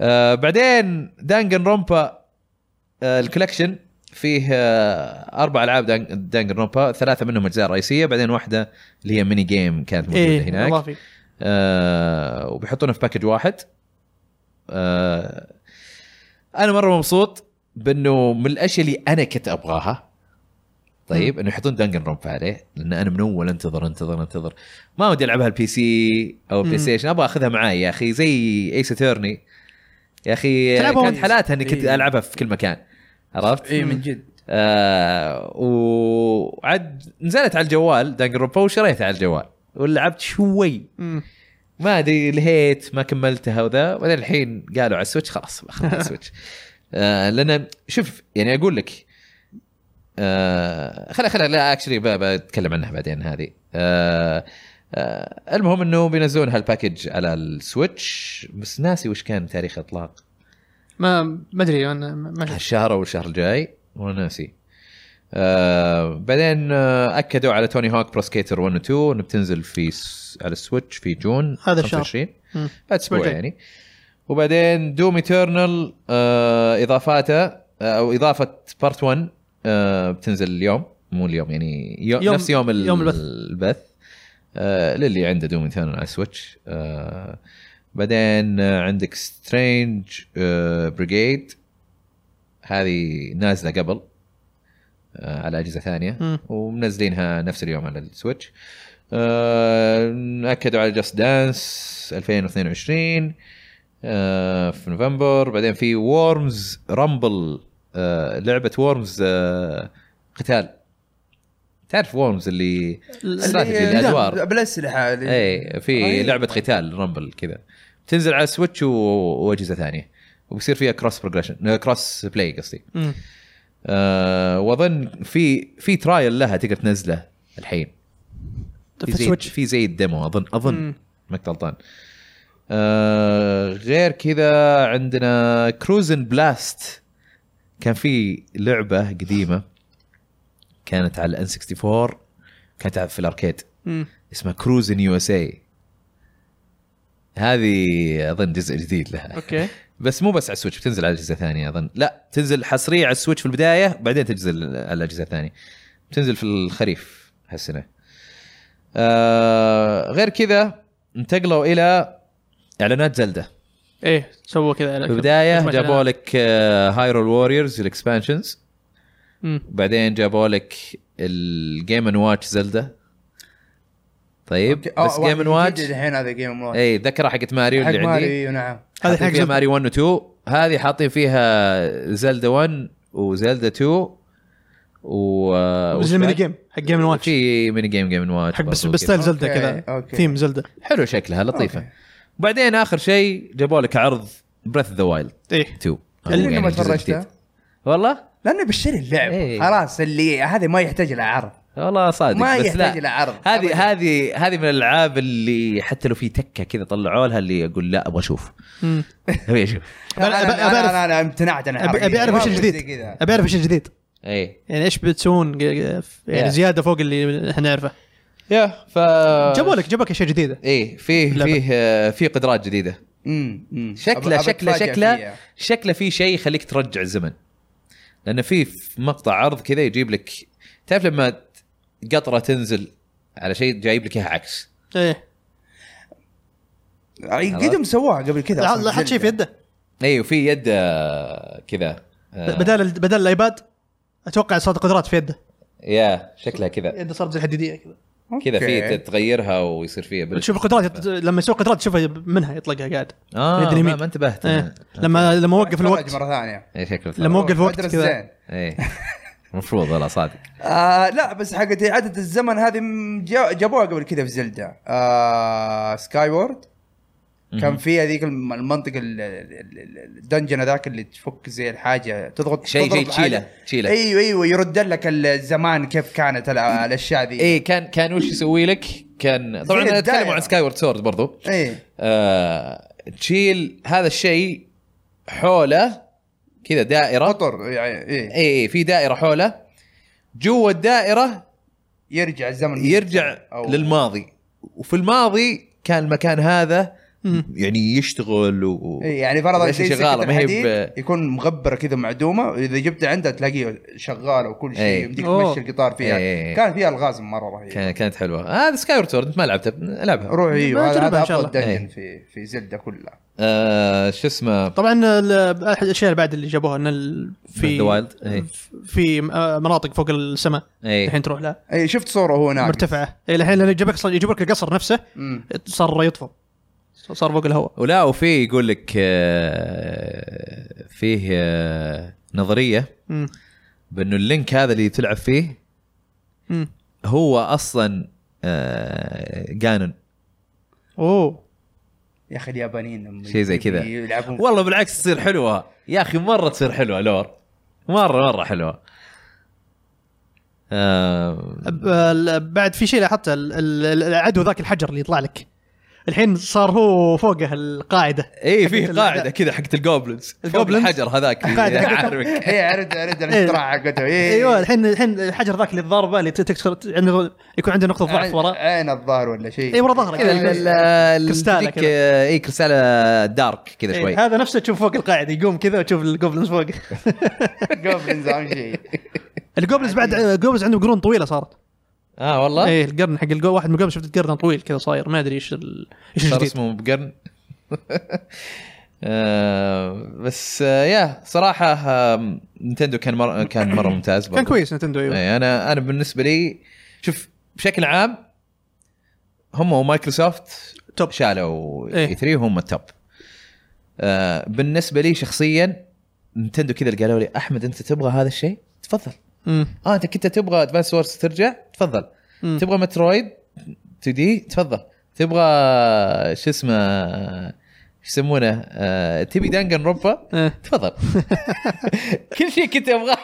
آه بعدين دانجن رومبا آه الكولكشن فيه آه اربع العاب دانج- دانجن رومبا ثلاثه منهم اجزاء رئيسيه بعدين واحده اللي هي ميني جيم كانت موجوده
ايه
إيه هناك
اضافي
آه وبيحطونها في باكج واحد آه انا مره مبسوط بانه من الاشياء اللي انا كنت ابغاها طيب انه يحطون دانجن رومبا عليه لان انا من اول انتظر انتظر انتظر ما ودي العبها البي سي او
مم.
بلاي ستيشن ابغى اخذها معاي يا اخي زي ايس اتورني يا اخي
تلعبها
كانت
وأنت- إيه.
حالاتها اني كنت
إيه.
العبها في كل مكان عرفت؟
اي من جد
آه وعد نزلت على الجوال دانجن رومبا وشريتها على الجوال ولعبت شوي
مم.
ما ادري لهيت ما كملتها وذا بعدين الحين قالوا على السويتش خلاص باخذها على السويتش آه لان شوف يعني اقول لك آه خلا خلا لا اكشلي بتكلم عنها بعدين هذه آه آه المهم انه بينزلون هالباكج على السويتش بس ناسي وش كان تاريخ اطلاق
ما ما ادري انا ما- ما شفت
الشهر او الشهر الجاي والله ناسي آه بعدين آه اكدوا على توني هوك برو سكيتر 1 و 2 انه بتنزل في س- على السويتش في جون
هذا الشهر.
25
مم.
بعد اسبوع
أسبوع
يعني وبعدين دوم ايترنال آه اضافاته آه، او اضافه بارت 1 آه بتنزل اليوم مو اليوم يعني يوم
يوم-
نفس يوم, ال-
يوم البث.
البث آه للي عنده دوم ايترنال على السويتش آه بعدين آه، عندك سترينج آه بريجيد هذه نازله قبل آه على اجهزه ثانيه
مم.
ومنزلينها نفس اليوم على السويتش آه، اكدوا على جاست دانس 2022 آه، في نوفمبر بعدين في آه، وورمز رامبل لعبه وورمز آه، قتال تعرف وورمز اللي استراتيجي
اللي-
الادوار إيه،
بالاسلحه اللي-
إيه،
اي في
طيب،
رهيب.
لعبه قتال رامبل كذا تنزل على سويتش و- واجهزه ثانيه وبيصير فيها كروس بروجريشن كروس بلاي قصدي
مم.
آه، واظن في في ترايل لها تقدر تنزله الحين
طيب، في
في زي
السويتش
في زي الديمو اظن اظن
مم.
ماك غلطان آه غير كذا عندنا كروزن بلاست كان في لعبه قديمه كانت على الان 64 كانت في الاركيد
مم.
اسمها كروزن يو اس اي هذه اظن جزء جديد لها
اوكي
بس مو بس على السويتش بتنزل على اجهزه ثانيه اظن لا تنزل حصريه على السويتش في البدايه بعدين تنزل على الاجهزه الثانيه بتنزل في الخريف هالسنه آه غير كذا انتقلوا الى اعلانات زلده
ايه سووا كذا
في البدايه
مجموعة
آه، جابوا لك هايرول ووريرز الاكسبانشنز
مم.
بعدين جابوا لك الجيم ان واتش زلدة طيب
آه،
بس
واحد
جيم ان
جديد
واتش
الحين هذا جيم ان واتش
اي ذكرى حقت ماريو
طيب. حق
اللي إيه، عندي حاطين فيها ماري
ماريو نعم
هذه حق زلدة.
1 و 2 هذه حاطين فيها زلدا 1 وزلدا 2 و
بس الميني جيم حق جيم إن واتش
في ميني جيم جيم إن واتش
حق بس
برضو كذا.
بستايل زلده
أوكي،
كذا
أوكي.
ثيم زلده
حلو شكلها لطيفه
أوكي.
وبعدين اخر شيء جابوا لك عرض بريث ذا وايلد
ايه
2
اللي
يعني
ما
الجزء
تفرجته
الجديد. والله
لانه بشتري اللعبه
إيه.
خلاص اللي هذا ما يحتاج له عرض
والله صادق
ما
بس لا.
يحتاج له عرض أبداً.
هذه هذه هذه من الالعاب اللي حتى لو في تكه كذا طلعوا لها اللي اقول لا ابغى اشوف
مم.
ابي اشوف
أنا-
أبي- أبي-
أنا-
أبي أعرف-
أنا- انا امتنعت انا
ابي أبي اعرف ايش الجديد ابي اعرف ايش الجديد
اي
يعني ايش بتسوون ج- ج- يعني
Yeah.
زياده فوق اللي احنا نعرفه
يا ف Uh,
جابوا لك جابوا لك اشياء جديده
ايه فيه
لعبة.
فيه آه، فيه قدرات جديده شكله شكله شكله شكله في شيء يخليك ترجع الزمن لان في في مقطع عرض كذا يجيب لك تعرف لما ت- قطره تنزل على شيء جايب لك اياها عكس
ايه
قدم سووها قبل كذا
لا-
أصلاً
لاحظت شيء في
زلدة.
يده
ايوه في يد آه، كذا آه،
بدل ال- بدل الايباد اتوقع صارت قدرات في يده
يا شكلها كذا
يده صارت زي الحديديه كذا
كذا في
أوكي.
تغيرها ويصير فيها بال...
تشوف القدرات يط- لما يسوي قدرات تشوفها منها يطلقها قاعد
اه
يدري
ما,
مين.
ما انتبهت
إيه.
أنا.
لما لما وقف
أتفرج
الوقت
مره ثانيه
اي شكله
لما وقف الوقت
أدرس
كذا.
زين.
اي المفروض والله صادق
آه لا بس حقت اعاده الزمن هذه م- جا- جابوها قبل كذا في زلدة آه سكاي وورد كان في هذيك الم- المنطقه ال- ال- ال- ال- الدنجن هذاك اللي تفك زي الحاجه تضغط
شيء-
تضرب
شيء تشيله-
حاجة.
تشيله.
ايوه ايوه يرد لك الزمان كيف كانت ال- الاشياء ذي
اي إيه، كان كان وش يسوي لك؟ كان طبعا
زي
اتكلم
الدائرة.
عن سكاي وورد سورد برضو
ايه
آه، تشيل هذا الشيء حوله كذا دائره
قطر يعني ايه
اي في دائره حوله جوا الدائره
يرجع الزمن
يرجع
أو-
للماضي وفي الماضي كان المكان هذا يعني يشتغل و...
إيه، يعني فرضا
إيش
زي سكة
شغالة، ما هي
الحديد
ب-
يكون مغبره كذا معدومه اذا جبت عندها تلاقيه شغاله وكل
إيه.
شيء يمديك
أوه.
تمشي القطار فيها
إيه.
كان فيها الغاز مره رهيب
كان- كانت حلوه هذا سكاي وورد سورد ما لعبته العبها
روح ايوه هذا
نجربها
هذا
إن شاء
افضل
الله.
دنجن
إيه.
في في زلده كلها
آه شو اسمه
طبعا ال- احد الاشياء اللي بعد اللي جابوها ان ال- في
Breath of the Wild، إيه.
في آه، مناطق فوق السماء
إيه. يعني.
الحين تروح لها
اي شفت صوره هو ناقص
مرتفعه إيه، الحين لان جابك اصلا يجيب لك القصر نفسه
مم.
صار يطفو صار فوق الهواء
ولا وفي يقول لك آه، فيه آه، نظريه
مم.
بانه اللينك هذا اللي تلعب فيه
مم.
هو اصلا آه، قانون
اوه
يا اخي اليابانيين لما
شيء زي كذا.
يلعبون
والله بالعكس تصير حلوه يا اخي مره تصير حلوه لور مره مره حلوه آه
أب- ال- بعد في شيء لاحظته ال- ال- العدو ذاك الحجر اللي يطلع لك الحين صار هو فوقه القاعده
اي
حقت
إيه، فيه
الأعداء.
قاعده كذا حقت الجوبلنز
الجوبلنز؟
الحجر هذاك اللي
قاعدة حقت-
عارفك
اي عرفت عرفت
إيه.
الاختراع حقته إيه.
ايوه الحين الحين الحجر ذاك اللي الضاربه اللي تكسر عنده يكون عنده نقطه ضعف
عين-
ورا أيوة.
عين الظاهر ولا شيء
اي ورا ظهرك
كذا يعني ال- ال- ال-
كريستالة
تجيك،
كذا.
آه، اي كريستاله دارك كذا شوي
إيه، هذا نفسه تشوف فوق القاعده يقوم كذا وتشوف الجوبلنز فوق
جوبلنز اهم شيء إيه،
الجوبلنز بعد الجوبلنز عندهم قرون طويله صارت
اه والله
ايه القرن حق الجو واحد من الجوبلنز شفت قرن طويل كذا صاير ما ادري ايش ال- ايش
صار
الجديد
اسمه بقرن آه بس آه يا صراحه آه نتندو كان مر... كان مره ممتاز
كان
برضو.
كويس نتندو ايوه
اي انا انا بالنسبه لي شوف بشكل عام هم ومايكروسوفت
توب.
شالوا
إيه.
اي 3 وهم التوب آه بالنسبه لي شخصيا نتندو كذا اللي قالوا لي احمد انت تبغى هذا الشيء تفضل
مم.
اه انت كنت تبغى ادفانس وورز ترجع تفضل
مم.
تبغى مترويد 2 دي تفضل تبغى شو اسمه شو يسمونه آه، تبي دانجن روبا
إيه.
تفضل كل شيء كنت ابغاه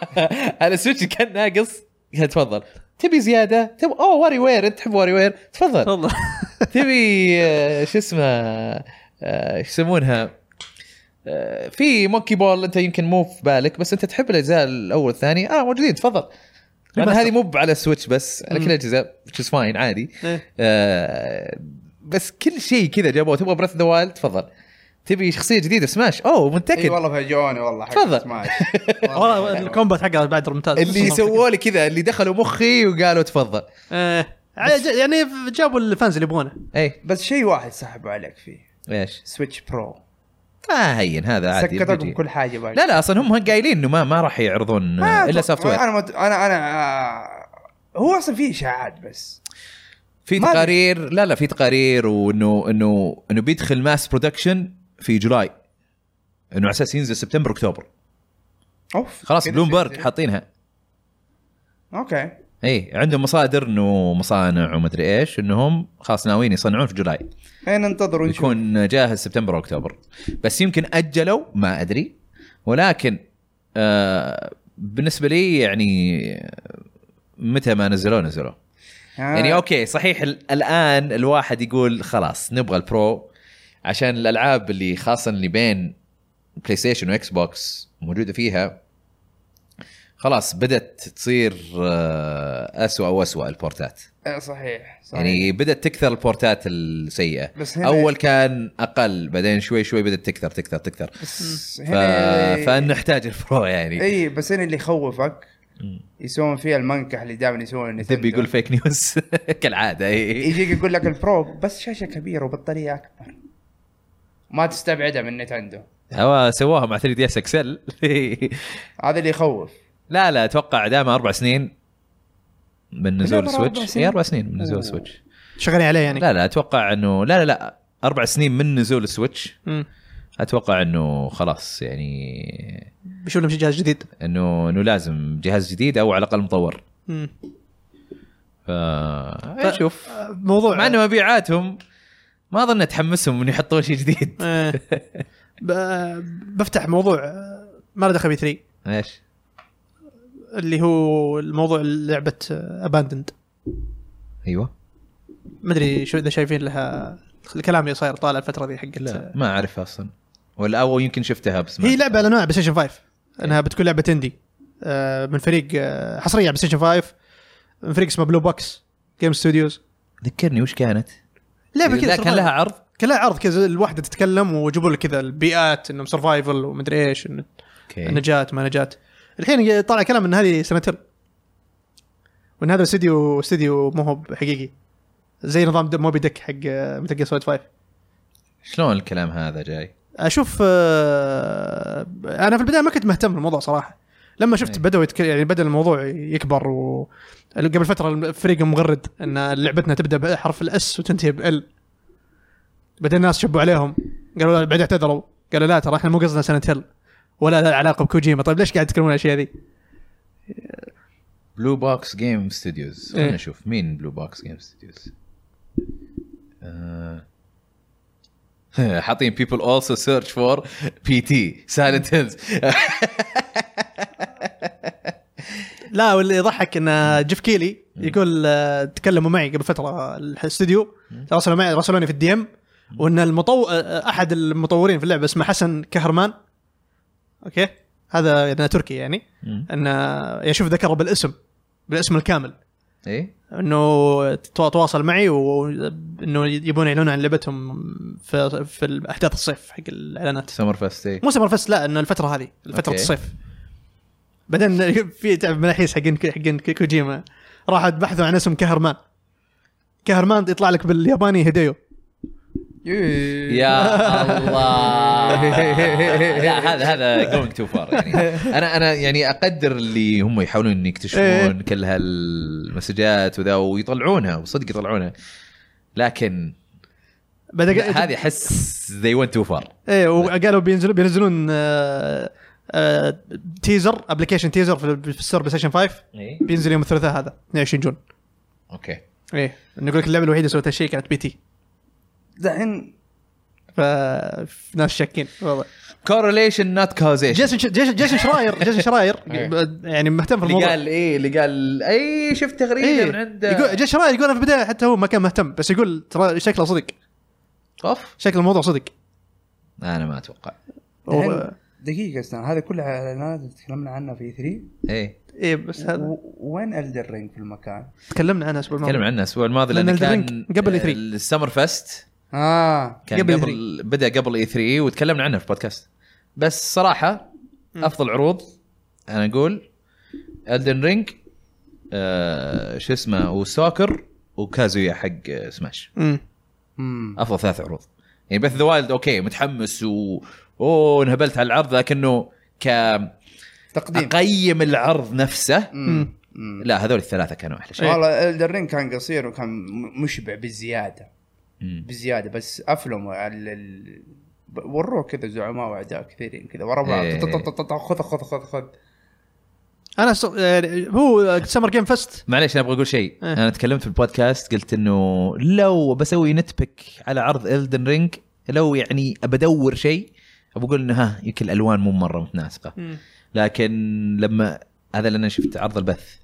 على سويتش كان ناقص تفضل تبي زياده تبغى اوه واري وير انت تحب واري وير تفضل
تفضل
تبي آه، شو اسمه آه، شو يسمونها آه، في مونكي بول انت يمكن مو في بالك بس انت تحب الاجزاء الاول والثاني اه موجودين تفضل انا
ريماستر.
هذه مو على سويتش بس على كل
مم.
الاجهزه which is fine عادي
إيه.
آه بس كل شيء كذا جابوه تبغى بريث ذا وايلد تفضل تبي شخصيه جديده سماش اوه منتكد
اي والله فاجئوني والله حق
تفضل.
سماش.
والله الكومبات حقه بعد ممتاز
اللي سووا لي كذا اللي دخلوا مخي وقالوا تفضل
ايه عاد- يعني جابوا الفانز اللي يبغونه
اي
بس شيء واحد سحبوا عليك فيه
ايش
سويتش برو
ما هين هذا عادي
سكت لكم
بيجي.
كل حاجه باقي
لا لا اصلا هم قايلين انه ما ما راح يعرضون
ما
آه، الا
أتوقع-
سوفت وير
انا مت... انا انا آه، هو اصلا فيه اشاعات بس
في
ما أدري.
تقارير لا لا في تقارير وانه انه انه بيدخل ماس برودكشن في جولاي انه على اساس ينزل سبتمبر اكتوبر
اوف
خلاص
كذا
بلومبرج
سيزن.
حاطينها
اوكي
اي عندهم مصادر انه مصانع ومدري ايش انهم خلاص ناويين يصنعون في جولاي
خلينا ننتظر ونشوف
يكون جاهز سبتمبر واكتوبر بس يمكن اجلوا ما ادري ولكن آه بالنسبه لي يعني متى ما نزلوه نزلوه
آه.
يعني اوكي صحيح ال- الان الواحد يقول خلاص نبغى البرو عشان الالعاب اللي خاصه اللي بين بلاي ستيشن واكس بوكس موجوده فيها خلاص بدات تصير آه، أسوأ وأسوأ البورتات
آه، صحيح صحيح
يعني بدات تكثر البورتات السيئه
بس هنا-
اول كان اقل بعدين شوي شوي بدات تكثر تكثر تكثر
بس
ف...
هنا
فنحتاج البرو يعني
اي بس هنا اللي يخوفك
مم.
يسوون فيها المنكح اللي دائما يسوونه نينتندو.
تبي يقول فيك نيوز كالعاده اي
يجيك يقول لك البرو بس شاشه كبيره وبطاريه اكبر ما تستبعدها من نتندو
هو سووها مع 3 دي اس اكسل
هذا اللي يخوف
لا لا اتوقع دام اربع سنين من نزول
بالعمر أربع
السويتش
سنين؟ آه.
اي اربع سنين من نزول
أوه.
السويتش
شغالين عليه يعني
لا لا اتوقع انه لا لا لا اربع سنين من نزول السويتش
مم.
اتوقع انه خلاص يعني
بيشوف لهم شي جهاز جديد
انه انه لازم جهاز جديد او على الاقل مطور
مم.
ف إيه، شوف
آه، موضوع
مع انه مبيعاتهم ما اظن تحمسهم ان يحطون شيء جديد
آه. ب- بفتح موضوع آه، ما له دخل بي 3
ايش؟
اللي هو الموضوع لعبه اباندند
ايوه
ما ادري شو اذا شايفين لها الكلام اللي صاير طالع الفتره ذي حقت
لا ما اعرفها اصلا ولا او يمكن شفتها بس ما
هي لعبه على نوع بلاي ستيشن 5
إيه.
انها بتكون لعبه اندي آه، من فريق آه، حصريه على بلاي ستيشن 5 من فريق اسمه بلو بوكس جيم ستوديوز
ذكرني وش كانت؟
لعبه كذا
إيه، لا، كان لها عرض
كان لها عرض كذا الواحده تتكلم ويجيبوا لك كذا البيئات انهم سرفايفل ومدري ايش إن
اوكي
نجاة ما نجاة الحين طالع كلام ان هذه سنتر وان هذا استديو استديو مو هو حقيقي زي نظام د- موبي ديك حق آه، متل سويد 5
شلون الكلام هذا جاي؟
اشوف آه، انا في البدايه ما كنت مهتم بالموضوع صراحه لما شفت
إيه.
بداوا يتك... يعني بدا الموضوع يكبر و قبل فتره الفريق مغرد ان لعبتنا تبدا بحرف الاس وتنتهي بال بعدين الناس شبوا عليهم قالوا لا بعد اعتذروا قالوا لا ترى احنا مو قصدنا سنه هيل ولا لها علاقه بكوجيما طيب ليش قاعد تتكلمون عن الاشياء ذي؟
بلو بوكس جيم ستوديوز
إيه.
خلينا نشوف مين بلو بوكس جيم ستوديوز آه. حاطين people also search for PT silent hills
لا واللي يضحك ان جيف كيلي يقول آه، تكلموا معي قبل فتره الاستوديو راسلوا معي راسلوني في الدي ام وان المطو... آه، احد المطورين في اللعبه اسمه حسن كهرمان اوكي هذا يعني تركي يعني
مم.
ان آه، يشوف ذكره بالاسم بالاسم الكامل
ايه
انه تو- تواصل معي وانه يبون يعلنون عن لعبتهم في في احداث الصيف حق الاعلانات
سمر فاست ايه
مو سمر فيست لا انه الفتره هذه فتره
أوكي.
الصيف بعدين في تعب مناحيس حقين حقين كوجيما راحوا بحثوا عن اسم كهرمان كهرمان يطلع لك بالياباني هيديو
يا الله لا هذا هذا جوينج تو فار يعني انا انا يعني اقدر اللي هم يحاولون إن يكتشفون
إيه.
كل هالمسجات وذا ويطلعونها وصدق يطلعونها لكن
بعدين
لا، هذه احس ذي ونت تو فار
ايه وقالوا بينزلون بينزلون آه، آه، تيزر ابلكيشن تيزر في في الستور بلاي ستيشن 5 بينزل يوم الثلاثاء هذا 22 جون
اوكي
ايه انه يقول لك اللعبه الوحيده اللي سويتها شيء كانت بي تي
دحين
فناس شاكين والله
كورليشن نوت كوزيشن
جيسون ش- جيسون جيسون شراير جيسون شراير
إيه.
يعني مهتم في
اللي
الموضوع
قال ايه اللي قال اي شفت تغريده طيب من عنده
إيه. يقول جيش رايد يقول أنا في البدايه حتى هو ما كان مهتم بس يقول ترى شكله صدق
اوف
شكل الموضوع صدق
انا ما اتوقع
و...
دحين دقيقة استنى هذه كلها اعلانات اللي تكلمنا عنها في 3
ايه
ايه بس هذا
وين الدر رينج في المكان؟
تكلمنا عنها الاسبوع
تكلم
الماضي
عنه الاسبوع الماضي
لأن
لانه
Elden
كان
Ring قبل E E3.
السمر فست
اه
كان
قبل
قبل, قبل بدا قبل اي 3 وتكلمنا عنه في بودكاست بس صراحه افضل عروض انا اقول الدن رينج آه شو اسمه وسوكر وكازويا حق آه، سماش
مم.
مم.
افضل ثلاث عروض يعني بث ذا وايلد اوكي متحمس و اوه انهبلت على العرض لكنه ك
تقديم
اقيم العرض نفسه
مم. مم.
لا هذول الثلاثه كانوا احلى شيء
والله الدرين كان قصير وكان م- مشبع بالزياده بالزياده بس افلم على ال... ب- وروه كذا زعماء واعداء كثيرين كذا ورا بعض
إيه.
طط- طط- طط- طط- خذ خذ خذ خذ
انا س... يعني هو سمر جيم فست
معليش انا ابغى اقول شيء
إيه.
انا تكلمت في البودكاست قلت انه لو بسوي نت بيك على عرض الدن رينج لو يعني بدور شيء بقول انه ها يمكن الالوان مو مره متناسقه لكن لما هذا لان شفت عرض البث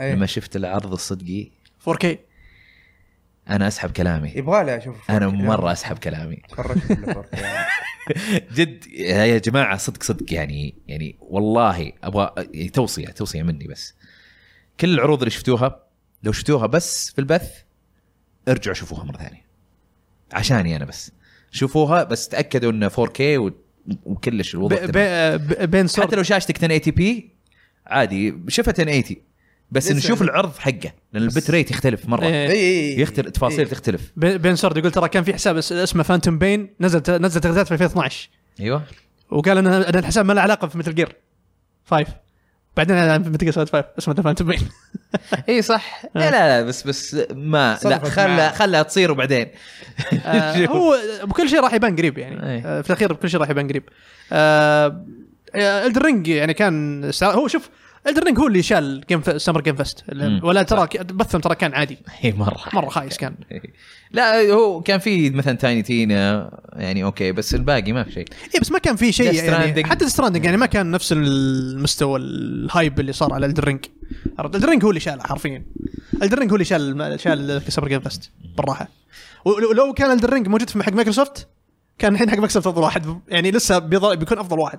إيه.
لما شفت العرض الصدقي
4K
انا اسحب كلامي
يبغى لي اشوف
انا مره اسحب كلامي
تفرجت إيه. كله فرق.
جد يا جماعه صدق صدق يعني يعني والله ابغى يعني توصيه توصيه مني بس كل العروض اللي شفتوها لو شفتوها بس في البث ارجعوا شوفوها مره ثانيه عشاني انا بس شوفوها بس تاكدوا انه 4K و- وكلش
ب...
الوضع
ب...
تمام.
ب... بين
حتى
سور
لو شاشتك 1080 بي عادي شوفها 1080 بس
لسه.
نشوف العرض حقه لان البت ريت يختلف مره
إيه، إيه،
يختلف تفاصيل
إيه.
تختلف
ب- بين سورد يقول ترى كان في حساب اس- اسمه فانتوم بين نزل نزل تغريدات في 2012
ايوه
وقال ان ان الحساب ما له علاقه في متل جير 5 بعدين اعلن في متل جير 5 اسمه فانتوم بين
إيه،
اي صح لا لا بس بس ما لا
صدفت
خلها
معاه.
خلها تصير وبعدين
آه، هو بكل شيء راح يبان قريب يعني
إيه.
آه، في الاخير بكل شيء راح يبان قريب آه، الدرينج يعني كان استع- هو شوف الدرينج هو اللي شال جيم ف- سمر جيم فست
مم.
ولا ترى ك- بثهم ترى كان عادي
اي مره
مره خايس كان
لا هو كان في مثلا تايني تينا يعني اوكي بس الباقي ما في شيء
اي بس ما كان في شيء
Death
يعني
Stranding.
حتى ستراندنج يعني ما كان نفس المستوى الهايب اللي صار على الدرينج الدرينج هو اللي شاله حرفيا الدرينج هو اللي شال شال سمر جيم فست بالراحه ولو لو كان الدرينج موجود في حق مايكروسوفت كان الحين حق مايكروسوفت افضل واحد يعني لسه بيظل- بيكون افضل واحد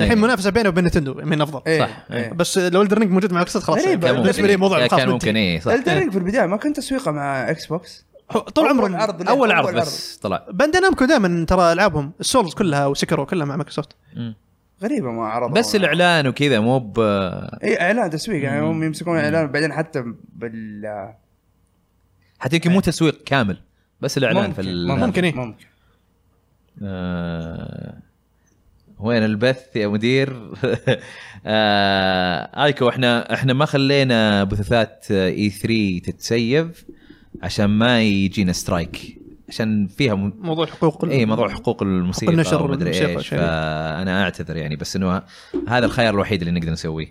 الحين
إيه.
منافسه بينه وبين نتندو مين افضل
إيه،
صح، إيه.
إيه.
بس لو الدرينج موجود مع مايكروسوفت خلاص
غريبة.
كان ممكن
بالنسبه لي
إيه.
موضوع
كان
خلاص
ممكن
منتهي.
اي صح
الدرينج في البدايه ما كان تسويقه مع اكس بوكس
طول
أول
عمره
عرض له،
اول عرض بس طلع
باندينامكو دائما ترى العابهم السولز كلها وسكروا كلها مع مايكروسوفت
غريبه ما عرض
بس الاعلان وكذا مو ب
اي اعلان تسويق يعني هم يمسكون اعلان بعدين حتى بال
حتى يمكن مو تسويق كامل بس الاعلان في ال...
إيه. ممكن. إيه.
ممكن
آه... وين البث يا مدير؟ آه... ايكو احنا احنا ما خلينا بثوثات اي 3 تتسيب عشان ما يجينا سترايك عشان فيها م...
موضوع حقوق ال-
اي إيه، موضوع حقوق الموسيقى
حقوق النشر
ومدري
والموسيقى
ايش
شيء.
فانا اعتذر يعني بس انه هذا الخيار الوحيد اللي نقدر نسويه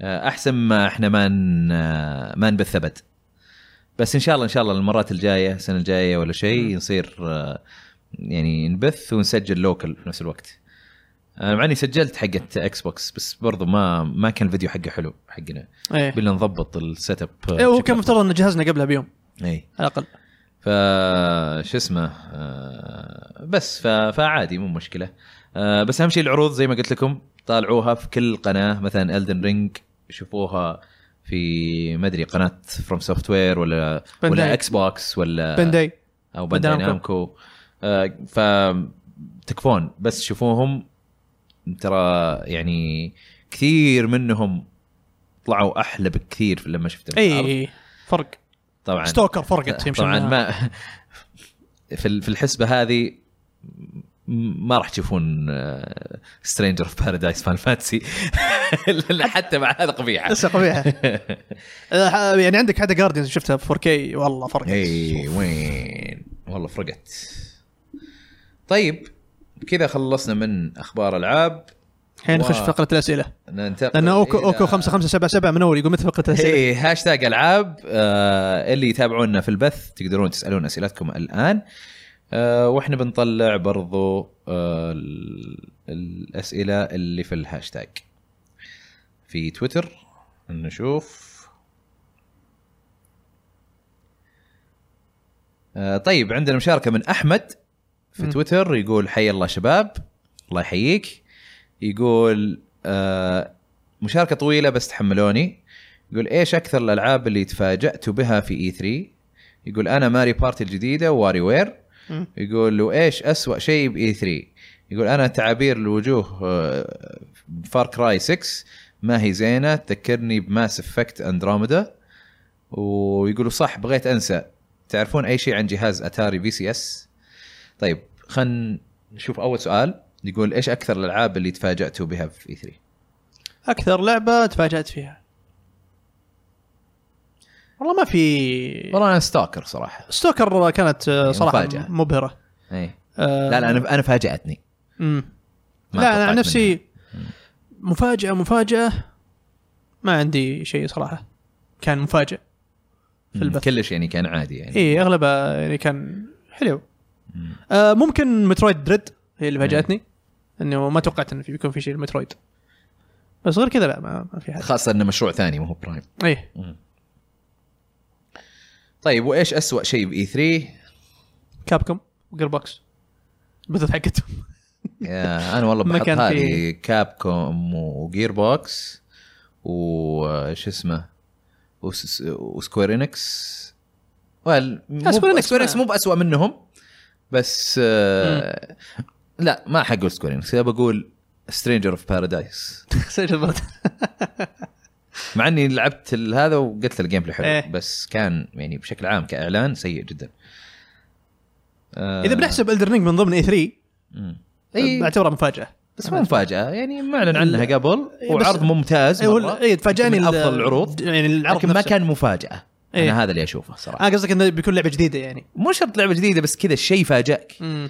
آه، احسن ما احنا ما ن- آه، ما نبث ابد بس ان شاء الله ان شاء الله المرات الجايه السنه الجايه ولا شيء نصير آه، يعني نبث ونسجل لوكل في نفس الوقت آه، مع اني سجلت حقت اكس بوكس بس برضو ما ما كان الفيديو حقه حلو حقنا
ايه
قبل نظبط السيت اب
إيه، هو كان مفترض ان جهزنا قبلها بيوم
اي
على الاقل
ف شو اسمه آه، بس ف... فعادي مو مشكله آه، بس اهم شيء العروض زي ما قلت لكم طالعوها في كل قناه مثلا الدن رينج شوفوها في ما ادري قناه فروم سوفت وير ولا ولا
بانداي.
اكس بوكس ولا
بنداي
او
بانداي
بانداي نامكو آه، فتكفون بس شوفوهم ترى يعني كثير منهم طلعوا احلى بكثير لما شفتهم في العرض.
اي إيه، فرق
طبعا
ستوكر فرقت يمشي
طبعا
معها.
ما في ال- في الحسبه هذه م- ما راح تشوفون آه، سترينجر اوف بارادايس فان فانتسي حتى مع هذا قبيحه
لسه قبيحه آه، يعني عندك حتى جارديانز شفتها ب 4K والله فرقت
اي وين والله فرقت طيب كذا خلصنا من اخبار العاب
الحين نخش
واو.
في فقره الاسئله
ننتقل
لان اوكو
إلى-
اوكو 5577 من اول يقول متى فقره الاسئله
اي إيه، هاشتاج العاب آه اللي يتابعونا في البث تقدرون تسالون اسئلتكم الان آه واحنا بنطلع برضو آه ال- الاسئله اللي في الهاشتاج في تويتر نشوف آه طيب عندنا مشاركه من احمد في
مم.
تويتر يقول حي الله شباب الله يحييك يقول آه مشاركه طويله بس تحملوني يقول ايش اكثر الالعاب اللي تفاجات بها في اي 3 يقول انا ماري بارتي الجديده واري وير
مم.
يقول له ايش اسوا شيء باي 3 يقول انا تعابير الوجوه آه، فار كراي 6 ما هي زينه تذكرني بماس افكت اندروميدا ويقولوا صح بغيت انسى تعرفون اي شيء عن جهاز اتاري في سي اس طيب خلينا نشوف اول سؤال يقول ايش اكثر E الالعاب اللي تفاجاتوا بها في اي 3
اكثر لعبه تفاجات فيها والله ما في
والله انا ستاكر صراحه
ستوكر كانت آه، صراحه
مفاجأة.
مبهره
اي
آه،
إيه. لا لا انا انا فاجاتني
مم.
ما
لا انا عن
توقعت
نفسي مفاجاه مفاجاه ما عندي شيء صراحه كان مفاجئ في البث
كلش يعني كان عادي يعني
اي اغلبها يعني كان حلو آه ممكن مترويد دريد هي اللي فاجاتني انه ما توقعت انه في بيكون في شيء المترويد بس غير كذا لا ما, ما في إيه، حاجه
خاصه انه مشروع ثاني ما هو برايم
اي
طيب وايش اسوء شيء باي 3
كابكم وجير بوكس البثوث حقتهم
آه، انا والله
ما
بحط
كان
هذه
في-
كاب كوم وجير بوكس وش اسمه وس- وسكوير انكس وال مو
Square Enix
سكوير انكس
ما-
مو باسوء منهم بس آه لا ما حقول سكوير انكس بقول سترينجر اوف بارادايس
سجل البث.
مع اني لعبت ال- هذا وقلت له الجيم بلاي حلو
إيه.
بس كان يعني بشكل عام كاعلان سيء جدا آه، إيه.
اذا بنحسب الدرنينج من ضمن E اي 3
مم. إي.
بعتبرها مفاجاه
بس مو مفاجاه يعني معلن عنها قبل
إيه، بس-
وعرض ممتاز مرة.
اي تفاجئني
من
ال-
افضل العروض
يعني العرض
لكن ما
نفسه.
كان مفاجاه
إيه.
انا هذا اللي اشوفه صراحه
اه قصدك انه بيكون لعبه جديده يعني
مو شرط لعبه جديده بس كذا الشيء فاجاك
امم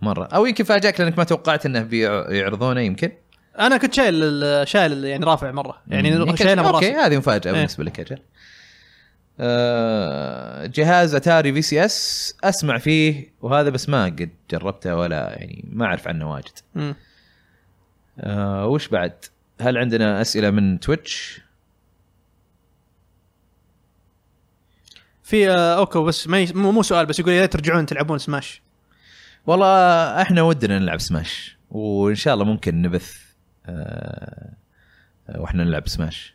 مره او يمكن فاجاك لانك ما توقعت انه بيع- يعرضونه يمكن
انا كنت شايل ال- شايل ال- يعني رافع مره يعني شايلها من
اوكي
راسي
هذه مفاجاه
إيه.
بالنسبه لك اجل آه، جهاز اتاري في سي اس اسمع فيه وهذا بس ما قد جربته ولا يعني ما اعرف عنه واجد
مم.
آه، وش بعد هل عندنا اسئله من تويتش
في آه، اوكو بس ما ي... مو مو سؤال بس يقول يا ريت ترجعون تلعبون سماش
والله احنا ودنا نلعب سماش وان شاء الله ممكن نبث آه، واحنا نلعب سماش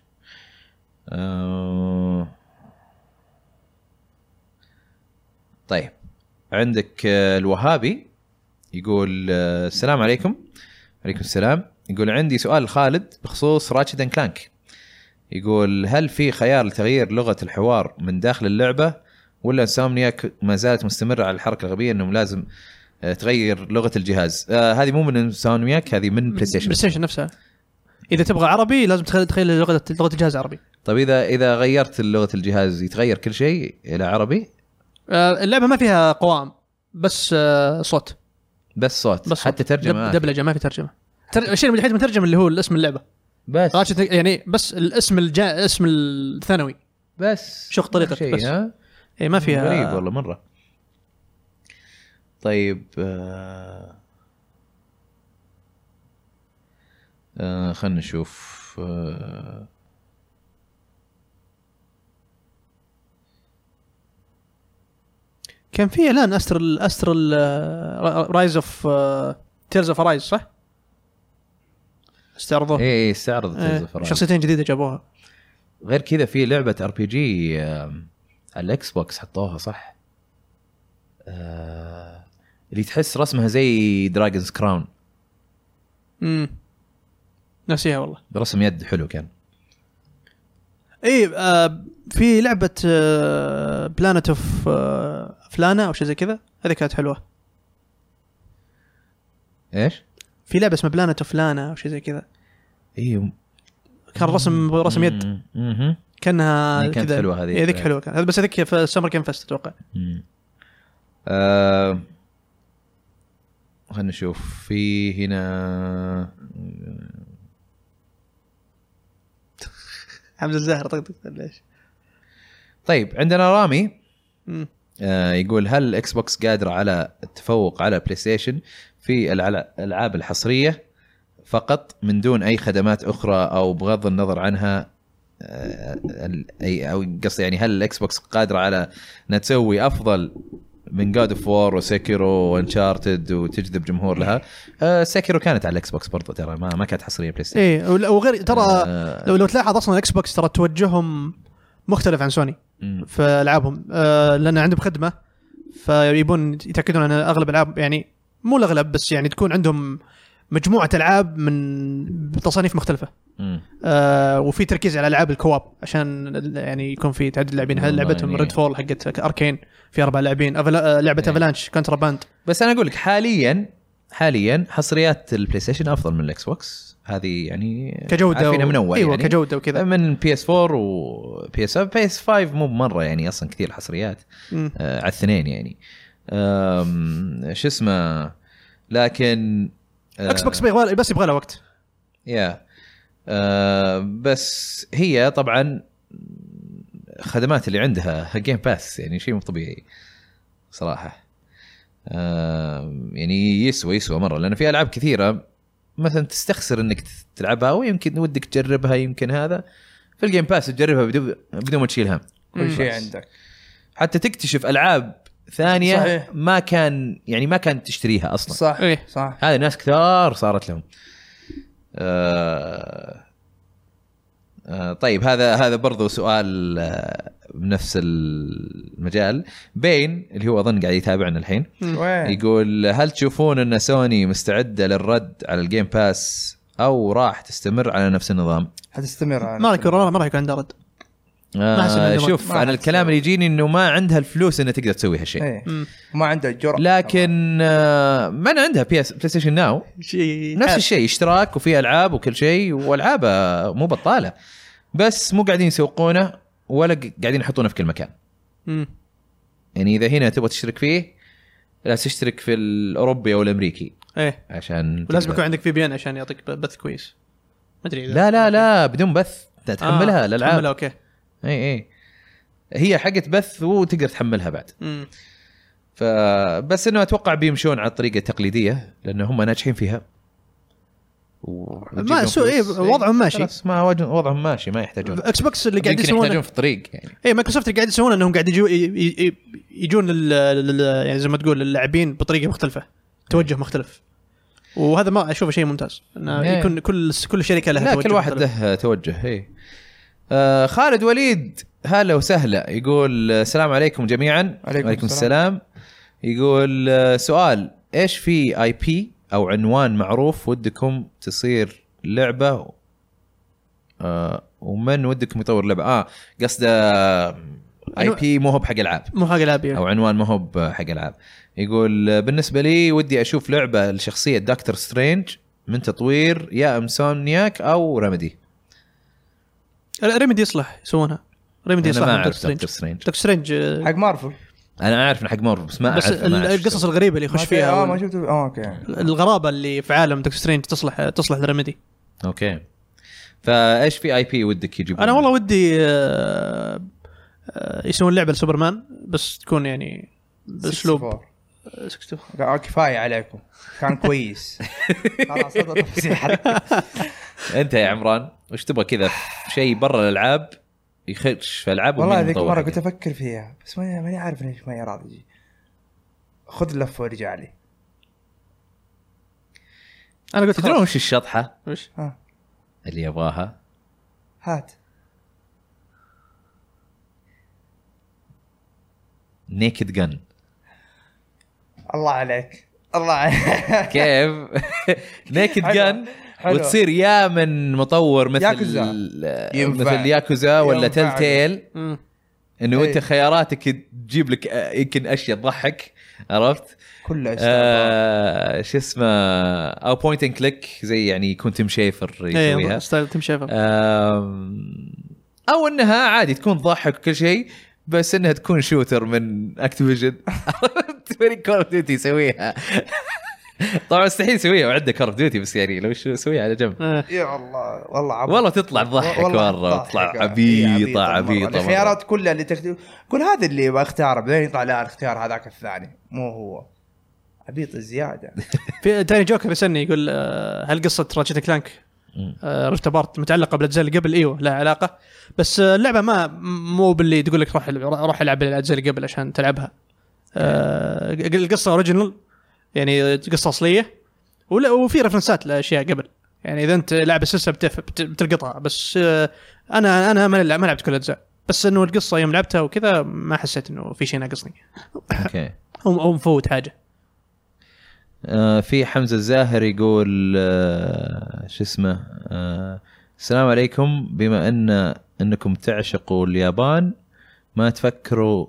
آه، طيب عندك آه، الوهابي يقول آه، السلام عليكم عليكم السلام يقول عندي سؤال لخالد بخصوص راتشد اند كلانك يقول هل في خيار لتغيير لغه الحوار من داخل اللعبه ولا انسومنياك ما زالت مستمره على الحركه الغبيه انهم لازم آه، تغير لغه الجهاز آه هذه مو من انسومنياك هذه من بلاي ستيشن
بلاي ستيشن نفسها اذا تبغى عربي لازم تخلي تخيل لغه لغه الجهاز عربي
طيب اذا اذا غيرت لغه الجهاز يتغير كل شيء الى عربي
آه، اللعبه ما فيها قوام بس آه، صوت
بس صوت
بس
بس حتى
صوت. دب-
ترجمه دب
دبلجه ما في ترجمه تر... الشيء الوحيد مترجم اللي هو اسم اللعبه
بس
راتشت يعني بس الاسم الجا... اسم الثانوي
بس
شوف طريقة
شيء،
بس.
ها
اي ما آه. فيها
غريب والله مره طيب آه آه خلنا نشوف آه
كان في اعلان استر ال استر ال رايز اوف تيرز اوف رايز صح؟ استعرضوه
اي اي استعرضت
إيه،
الزفران.
شخصيتين جديده جابوها
غير كذا في لعبه ار بي جي الاكس بوكس حطوها صح آه اللي تحس رسمها زي دراجونز كراون
امم ناسيها والله
رسم يد حلو كان
اي آه في آه، لعبه بلانت اوف فلانا او آه، شيء زي كذا هذه كانت حلوه
ايش؟
في لعبه اسمها بلانت اوف فلانا او شيء زي كذا
ايوه
كان رسم إيه، رسم يد
اها
كانها
هي كانت
كذا.
حلوة هذه.
إيه، هذيك حلوه كانت بس هذيك في السمر كان فست اتوقع
مم. آه خلينا نشوف في هنا
حمزه الزهر طقطق ليش؟
طيب عندنا رامي
مم.
آه يقول هل الاكس بوكس قادره على التفوق على البلاي ستيشن في الألع- الالعاب الحصريه فقط من دون اي خدمات اخرى او بغض النظر عنها آه، ال- اي او قصدي يعني هل الاكس بوكس قادره على انها تسوي افضل من جاد اوف وور وسكيرو وانشارتد وتجذب جمهور لها آه سكيرو كانت على الاكس بوكس برضه ترى ما, ما كانت حصريه بلاي ستيشن
ايه ولا- وغير ترى
آه،
لو لو تلاحظ اصلا الاكس بوكس ترى توجههم مختلف عن سوني
مم.
في العابهم آه لان عندهم خدمه فيبون يتاكدون ان اغلب العاب يعني مو الاغلب بس يعني تكون عندهم مجموعه العاب من تصانيف مختلفه
مم.
آه وفي تركيز على العاب الكواب عشان ال- يعني يكون في تعدد لاعبين هل
والله
لعبتهم
يعني-
ريد فول حقت اركين في اربع لاعبين أفلا... آه، لعبه
إيه.
افلانش كونترا باند
بس انا اقول لك حاليا حاليا حصريات البلاي ستيشن افضل من الاكس بوكس هذه يعني
كجوده
عارفينها من اول
ايوه
يعني.
كجوده وكذا
من بي اس 4 وبي اس بي اس 5 مو بمره يعني اصلا كثير حصريات
مم.
آه على الاثنين يعني آم، شو اسمه لكن آه،
اكس بوكس بيبغى- بس يبغى له وقت
يا آه بس هي طبعا خدمات اللي عندها جيم باس يعني شيء مو طبيعي صراحه آه يعني يسوى يسوى مره لان في العاب كثيره مثلا تستخسر انك تلعبها ويمكن ودك تجربها يمكن هذا في الجيم باس تجربها بدون بدون ما تشيل هم
كل شيء
بس.
عندك
حتى تكتشف العاب ثانيه
صحيح.
ما كان يعني ما كانت تشتريها اصلا
صح
إيه.
صح
هذه ناس كثار صارت لهم آه آه طيب هذا هذا برضو سؤال آه، بنفس المجال بين اللي هو اظن قاعد يتابعنا الحين
وين
يقول هل تشوفون ان سوني مستعده للرد على الجيم باس او راح تستمر على نفس النظام؟
حتستمر على
ما راح يكون ما راح يكون عنده رد أحسن
آه
عندهم وقت.
شوف
ما
انا
راح
الكلام اللي يجيني انه ما عندها الفلوس انها تقدر تسوي هالشيء
إيه.
مم.
ما عنده الجرأة
لكن آه من عندها بي اس بلاي ستيشن ناو
شيء
نفس الشيء اشتراك وفي العاب وكل شيء والعابه مو بطاله بس مو قاعدين يسوقونه ولا ق- قاعدين يحطونه في كل مكان
مم.
يعني اذا هنا تبغى تشترك فيه لازم تشترك في الاوروبي او الامريكي
ايه
إيه. عشان
ولازم
تقدر.
يكون عندك في بي ان عشان يعطيك ب- بث كويس ما ادري إذا-
لا لا لا بدون بث ت- تحملها
آه،
الالعاب
تحملها اوكي
اي اي هي حقت بث وتقدر تحملها بعد
مم.
فبس انه اتوقع بيمشون على الطريقه التقليديه لان هم ناجحين فيها و- وتجيبهم
ما سو ايه
فلوس.
وضعهم ماشي
خلاص ما وج- وضعهم ماشي ما يحتاجون
اكس بوكس اللي قاعد
يمكن
يسوونه
يحتاجون في الطريق يعني
اي مايكروسوفت اللي قاعد يسوونه انهم قاعد يجو ي- ي- ي- يجون لل... لل... يعني زي ما تقول للاعبين بطريقه مختلفه توجه مختلف وهذا ما اشوفه شيء ممتاز انه
إيه.
يكون كل كل شركه لها
لا
توجه
كل واحد
مختلف.
له توجه اي آه خالد وليد هلا وسهلا يقول آه، السلام عليكم جميعا
عليكم
السلام.
السلام.
يقول آه، سؤال ايش في اي بي او عنوان معروف ودكم تصير لعبه آه ومن ودكم يطور لعبه اه قصده اي
أنو-
بي مو هو بحق العاب
مو يعني. حق العاب
او عنوان ما هو بحق العاب يقول بالنسبه لي ودي اشوف لعبه لشخصيه دكتور سترينج من تطوير يا امسونياك او رمدي
ريمدي يصلح يسوونها ريمدي
انا
يصلح
ما
من
اعرف
دكتور
دكتور سترينج
سترينج دكتور سترينج آه،
حق مارفل
انا اعرف انه حق مارفل بس ما
بس
اعرف ما أعرف
القصص الغريبه اللي يخش
ما في-
فيها
اه
وال-
ما شفته اه اوكي
الغرابه اللي في عالم دكتور سترينج تصلح تصلح لريميدي
اوكي فايش في اي بي ودك يجيبون
انا والله ودي آه، آه، يسوون لعبه لسوبرمان بس تكون يعني باسلوب
64. لا، آه، كفايه عليكم كان كويس خلاص هذا تفصيل حلقة.
انت يا عمران وش تبغى كذا شيء برا الالعاب يخش في العاب
والله ذيك المره كنت افكر فيها بس ماني ماني عارف ليش ما هي راضي تجي. خذ لفه وارجع لي
انا قلت
تدرون
خلاص.
وش الشطحه
وش؟
ها
اللي يبغاها
هات
نيكد جن
الله عليك الله عليك
كيف نيكد
حلوة،
جن
حلوة.
وتصير يا من مطور مثل
ياكوزا.
ينفع.
ينفع.
مثل ياكوزا ولا تل
ينفع. إيه.
تيل
مم.
انه
أي.
انت خياراتك تجيب لك آه، يمكن اشياء تضحك عرفت؟
كل اشياء
آه شو اسمه او بوينت اند كليك زي يعني يكون تيم شيفر يسويها
ايه ستايل تيم شيفر
آه. آم، او انها عادي تكون تضحك وكل شيء بس انها تكون شوتر من اكتيفيجن فريق كول اوف ديوتي يسويها طبعا مستحيل يسويها وعنده كول اوف ديوتي بس يعني لو شو يسويها على جنب
آه.
يا الله والله عبط.
والله تطلع تضحك
والله
مره
تضحك.
تطلع
إيه،
عبيطه
مرة.
عبيطه مرة.
الخيارات كلها اللي تختار كل هذا اللي بختاره بعدين يطلع لا اختار هذاك الثاني مو هو عبيط زياده
في تاني جوكر يسالني يقول آه، هل قصه راتشت كلانك
مم.
آه، ريفت بارت متعلقه بالاجزاء اللي قبل ايوه لها علاقه بس آه، اللعبه ما مو باللي تقول لك روح روح العب الاجزاء اللي قبل عشان تلعبها آه، القصه اوريجينال يعني قصه اصليه ولا- وفي رفرنسات لاشياء قبل يعني اذا انت لاعب السلسله بتف- بت- بتلقطها بس آه، انا انا ما لع- ما لعبت كل الاجزاء بس انه القصه يوم لعبتها وكذا ما حسيت انه في شيء ناقصني
اوكي
او أو مفوت حاجه
آه، في حمزه الزاهر يقول آه، شو اسمه آه، السلام عليكم بما ان انكم تعشقوا اليابان ما تفكروا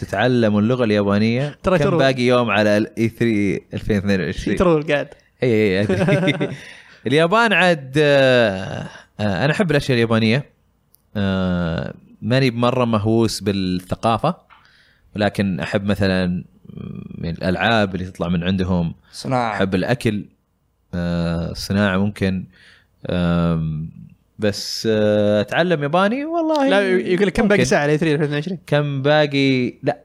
تتعلم اللغه اليابانيه
ترى
كم
ترو.
باقي يوم على E الاي 3 2022
ترول قاعد
اي اي أدري. إيه، اليابان عاد آه، آه، انا احب الاشياء اليابانيه آه، ماني مره مهووس بالثقافه ولكن احب مثلا من الالعاب اللي تطلع من عندهم
صناعه
احب الاكل آه، الصناعه ممكن آم، بس آه، اتعلم ياباني والله
لا يقول لك كم باقي
ممكن.
ساعه على 3 2022
كم باقي لا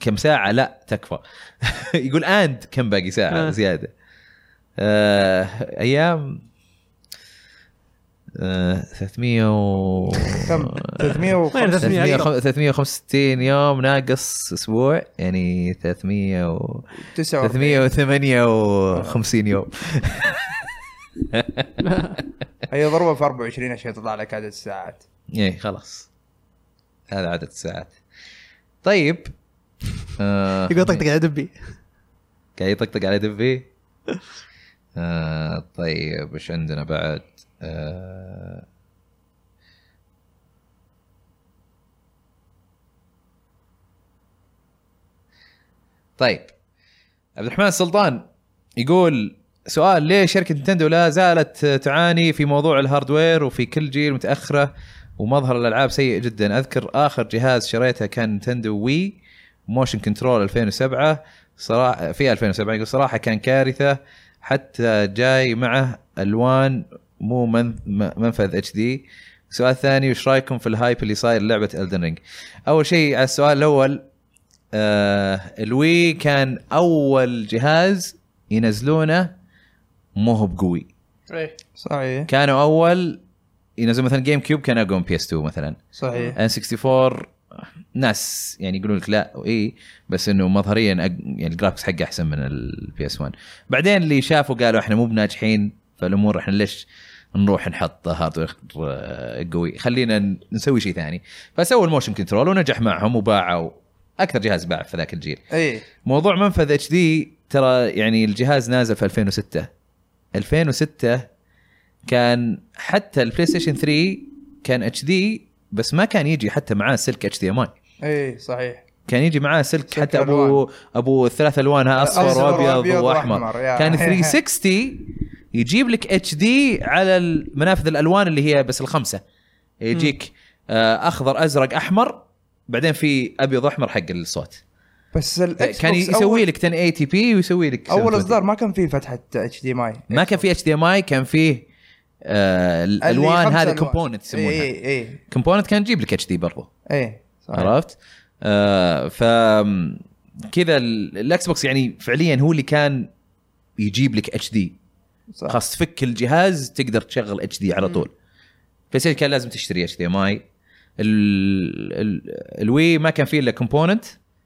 كم ساعة لا تكفى يقول اند كم باقي ساعة
آه.
زيادة آه ايام آه 300 و
كم
300
350
300 365 يوم ناقص اسبوع يعني 300 و
49
358 يوم
هي ضربه في 24 عشان تطلع لك عدد الساعات
ايه خلاص هذا عدد الساعات طيب آه
يقول طيب، طقطق على دبي
قاعد يطقطق على دبي آه طيب ايش عندنا بعد آه طيب عبد الرحمن السلطان يقول سؤال ليه شركة نينتندو لا زالت تعاني في موضوع الهاردوير وفي كل جيل متأخرة ومظهر الألعاب سيء جدا أذكر آخر جهاز شريته كان نينتندو وي موشن كنترول 2007 صراحة في 2007 يقول صراحة كان كارثة حتى جاي معه ألوان مو من م- منفذ اتش دي سؤال ثاني وش رايكم في الهايب اللي صاير لعبة الدن رينج أول شيء على السؤال الأول آه الوي كان اول جهاز ينزلونه مو هو بقوي
ايه
صحيح
كانوا اول ينزلون مثلا جيم كيوب كانوا يقوم بي اس 2 مثلا
صحيح
ان 64 ناس يعني يقولون لك لا اي بس انه مظهريا أق- يعني الجرافكس حقه احسن من البي اس 1 بعدين اللي شافوا قالوا احنا مو بناجحين فالامور احنا ليش نروح نحط هاردوير آه، قوي خلينا ن- نسوي شيء ثاني فسووا الموشن كنترول ونجح معهم وباعوا اكثر جهاز باع في ذاك الجيل
اي
موضوع منفذ اتش دي ترى يعني الجهاز نازل في 2006 2006 كان حتى البلاي ستيشن 3 كان اتش دي بس ما كان يجي حتى معاه سلك اتش دي ام اي
اي صحيح
كان يجي معاه سلك,
سلك
حتى ابو ابو ثلاث الوانها اصفر وابيض واحمر
يا.
كان 360 يجيب لك اتش دي على المنافذ الالوان اللي هي بس الخمسه يجيك آه، اخضر ازرق احمر بعدين في ابيض احمر حق الصوت
بس الإكس
إيه، كان
بوكس
يسوي
أول-
لك 1080 بي ويسوي لك
اول
720p.
اصدار ما كان فيه فتحه اتش دي ماي
ما كان في اتش دي ام اي كان فيه آه الالوان هذه كومبوننت يسمونها
اي اي
كومبوننت كان يجيب لك اتش دي برضو
اي إيه، صحيح
عرفت؟ آه ف كذا ال- الاكس بوكس يعني فعليا هو اللي كان يجيب لك اتش دي
صح.
خلاص تفك الجهاز تقدر تشغل اتش دي على طول بلاي ستيشن كان لازم تشتري اتش دي ام اي الوي ما كان فيه الا كومبوننت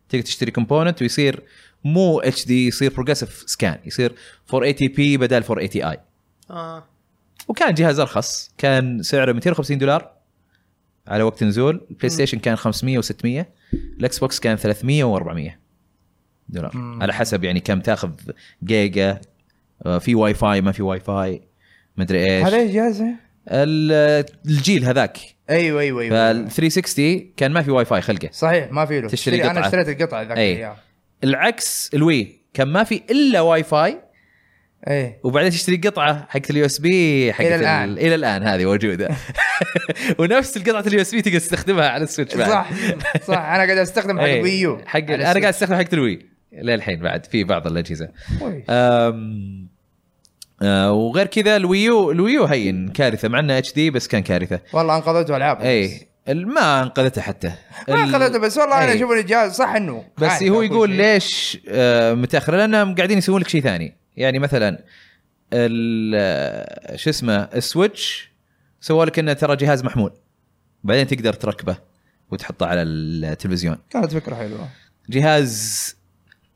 تقدر تشتري كومبوننت ويصير مو اتش دي يصير بروجريسيف سكان يصير 480 بي بدل 480 اي
اه
وكان جهاز ارخص كان سعره 250 دولار على وقت نزول البلاي ستيشن كان 500 و600 الاكس بوكس كان 300 و400 دولار
مم.
على حسب يعني كم تاخذ جيجا آه، في واي فاي ما في واي فاي مدري ايش
هذا ايش جهازه؟
ال- الجيل هذاك
ايوه ايوه
فال
ايوه
360 كان ما في واي فاي خلقه
صحيح ما في له
تشتري
تشتري- انا
قطعة. إيه.
اشتريت القطعه ذاك
أي.
الايام
العكس الوي كان ما في الا واي فاي
اي
وبعدين تشتري قطعه حقت اليو اس بي حقت
إلى
ال-
الآن.
الى الان هذه موجوده ونفس القطعه اليو اس بي تقدر تستخدمها على السويتش بعد
صح صح انا قاعد استخدم حق
إيه.
الويو
حق انا قاعد استخدم حق الوي للحين بعد في بعض الاجهزه أم... أه وغير كذا الويو الويو هين كارثه مع انه اتش دي بس كان كارثه
والله انقذته العاب
اي ال- ما انقذته حتى
ما
إيه. ال-
انقذته بس والله انا
إيه.
اشوف الجهاز صح انه
بس
عادي
هو
كل
يقول
شيء.
ليش آه، متاخر لانهم قاعدين يسوون لك شيء ثاني يعني مثلا ال- آه، شو اسمه السويتش سووا لك انه ترى جهاز محمول بعدين تقدر تركبه وتحطه على التلفزيون
كانت فكره حلوه
جهاز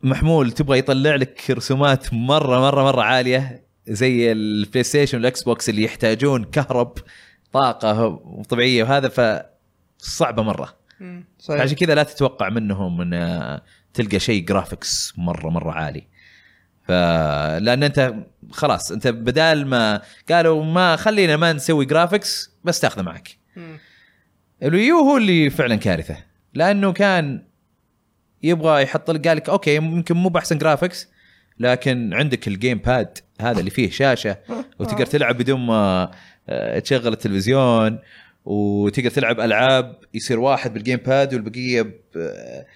محمول تبغى يطلع لك رسومات مره مره مره عاليه زي البلاي ستيشن والاكس بوكس اللي يحتاجون كهرب طاقه طبيعيه وهذا ف صعبه مره
صحيح
عشان كذا لا تتوقع منهم ان آه، تلقى شيء جرافيكس مره مره عالي ف لان انت خلاص انت بدال ما قالوا ما خلينا ما نسوي جرافيكس بس تاخذه معك الويو هو اللي فعلا كارثه لانه كان يبغى يحط لك قال لك اوكي ممكن مو باحسن جرافكس لكن عندك الجيم باد هذا اللي فيه شاشه وتقدر تلعب بدون ما آه، تشغل التلفزيون وتقدر تلعب العاب يصير واحد بالجيم باد والبقيه ب- آه،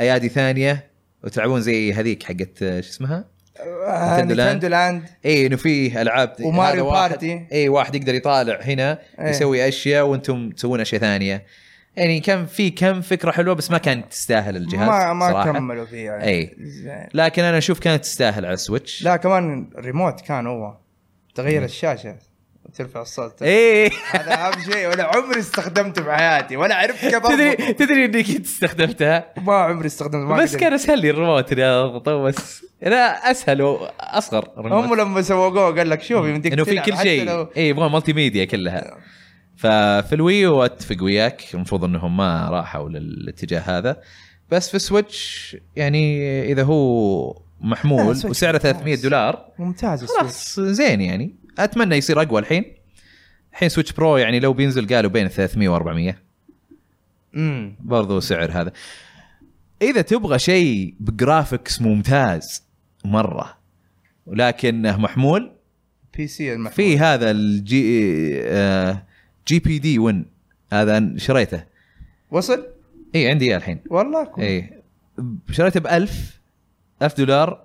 ايادي ثانيه وتلعبون زي هذيك حقت آه، شو اسمها؟ إيه،
آه،
نتندو لاند.
نتندو لاند
اي انه فيه العاب
وماريو
هذا واحد-
بارتي.
اي واحد يقدر يطالع هنا
إيه.
يسوي اشياء وانتم تسوون اشياء ثانيه يعني كان في كم فكره حلوه بس ما كانت تستاهل الجهاز
ما ما
صراحة. إيه.
كملوا فيه يعني
إي.
زين.
لكن انا اشوف كانت تستاهل على السويتش
لا كمان ريموت كان هو تغير الشاشه وترفع الصوت
اي
هذا اهم شيء ولا عمري استخدمته في حياتي ولا عرفت كيف
تدري
أضبطه.
تدري اني كنت استخدمتها
ما عمري استخدمته ما
بس
قدرت.
كان اسهل لي الريموت اني اضبطه بس لا اسهل واصغر ريموت.
هم لما سوقوه قال لك شوف يمديك
انه في
تلعب
كل
حتى
شيء
لو- نعم.
اي يبغون مالتي ميديا كلها ففي الويو اتفق وياك المفروض انهم ما راحوا للاتجاه هذا بس في السويتش يعني اذا هو
لا،
محمول
السويتش
وسعره
ممتاز.
300 دولار
ممتاز السويتش.
خلاص زين يعني اتمنى يصير اقوى الحين الحين سويتش برو يعني لو بينزل قالوا بين 300 و 400
امم
برضو سعر هذا اذا تبغى شيء بجرافيكس ممتاز مره ولكنه محمول
بي سي المحمول
في هذا الجي آه جي بي دي ون هذا أنا شريته
وصل
اي عندي اياه الحين
والله كويس.
اي شريته ب 1000 1000 دولار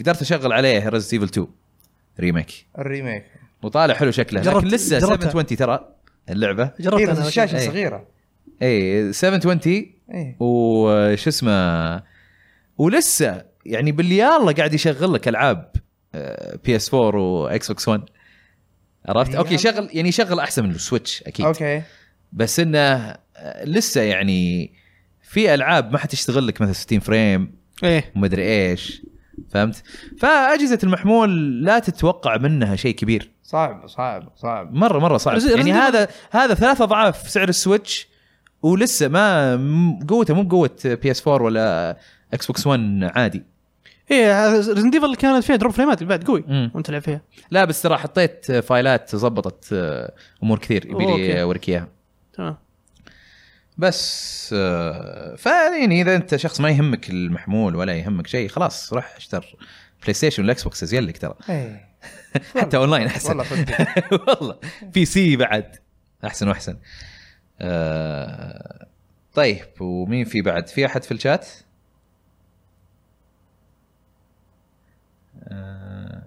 قدرت اشغل عليه ريزنت ايفل 2 ريميك
الريميك
وطالع حلو شكله
جربت-
لكن لسه
جربتها.
720 ترى اللعبه
جربت
إيه، بس
انا
الشاشه
إيه.
صغيره
اي 720
ايه
وش اسمه ولسه يعني باليالا قاعد يشغل لك آه، العاب بي اس 4 واكس بوكس 1 عرفت؟ اوكي
باليالا؟
شغل يعني شغل احسن من السويتش اكيد
اوكي
بس انه آه، لسه يعني في العاب ما حتشتغل لك مثلا 60 فريم
ايه
ومدري ايش فهمت؟ فاجهزه المحمول لا تتوقع منها شيء كبير
صعب صعب صعب
مره مره صعب
رز-
يعني
رز-
هذا هذا ثلاث اضعاف سعر السويتش ولسه ما م- قوته مو بقوه بي اس 4 ولا اكس بوكس 1 عادي
ايه ريزنت ايفل كانت فيها دروب فريمات بعد قوي
مم.
وانت تلعب فيها
لا بس ترى حطيت فايلات ظبطت آه، امور كثير يبي لي
أوكي.
اوريك اياها
تمام
بس آه، فيعني اذا انت شخص ما يهمك المحمول ولا يهمك شيء خلاص روح اشتر بلاي ستيشن والاكس بوكس ازين لك ترى إيه.
ايه
حتى اونلاين احسن
والله صدق
والله بي سي بعد احسن واحسن آه طيب ومين في بعد في احد في الشات آه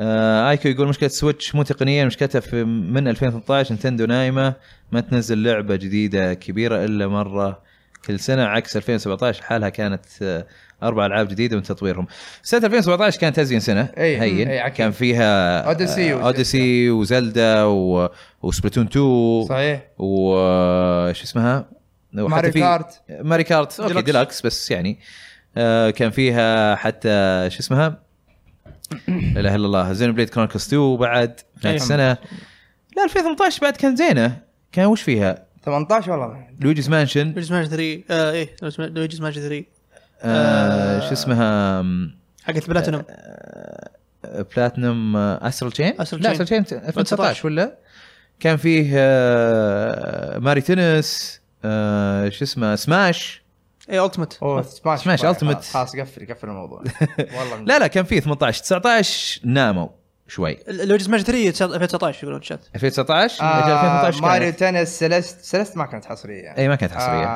آه ايكو يقول مشكله سويتش مو تقنيه مشكلتها في من 2018 نتندو نايمه ما تنزل لعبه جديده كبيره الا مره كل سنه عكس 2017 حالها كانت آه، اربع العاب جديده من تطويرهم سنه 2017 كانت ازين سنه
إيه،
هين
إيه، أكيد.
كان فيها
أوديسي
آه،
وزلدا.
اوديسي وزلدا و... وسبلاتون 2
صحيح
وش اسمها وحتى
ماري
في-
كارت
ماري كارت اوكي
ديلوكس.
ديلكس بس يعني آه كان فيها حتى شو اسمها لا اله الا الله زين بليد كرونكس 2 بعد في نهايه
أيوة.
السنه لا 2018 بعد كان زينه كان وش فيها
18 والله
لويجيز مانشن
لويجز ماج 3 آه ايه لويجز ماج 3
آه شو اسمها
حقت بلاتينوم
بلاتنم استرال تشين
Astral
uh, لا
Chain.
استرال تشين 2019 ولا كان فيه آه ماري تنس آه شو اسمه سماش
ايه التمت
اوه سماش
سماش
خلاص،
Ultimate.
خلاص قفل قفل الموضوع والله آه،
لا لا كان فيه 18 19 ناموا شوي
لويجز ماج 3 تسعة- 2019 يقولون شات
2019 اجل
آه
2018
ماريو
كانت
تنس سلست سلست ما كانت حصريه
اي ما إيه، كانت
آه،
حصريه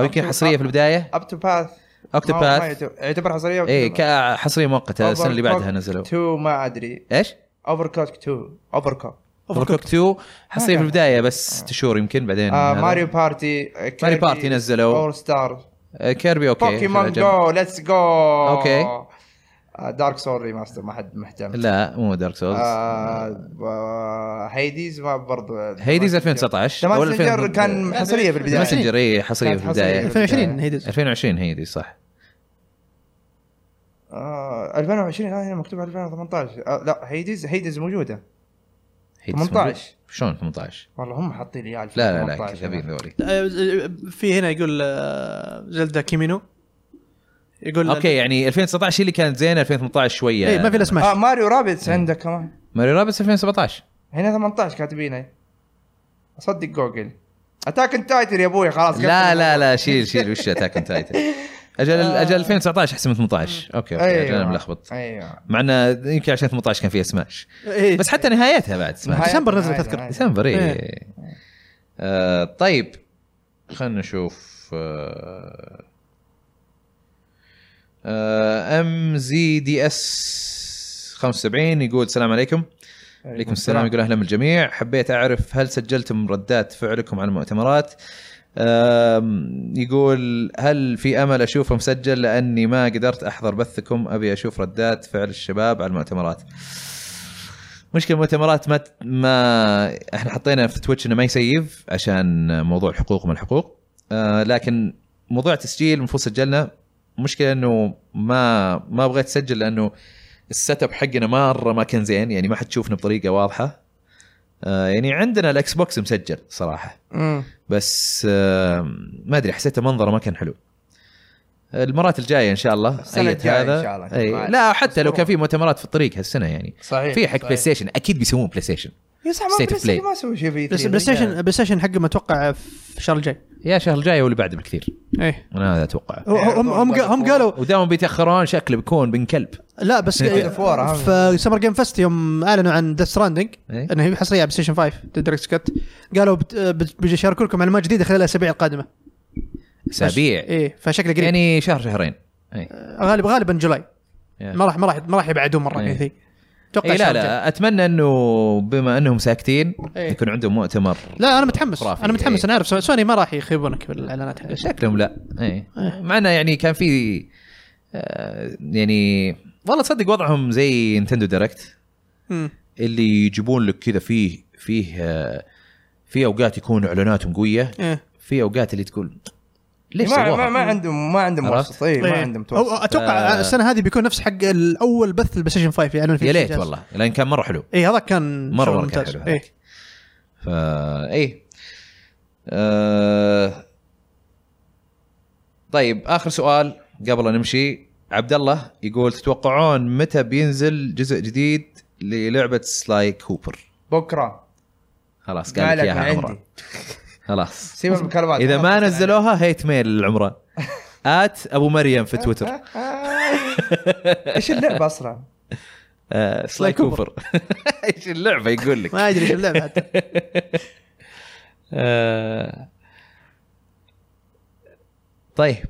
او يمكن حصريه في البدايه
اب تو باث آه،
اوكتوباث
يعتبر حصريه
اي ك- حصريه مؤقته السنه إيه، اللي بعدها
Overcooked
نزلوا
2 ما ادري
ايش؟
اوفر كوك 2 اوفر كوك
اوفركوك 2 حصريه في
كان.
البدايه بس ست شهور يمكن بعدين هذا.
آه، ماريو بارتي
ماريو بارتي نزلوا
اول ستار
آه، كيربي اوكي
بوكيمون
خلينا نجمع.
جو ليتس جو آه،
أوكي.
دارك سول ريماستر ما حد مهتم
لا مو دارك سولز
آه، و- هيديز ما برضه
هيديز 2019
تمام
أول 2000
سنجر كان حصريه في البدايه
ماسنجر اي حصريه
كانت
إيه، في البدايه
حصرية.
2020 هيدز
2020 هيديز صح
آه 2020 لا هنا مكتوب 2018 آه لا هيديز هيديز موجوده
هيديز موجود.
18.
شلون 18
والله هم حاطين لي اياها
لا لا لا
2018.
كذابين ذولي
في هنا يقول آه، زلدا كيمينو يقول
اوكي يعني 2019 هي اللي كانت زينه 2018 شويه
ايه ما في الا
اه
سماش
ماريو رابتس عندك كمان
ماري رابس 2017
هنا 18 كاتبينه اصدق جوجل اتاك ان تايتن يا ابوي خلاص
لا لا لا شيل شيل وش اتاك تايتن اجل اجل 2019 احسن من 18 اوكي اوكي
آه. أيوة.
اجل أنا ملخبط
ايوه
مع انه يمكن عشان 18 كان فيها سماش
إيه.
بس حتى نهايتها بعد سماش
نهاية-
ديسمبر نزلت
نهاية-
أذكر.
نهاية.
ديسمبر اي
إيه.
آه طيب خلينا نشوف آه، ام آه، زي دي اس 75 يقول السلام عليكم
أيوه. نعم.
عليكم السلام يقول اهلا بالجميع حبيت اعرف هل سجلتم ردات فعلكم على المؤتمرات أم، يقول هل في امل اشوفه مسجل لاني ما قدرت احضر بثكم ابي اشوف ردات فعل الشباب على المؤتمرات مشكله المؤتمرات ما ما احنا حطينا في تويتش انه ما يسيف عشان موضوع الحقوق وما الحقوق أه، لكن موضوع تسجيل المفروض سجلنا مشكله انه ما ما بغيت اسجل لانه السيت اب حقنا مره ما كان زين يعني ما حتشوفنا بطريقه واضحه آه، يعني عندنا الاكس بوكس مسجل صراحه
مم.
بس آه، ما ادري حسيته منظره ما كان حلو المرات الجايه ان شاء الله
السنة
أية
الجاية إن
هذا.
شاء الله. إيه،
أي. لا حتى لو كان في مؤتمرات في الطريق هالسنه يعني
صحيح
في حق
صحيح.
بلاي ستيشن اكيد بيسوون بلاي ستيشن
يا صح
State
ما
of
بلاي ستيشن
Play.
ما سوى شيء في
بس بلاي ستيشن بلاي ستيشن حقه متوقع في الشهر الجاي
يا شهر الجاي واللي بعده بكثير
ايه
انا هذا اتوقع
هو- هم هم قا- هم قالوا
ودائما بيتاخرون شكله بيكون بن كلب
لا بس
يعني
إيه،
God of War، ها.
في سمر جيم فيست يوم اعلنوا عن ذا ستراندنج
إيه.
انه هي حصريه على بلاي ستيشن 5 دايركت كات قالوا بت- آه، بت- بيشاركوا لكم معلومات جديده خلال الاسابيع القادمه
اسابيع
ايه فشكله قريب يعني
يعني شهر شهرين أي.
غالب غالبا جولاي
يا.
ما راح ما راح ما راح يبعدون مره
إيه.
كثير اتوقع
اي لا
الشهر الجاي.
لا اتمنى انه بما انهم ساكتين
إيه.
يكون عندهم مؤتمر
لا انا متحمس
خرافي.
انا متحمس
إيه.
انا اعرف سو- سوني ما راح يخيبونك إيه. بالاعلانات
إيه.
حقتها.
شكلهم لا اي مع انه يعني كان في آه، يعني والله تصدق وضعهم زي نتندو دايركت
مم.
اللي يجيبون لك كذا فيه فيه آه، في اوقات يكون اعلاناتهم قويه
إيه.
في اوقات اللي تقول ليش
ما ما, ما
سووها؟
عندهم ما عندهم
عرفت؟
وسط اي ما
إيه.
عندهم
أو
توسط
اتوقع السنه هذه بيكون نفس حق الاول بث البلاي ستيشن 5 يعلنون فيه
آه. يا ليت
جهاز.
والله لان كان مره حلو
اي هذا كان
مرة
شغل
مرة كان
ممتاز
حلو
إيه.
هذاك. فا ايه آه طيب اخر سؤال قبل أن نمشي عبد الله يقول تتوقعون متى بينزل جزء جديد للعبه سلاي كوبر؟
بكره
خلاص
ما
قال لك
عليك
اياها
من
عمران
عندي
خلاص
سيب المكالمات
اذا ما نزلوها هيت ميل للعمران ات ابو مريم في تويتر
ايش اللعبه اصلا؟
آه سلاي كوبر ايش اللعبه يقول لك
ما ادري ايش اللعبه حتى
آه، طيب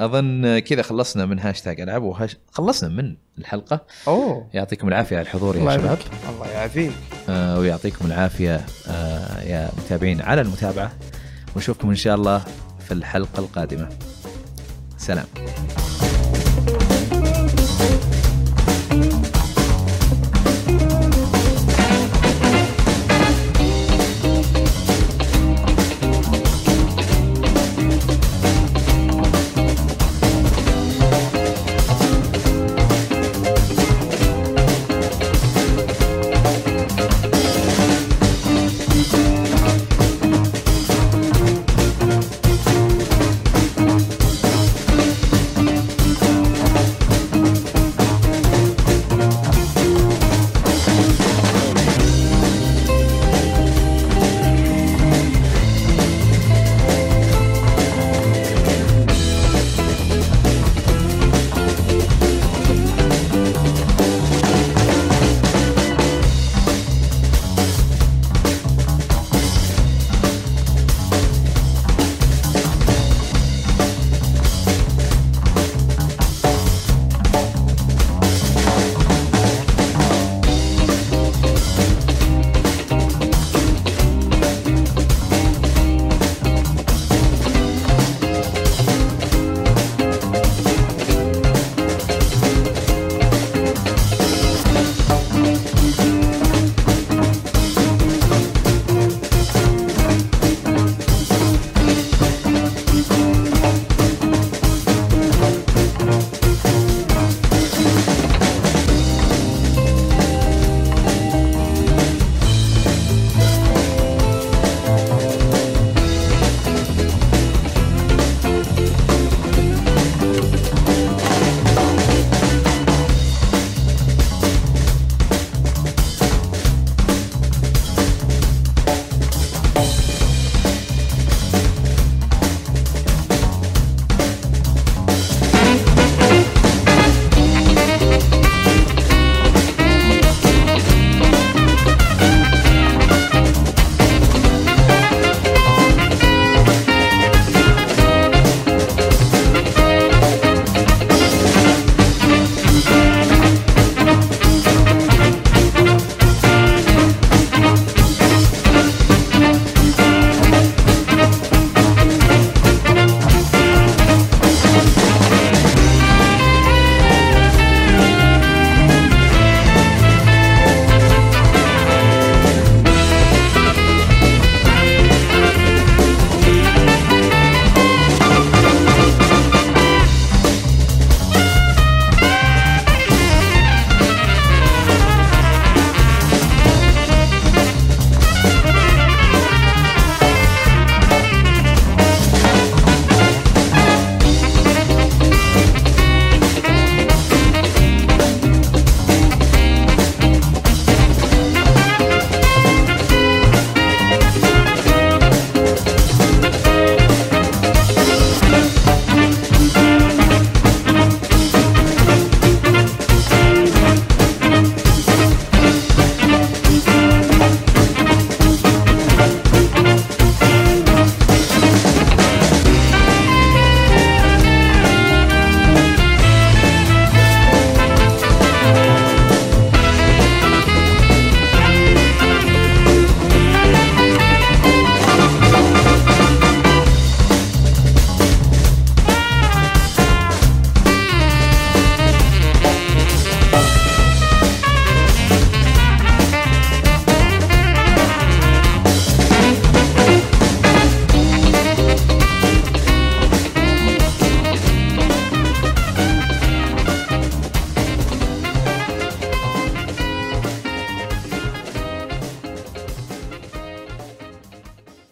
اظن كذا خلصنا من هاشتاج العاب وهاش... خلصنا من الحلقه
اوه
يعطيكم العافيه على الحضور يا
الله
شباب
يعافيك.
الله يعافيك
آه ويعطيكم العافيه آه يا متابعين على المتابعه ونشوفكم ان شاء الله في الحلقه القادمه سلام